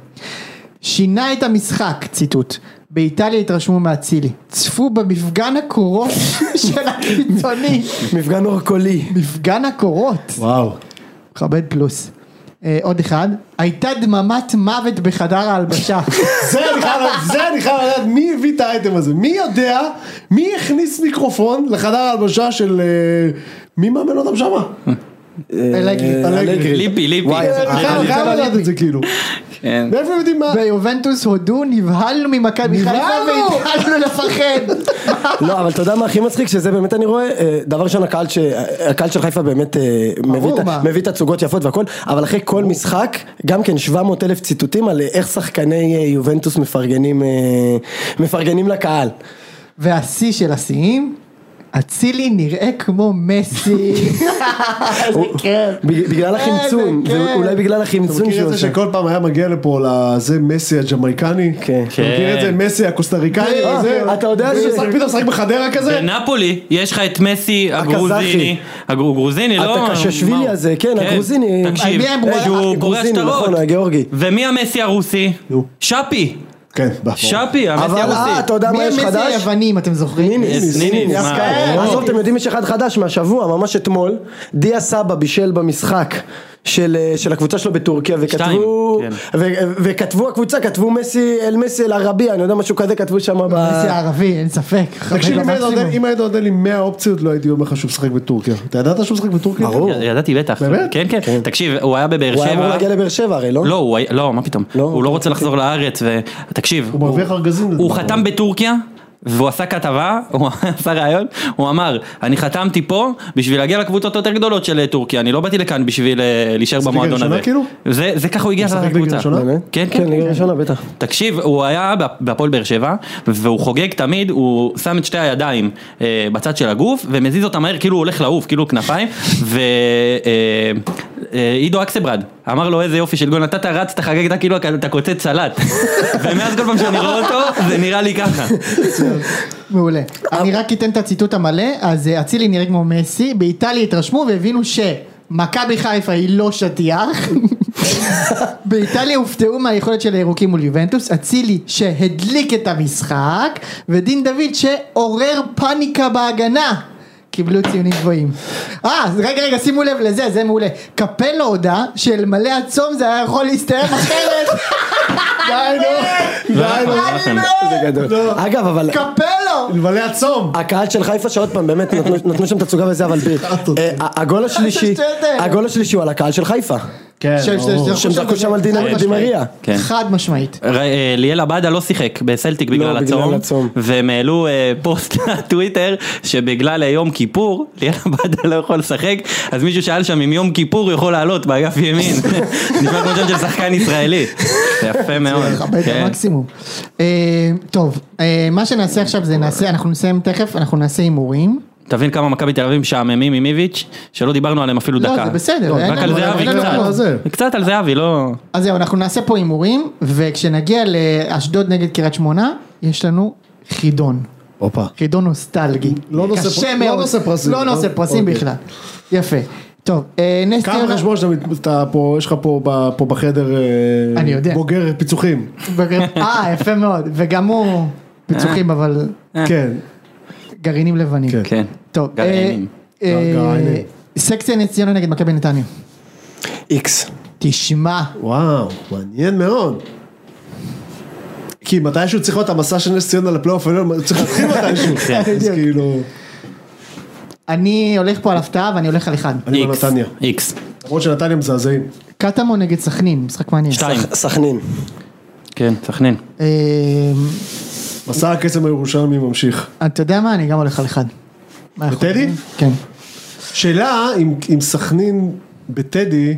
שינה את המשחק, ציטוט. באיטליה התרשמו מאצילי. צפו במפגן הקורות של הקיצוני. מפגן אורקולי. מפגן הקורות. וואו. מכבד פלוס. אה, עוד אחד. הייתה דממת מוות בחדר ההלבשה. זה אני חייב לדעת, זה אני חייב לדעת, מי הביא את האייטם הזה? מי יודע, מי הכניס מיקרופון לחדר ההלבשה של... אה, מי מאמן אותם שמה? אה, אלגרי. אלגרי. ליפי, ליפי. וואי, אני חייב- זה אה, חייב לא לדעת לי. את זה כאילו. כן. מאיפה הם יודעים מה? ביובנטוס הודו נבהלנו ממכבי חיפה נבהלנו! והתחלנו לפחד. לא, אבל אתה יודע מה הכי מצחיק? שזה באמת אני רואה, אה, דבר ראשון, הקהל ש- הקהל של חיפה באמת אה, מביא את ה- מה. מביא תצוגות יפות והכל, אבל אחרי כל משחק, גם כן 700 אלף ציטוטים על אה, איך שחקני אה, יובנטוס מפרגנים אה, מפרגנים לקהל. והשיא של השיאים, אצילי נראה כמו מסי. איזה כיף. בג- בגלל איזה החמצון, זה כיף. אולי בגלל אה, כן. אתה החמצון מכיר שהוא את זה עושה. שכל פעם היה מגיע לפה לזה מסי הג'מייקני? כן. אתה מכיר את זה? מסי הקוסטריקני? אה, וזה- אתה יודע והוא ש- משחק- פתאום משחק בחדרה כזה? בנפולי יש לך את מסי הגרוזיני, הגרוזיני לא... הטקששווילי מה הוא? הזה, כן, הגרוזיני. אה, תקשיב, על מי הם בורח? שהוא פורש הגרוזיני, שטרות. נכון, הגיאורגי. ומי המסי הרוסי? נו. שפי. כן, בא, שפי, המסי אבל אה, הרוסי. אתה יודע מי מה יש המסי חדש? היוונים אתם זוכרים? ניניס, ניניס, ניניס, ניניס, מה? אוקיי. כן. אה, עזוב, ניניס. אתם יודעים יש אחד חדש מהשבוע, ממש אתמול, דיה סבא בישל במשחק. של, אה, של הקבוצה שלו בטורקיה, וכתבו, שתיים, כן. ו, ו- וכתבו הקבוצה, כתבו מסי אל מסי אל ערבי, אני יודע משהו כזה, כתבו שם ב... מסי הערבי, אין ספק. תקשיב, חמד אם היית במקסימום. נותן- אם היית נותן לי 100 אופציות לא הייתי אומר לך שהוא משחק בטורקיה. אתה ידעת שהוא משחק בטורקיה? ברור. ידעתי בטח. באמת? כן, כן. תקשיב, הוא היה בבאר הוא היה אמור שבע. להגיע לבאר שבע הרי, לא? לא, הוא היה- לא, מה פתאום. לא, הוא לא רוצה לחזור לארץ, ו- תקשיב, הוא מרוויח ארגזים. לא? הוא לדעתי. חתם בטורקיה. והוא עשה כתבה, הוא עשה ראיון, הוא אמר, אני חתמתי פה בשביל להגיע לקבוצות יותר גדולות של אה, טורקיה, אני לא באתי לכאן בשביל אה, להישאר ליגה במועדון ראשונה, הזה. כאילו? זה זה ככה הוא הגיע הוא משחק ליגה לקבוצה. ראשונה? באמת? כן, כן, ליגה ראשונה בטח. תקשיב, הוא היה בהפועל באר שבע, והוא חוגג תמיד, הוא שם את שתי הידיים אה, בצד של הגוף, ומזיז אותה מהר כאילו הוא הולך לעוף, כאילו כנפיים, ועידו אקסברד אמר לו איזה יופי של גול, נתת רצת חגגת כאילו אתה קוצץ סלט, ומאז כל פעם שאני רואה אותו, זה נראה לי ככה. מעולה. אני רק אתן את הציטוט המלא, אז אה, אצילי נראה כמו מסי, באיטליה התרשמו והבינו שמכבי חיפה היא לא שטיח. באיטליה הופתעו מהיכולת של הירוקים מול יובנטוס, אצילי שהדליק את המשחק, ודין דוד שעורר פאניקה בהגנה. קיבלו ציונים גבוהים. אה, אז רגע רגע שימו לב לזה, זה מעולה. קפלו הודה שאלמלא הצום זה היה יכול להסתיים אחרת. די, נו. די, נו. זה גדול. לא. אגב, אבל... קפלו! אלמלא הצום. הקהל של חיפה שעוד פעם באמת נתנו- נתנו שם תצוגה וזה אבל ביר, אה, הגול השלישי, השטויות האלה. הגול השלישי הוא על הקהל של חיפה, כן, של- של- ברור. של- שהם זרקו שם על חד דינה- משמעית. דימריה, כן. חד משמעית. ר- אה, ליאל עבדה לא שיחק בסלטיק בגלל בגלל הצום, הצום. והם העלו אה, פוסט לטוויטר שבגלל אה, יום כיפור ליאל עבדה לא יכול לשחק, אז מישהו שאל שם אם יום כיפור הוא יכול לעלות באגף ימין, נשמע כמו שם של שחקן ישראלי, זה יפה מאוד, מכבד כן. במקסימום. אה, טוב, אה, מה שנעשה עכשיו זה נעשה, אנחנו נסיים תכף, אנחנו נעשה הימורים. תבין כמה מכבי תל אביב משעממים עם איביץ', שלא דיברנו עליהם אפילו לא, דקה, זה בסדר, אין רק לנו- על זה אבי אין לנו כלום. קצת, קצת על זה אבי לא, אז זהו, אנחנו נעשה פה הימורים, וכשנגיע לאשדוד נגד קריית שמונה, יש לנו חידון. הופה. חידון נוסטלגי. לא נושא קשה פר- לא מאוד. נושא פרסים. לא נושא אה, פרסים אוקיי. בכלל. יפה. טוב, אה, נס כמה ציונה... חשבון שאתה מת- אתה פה, יש לך פה ב- פה בחדר אה, אני יודע. בוגר פיצוחים. אה, יפה מאוד. וגם הוא פיצוחים, אבל כן. גרעינים לבנים. כן. כן, טוב, גרעינים. אה, אה, גרעינים. סקציה נס ציונה נגד מכבי נתניה. איקס, תשמע, וואו, מעניין מאוד. כי מתישהו צריך להיות המסע של נס ציונה לפלייאוף העליון, צריך להתחיל מתישהו. כן. אז כאילו, אני הולך פה על הפתעה ואני הולך על אחד. אני בנתניה. איקס, למרות שנתניה מזעזעים. קטמון נגד סכנין, משחק מעניין. שתיים, סכנין, כן, סכנין, אה, מסע הקסם הירושלמי ממשיך. אתה יודע מה? אני גם הולך על אחד. מה יכול בטדי? להיות? כן. שאלה אם- אם סכנין בטדי,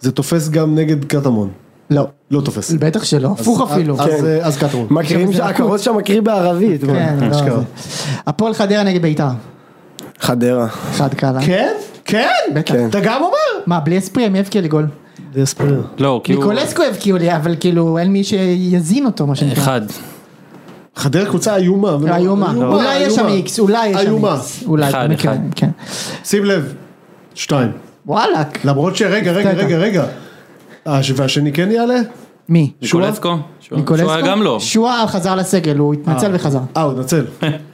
זה תופס גם נגד קטמון. לא. לא תופס. בטח שלא, הפוך אז- אפילו. אז- אה, אז קטמון. מקריאים, זה לקות. הכרוז שם מקריא בערבית, מה. כן, לא, אה, אשכרה. זה- הפועל חדרה נגד ביתר. חדרה, אחד קלה. כן? כן? בטח. אתה גם אומר? מה, בלי אספרי הם יבקיעו לי גול. זה הספרר. לא, כאילו, ניקולסקו יבקיעו לי, אבל כאילו אין מי שיזין אותו, מה שנקרא. לא, אחד, חדר קבוצה איומה. ולא- איומה. אולי יש שם לא, איומה. איקס, אולי יש שם איומה. איקס. אולי, אחד, במקרה, אחד. כן. שים לב. שתיים. וואלאק. למרות שרגע, רגע, הפתעת. רגע, רגע. אה, ש- והשני כן יעלה? מי? ניקולסקו, שועה? ניקולסקו? שועה גם לא, שועה חזר לסגל, הוא התנצל וחזר. אה, הוא התנצל.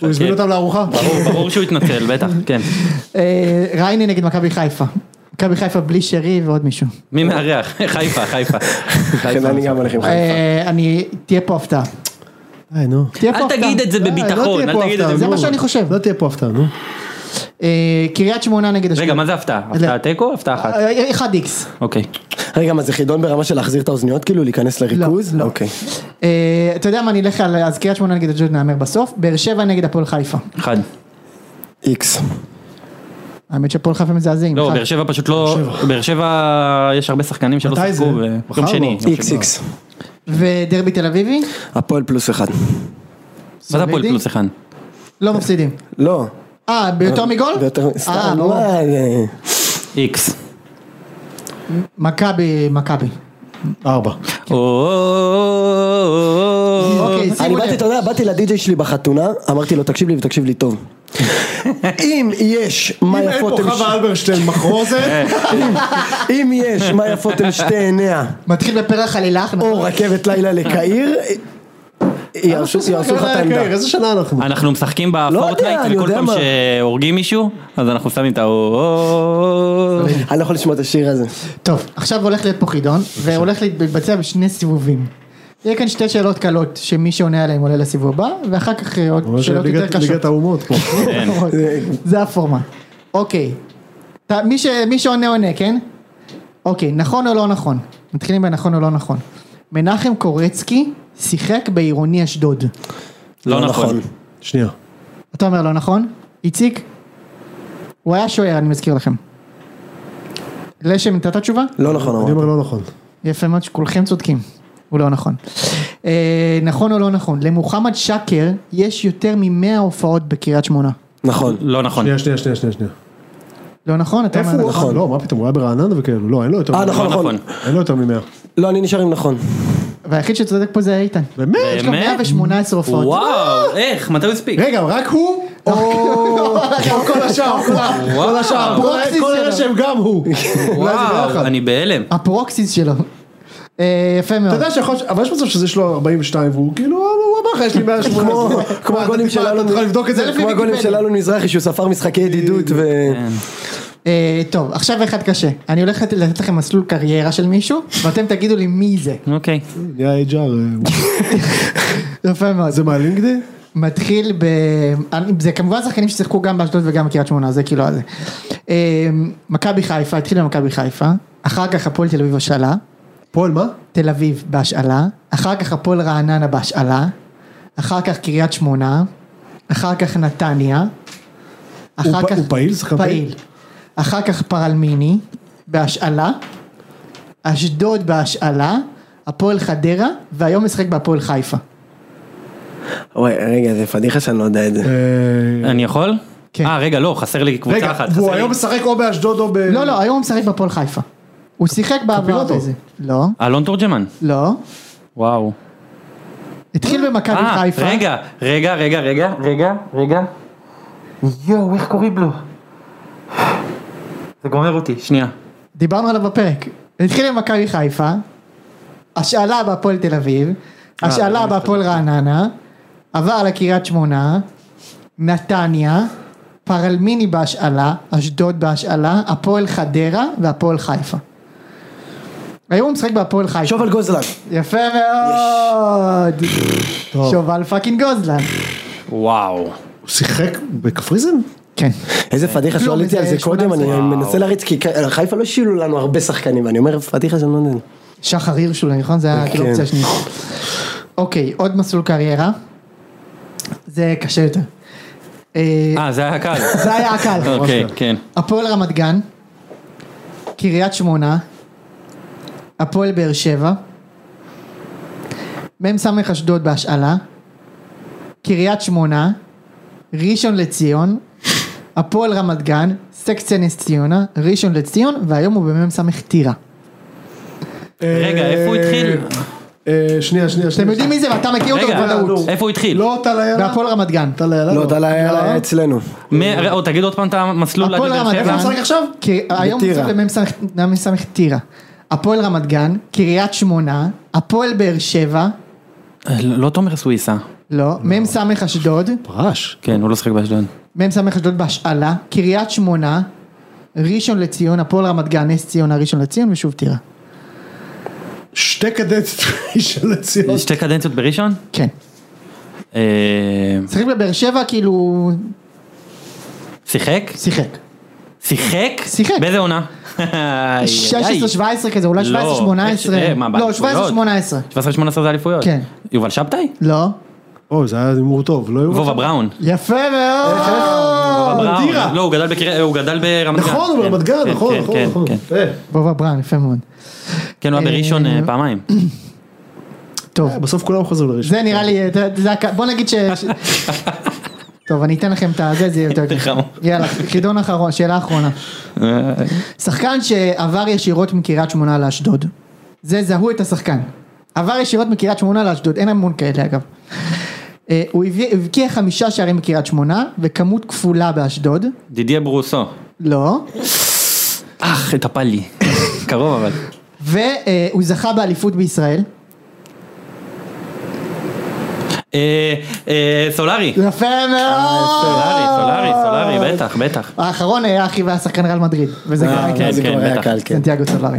הוא הזמין אותם לארוחה? ברור, ברור שהוא התנצל, בטח, כן. אה, ריינה נגד מכבי חיפה. מכבי חיפה בלי שרי ועוד מישהו. מי מארח? חיפה, חיפה. כן אני גם הולך עם חיפה, אה, אני, תהיה פה הפתעה. היי, נו. תהיה פה אל הפתעה. תגיד את זה אה, לא בביטחון, אל תהיה פה תגיד את הפתעה, זה. זה נו. מה שאני חושב. לא תהיה פה הפתעה, נו. אה, קריית שמונה נגד אשדוד. רגע, מה זה הפתעה? הפתעה תיקו? הפתעה אחת. אה, 1x. אוקיי. אה, רגע, מה זה חידון ברמה של להחזיר את האוזניות כאילו, להיכנס לריכוז? לא. אוקיי. אה, אתה יודע מה, אני אלך על, אז קריית שמונה נגד אשדוד נאמר בסוף, באר שבע נגד הפועל חיפה. אחד. איקס. האמת שהפועל חיפה מזעזעים. לא, אחד. באר שבע פשוט לא... באר שבע יש הרבה שחקנים שלא מתי שיחקו. זה? ו- מחר יום או? שני. יום איקס שני. לא איקס. ודרבי תל אביבי? הפועל פלוס אחד. מה זה הפועל סולידי? פלוס אחד? לא מפסידים. לא. אה, ביותר מגול? ביותר, אה, סתם, ברור. מה, אה, איקס. מכבי, מכבי. ארבע. אוקיי, אני שימו באתי, לב. אתה יודע, באתי לדי-ג'יי שלי בחתונה, אמרתי לו, תקשיב לי ותקשיב לי טוב. אם יש מה אם אין יפות פה הם חווה ש- אלברשטיין מחרוזת, אם יש מה יפות הם שתי עיניה, מתחיל בפרח על הילך. או רכבת לילה לקהיר, לא יהרסו יהרסו לך את העמדה. "אוקיי, איזה שנה אנחנו? אנחנו משחקים בפורטנייט, אני וכל יודע פעם מה. שהורגים מישהו, אז אנחנו שמים את ה... אני לא יכול לשמוע את השיר הזה. טוב, עכשיו הולך להיות פה חידון, והולך להתבצע בשני סיבובים. יהיה כאן שתי שאלות קלות, שמי שעונה עליהן עולה לסיבוב הבא, ואחר כך אה, עוד ממש שאלות יותר ליגת- ליגת קשות. כן. האומות פה. זה הפורמט. אוקיי. אתה- מי ש- מי שעונה עונה, כן? אוקיי, נכון או לא נכון? מתחילים בנכון או לא נכון. מנחם קורצקי שיחק בעירוני אשדוד. לא נכון. שנייה. אתה אומר לא נכון? איציק? הוא היה שוער, אני מזכיר לכם. לשם, נתת תשובה? לא נכון, אני אמרת. אומר לא נכון. יפה מאוד שכולכם צודקים, הוא לא נכון. אה, נכון או לא נכון, למוחמד שקר יש יותר מ-100 הופעות בקריית שמונה. נכון. לא נכון. שנייה, שנייה, שנייה, שנייה, שנייה. לא נכון? אתה איפה אומר הוא? נכון. נכון. לא, מה פתאום, הוא היה ברעננה וכאלו. לא, אין לו יותר אה, מ- נכון, לא נכון. נכון. אין לו יותר ממאה. לא, אני נשאר עם נכון. לא. והיחיד שצודק פה זה איתן. באמת? יש לו 118 הופעות. וואו, איך? מתי הוא הספיק? רגע, רק הוא? או כל השאר, כל ה- וואו. כל השאר, כל ה- כל אלה שהם גם הוא. אולי זה וואו, ביחד. אני בהלם. הפרוקסיס שלו. אה, יפה מאוד. אתה יודע שיכול, ש- אבל יש מצב שזה יש לו 42 והוא כאילו, הוא אמר לך, יש לי 180. כמו- כמו הגולים של אלון אתה צריך לבדוק את זה. זה לפי כמו הגולים של ויקיפדיה. אלון מזרחי שהוא ספר משחקי ידידות ו... אה, טוב, עכשיו אחד קשה. אני הולך לתת- לתת לכם מסלול קריירה של מישהו, ואתם תגידו לי מי זה. אוקיי. נהיה HR. יפה מאוד. זה מהלינקדאין? מתחיל ב... אני- זה כמובן שחקנים ששיחקו גם באשדוד וגם בקריית שמונה, זה כאילו הזה. אה, מכבי חיפה, התחיל במכבי חיפה, אחר כך הפועל תל אביב השאלה, פועל מה? תל אביב בהשאלה, אחר כך הפועל רעננה בהשאלה, אחר כך קריית שמונה, אחר כך נתניה, אחר הוא פ- כך... הוא פעיל? שחקן פעיל? פעיל. אחר כך פרלמיני, בהשאלה, אשדוד בהשאלה, הפועל חדרה, והיום משחק בהפועל חיפה. אוי, רגע, זה פדיחה שאני לא יודע את זה. אה, אני יכול? כן. אה, רגע, לא, חסר לי קבוצה רגע, אחת. והוא חסר לי- היום משחק או באשדוד או ב... לא, לא, היום הוא משחק בהפועל חיפה. הוא שיחק בעבר קפילוטו. באיזה. לא, אלון תורג'מן. לא. וואו. התחיל במכבי אה, חיפה. רגע, רגע, רגע, רגע, רגע, רגע. יואו, איך קוראים לו? זה גומר אותי, שנייה. דיברנו עליו בפרק. התחיל במכבי חיפה, השאלה בהפועל תל אביב, השאלה בהפועל רעננה, עבר לקריית שמונה, נתניה, פרלמיני בהשאלה, אשדוד בהשאלה, הפועל חדרה והפועל חיפה. היום הוא משחק בהפועל חיפה. שובל גוזלן. יפה מאוד. שובל פאקינג גוזלן. וואו. הוא שיחק בקפריזן? כן. איזה פדיחה כלום, שואלתי על איזה לא, זה קודם, אני 18. מנסה להריץ, כי כ- חיפה לא השאילו לנו הרבה שחקנים, ואני אומר פדיחה שאני לא יודע. שחר הירשול, נכון? זה היה כן. כאילו אופציה השנייה. אוקיי, עוד מסלול קריירה. זה קשה יותר. אה, אה, זה היה קל. זה היה הקל. אוקיי, כן. הפועל רמת גן, קריית שמונה, הפועל באר שבע, מ"ס אשדוד בהשאלה, קריית שמונה, ראשון לציון, הפועל רמת גן, סקציה נס ציונה, ראשון לציון, והיום הוא במ"ס טירה. רגע, איפה הוא התחיל? אה, שנייה, שנייה, אתם שנייה. יודעים מי זה ואתה מכיר אותו רגע, בוודאות. איפה הוא התחיל? לא טל איילה? והפועל רמת גן. טל איילה? לא, טל היה היה אצלנו. מ- ר- או, תגיד עוד פעם לא, את המסלול. הפועל עד לבאר רמת שבע. גן. איפה הוא משחק עכשיו? כי היום הוא בטירה. צריך למ"ס טירה. הפועל רמת גן, קריית שמונה, הפועל באר שבע, אה, לא לא תומר סוויסה. לא, מ"ס אשדוד, פרש. כן, הוא לא שחק באשדוד. מ"ס אשדוד בהשאלה, קריית שמונה, ראשון לציון, הפועל רמת גן, נס ציונה, ראשון לציון ושוב טירה. שתי קדנציות של לציון. שתי קדנציות בראשון? כן. אה, משחק בבאר שבע כאילו... שיחק? שיחק. שיחק? שיחק. באיזה עונה? 16-17 כזה, אולי 17-18. אה, לא, 17-18. 17-18 זה אליפויות? כן. יובל שבתאי? לא. אוי, זה היה הימור טוב, לא הימור וובה טוב. בראון. יפה אה, מאוד. וובה בראון. טירה. לא, הוא גדל בקריית- הוא גדל ברמת גן. אה, נכון, הוא כן, ברמת גן, כן, נכון, כן, נכון, כן, נכון. כן. אה, בובה בראון, יפה מאוד. כן, הוא היה בראשון אה, אה, פעמיים. טוב. אה, בסוף כולם חזרו לראשון. זה נראה לי, אתה- זה הק- בוא נגיד ש... ש- טוב, אני אתן לכם את הזה, זה יהיה יותר יותר קל. חמור. יאללה, חידון אחרון, שאלה אחרונה. שחקן שעבר ישירות מקריית שמונה לאשדוד. זה זהו את השחקן. עבר ישירות מקריית שמונה לאשדוד, אין המון כאלה אגב. אה, הוא הביא- הבקיע חמישה שערים בקריית שמונה, וכמות כפולה באשדוד. דידיה ברוסו. לא. אך, התאפל לי. קרוב אבל. והוא אה, זכה באליפות בישראל. אה, אה, סולארי. יפה לא! סולארי, סולארי, מאוד. סולארי, בטח, בטח. האחרון היה אחי והשחקן ריאל מדריד. וזה אה, כבר כן, זה כן, כבר היה בטח. קל, כן. סנטיאגו סולארי.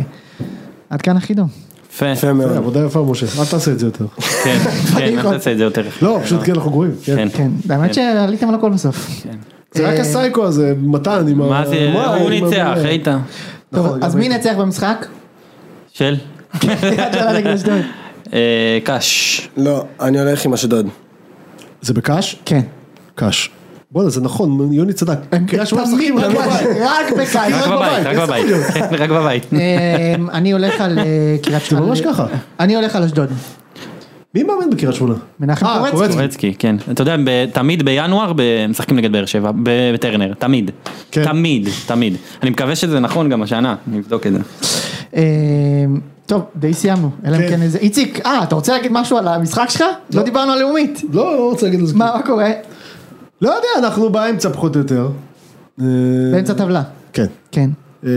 עד כאן החידון. יפה, יפה אה, מאוד. עבודה יפה, משה, אל תעשה את זה יותר. כן, כן, פדיחות. אל תעשה את זה יותר. לא, פשוט כן, אנחנו גרועים. כן. כן. כן, האמת שעליתם על הכל בסוף. זה אה, רק הסייקו הזה, מתן עם ה... מה זה, וואי, הוא עם ה- אה, ניצח, ראית? טוב, נכון, אז גם מי הייתי. נצח במשחק? של? יד שלה נגד אשדוד. אה, קאש. לא, אני הולך עם אשדוד. זה בקאש? כן. קאש. בואנה, זה נכון, יוני צדק. קריית שמונה משחקים רק רק בבית. בבית, רק רק בקיץ. בבית, רק בבית, כן, רק בבית. אמ, אני הולך על אה, קריית זה שמונה. ממש ככה. אני הולך על אשדוד. מי מאמן בקריית שמונה? מנחם אה, קורצקי. קורצקי, כן. אתה יודע, ב- תמיד בינואר ב- משחקים נגד באר שבע, ב- בטרנר, תמיד. כן. תמיד, תמיד. אני מקווה שזה נכון גם השנה, נבדוק את זה. אמ, טוב, די סיימנו. אלא אם כן. כן איזה... איציק, אה, אתה רוצה להגיד משהו על המשחק שלך? לא דיברנו על לאומית. לא, לא רוצה להגיד על זה. מה מה קורה? לא יודע, אנחנו באמצע פחות או יותר. אה, באמצע טבלה. כן. כן. אה,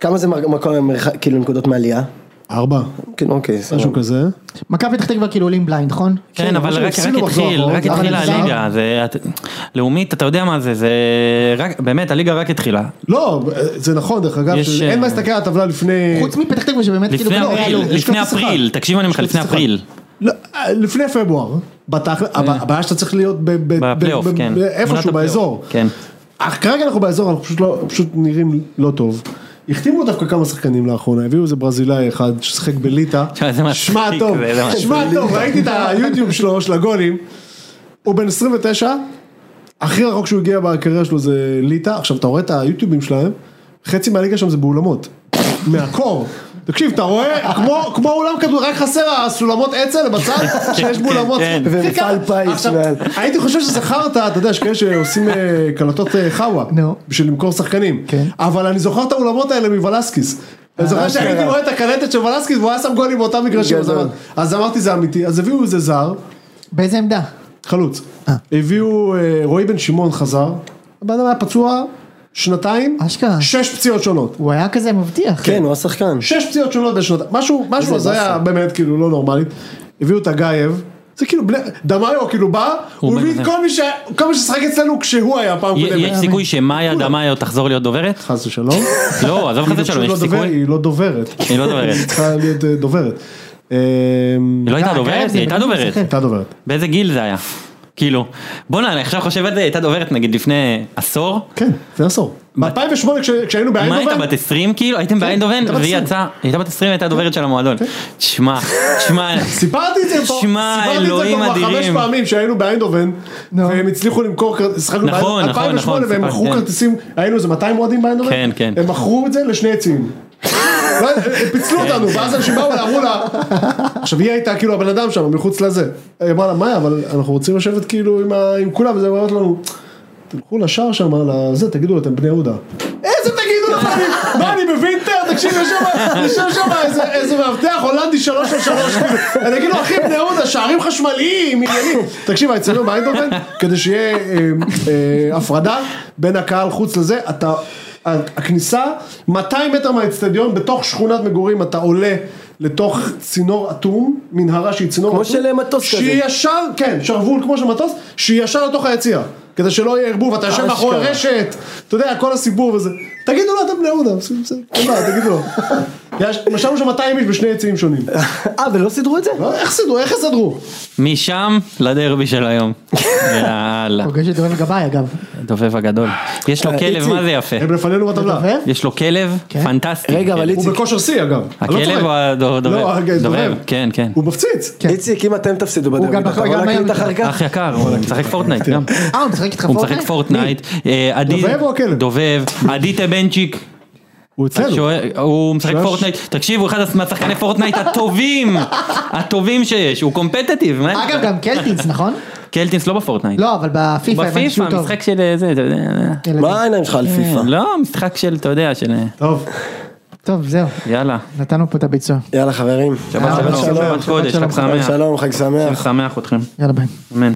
כמה זה מר- מקום, מרחק- כאילו נקודות מעלייה? ארבע, כן, אוקיי, סבבה. משהו כזה. מכבי פתח תקווה כאילו עולים בליינד, נכון? כן, אבל אבל רק הפסידו רק מחזור התחיל, אחרון, רק אבל התחילה אפשר. הליגה. זה- את- לאומית, אתה יודע מה זה, זה... רק- באמת, הליגה רק התחילה. לא, אה, זה נכון, דרך אגב, יש, שאין אה, מה להסתכל על הטבלה לפני... חוץ מפתח תקווה שבאמת כאילו... לפני לא, אפריל, לא, יש לפני כרטיס אפריל, אחד. תקשיב אני אומר לך, יש לפני כרטיס אפריל. אה. לא, אה, לפני פברואר. בתכל'ס, הבע- הבעיה שאתה צריך להיות ב- ב- ב- בפלייאוף, ב- כן. ב- עונת איפשהו הפלייאוף, באזור. כן. אך כרגע אנחנו באזור, אנחנו פשוט לא, פשוט נראים לא טוב. החתימו דווקא כמה שחקנים לאחרונה, הביאו איזה ברזילאי אחד ששיחק בליטא. תשמע, זה מצחיק, שמע טוב, זה- זה מצחיק. שמע טוב, ראיתי את היוטיוב שלו, של הגולים. הוא בן 29, הכי רחוק שהוא הגיע בקריירה שלו זה ליטא. עכשיו, אתה רואה את היוטיובים שלהם, חצי מהליגה שם זה באולמות. מהקור. תקשיב, אתה רואה, כמו, כמו אולם כדור, רק חסר הסולמות עצל בצד, שיש באולמות. כן, כן. הכי קל. ומפעל פיס עכשיו, מעל. הייתי חושב שזכרת, אתה יודע, יש כאלה שעושים אה, קלטות אה, חאווה, נו. בשביל למכור שחקנים, כן. אה, אבל אני זוכר את האולמות האלה מוולסקיס. אני זוכר שהייתי רואה את הקלטת של וולסקיס והוא היה שם גולים באותם מגרשים, אז גדול. אמר- אז אמרתי זה אמיתי, אז הביאו איזה זר, באיזה עמדה? חלוץ, הביאו, אה, רועי בן שמעון חזר, הבן אדם היה פצוע שנתיים, אשכרה. שש פציעות שונות. הוא היה כזה מבטיח. כן, הוא השחקן. שש פציעות שונות בשנתיים, משהו, משהו, זה היה באמת כאילו לא נורמלי, הביאו את הגייב, זה כאילו, בני- דמאיו כאילו בא, הוא הביא את בן- כל מי ש- כל מי ששחק אצלנו כשהוא היה פעם י- קודמת. יש סיכוי שמאיה דמאיו תחזור להיות דוברת? חס ושלום, לא, עזוב לך היא את זה שלום, פשוט יש לא דובר- סיכוי? היא לא דוברת, היא לא דוברת. היא צריכה להיות אה, דוברת. אה, היא לא הייתה אה, דוברת? אה, היא הייתה בדיוק דוברת. משחק. הייתה דוברת. באיזה גיל זה היה? כאילו, בואנה, אני עכשיו חושב על זה, הייתה דוברת נגיד לפני עשור. כן, לפני עשור. ב-2008 כשהיינו מה הייתה באיינדובן, בת 20 כאילו? הייתם באיינדובן? הייתה בת והיא 20. יצאה, היא הייתה בת 20 הייתה דוברת של המועדון. תשמע, תשמע, סיפרתי את זה פה, שמע, סיפרתי את זה פה אלוהים כבר חמש אדירים. פעמים שהיינו באיינדובן, נו. והם הצליחו למכור, כרטיס- שיחקנו נכון, באיינדובן, נכון, 2008 נכון, והם סיפרת, מכרו כן. כרטיסים, היינו איזה 200 אוהדים באיינדובן, כן, כן. הם מכרו את זה לשני עצים. לא, הם פיצלו כן, אותנו, ואז אנשים באו ואמרו לה, עכשיו היא הייתה כאילו הבן אדם שם מחוץ לזה, היא אמרה לה מאיה אבל אנחנו רוצים לשבת כאילו עם ה- עם כולם, וזה אומרת לנו, תלכו לשער שם, לזה, תגידו לו, אתם בני יהודה. איזה תגידו לך, אני- מה אני בווינטר? תקשיב, יש שם- יושב שם איזה- איזה מאבטח הולנדי שלוש על שלוש. אני אגיד לו, אחי, בני יהודה, שערים חשמליים, עניינים. תקשיב, אצלנו באיינדובן, כדי שיהיה אה, אה, הפרדה בין הקהל חוץ לזה, אתה... הכניסה, 200 מטר מהאצטדיון, בתוך שכונת מגורים, אתה עולה לתוך צינור אטום, מנהרה שהיא צינור כמו אטום. של מטוס כזה. שהיא ישר, כן, שרוול כמו של מטוס, שהיא ישר לתוך היציע. כדי שלא יהיה ערבוב, אתה יושב מאחורי אשכרה. רשת, אתה יודע, כל הסיפור וזה. תגידו לו, אתם בני יהודה, בסדר, בסדר, אין בעיה, תגידו לו. יש- משלנו שם 200 איש בשני יציאים שונים. אה, ולא סידרו את זה? לא, איך סידרו, איך יסדרו? משם לדרבי של היום. יאללה. פוגש את דורון גבאי אגב. הדובב הגדול. יש לו אה, כלב, איציק, מה זה יפה. הם לא- לפנינו לא. בטבלה. דובב? יש לו כלב כן. פנטסטי. רגע, אבל כלב. הוא איציק, בכושר שיא אגב. אני לא הכלב צוחק. או הדובב? לא, הג- דובב, דובב. כן, כן. הוא מפציץ. כן. איציק, אם אתם תפסידו בדרבי, גם אתה בחר- יכול גם להקליט היום- אחר כך? אח יקר, הוא משחק פורטנייט גם. אה, הוא משחק איתך הוא משחק פורטנייט? פורטנייט. אה, עדי- דובב או הכלב? דובב. עדי טבנצ'יק. הוא אצלנו. השוער- הוא משחק שוער- פורטנייט. תקשיב, הוא אחד מהשחקני פורטנייט הטובים. הטובים שיש. הוא קומפטטיב. מה? אגב, גם קלטינס, נכון? קלטינס לא בפורטנייט. לא, אבל בפיפא הבנתי בפיפא, שהוא טוב. משחק של אה, זה, אתה יודע. ילדים. מה העיניים שלך על פיפא? לא, משחק של, אתה יודע, של... אה, טוב. טוב, זהו, יאללה. נתנו פה את הביצוע. יאללה חברים. שבת שלום, שלום, שלום, שבת קודש, שלום, חג שמח. שלום, חג שמח. שמח אתכם. יאללה ביי. אמן.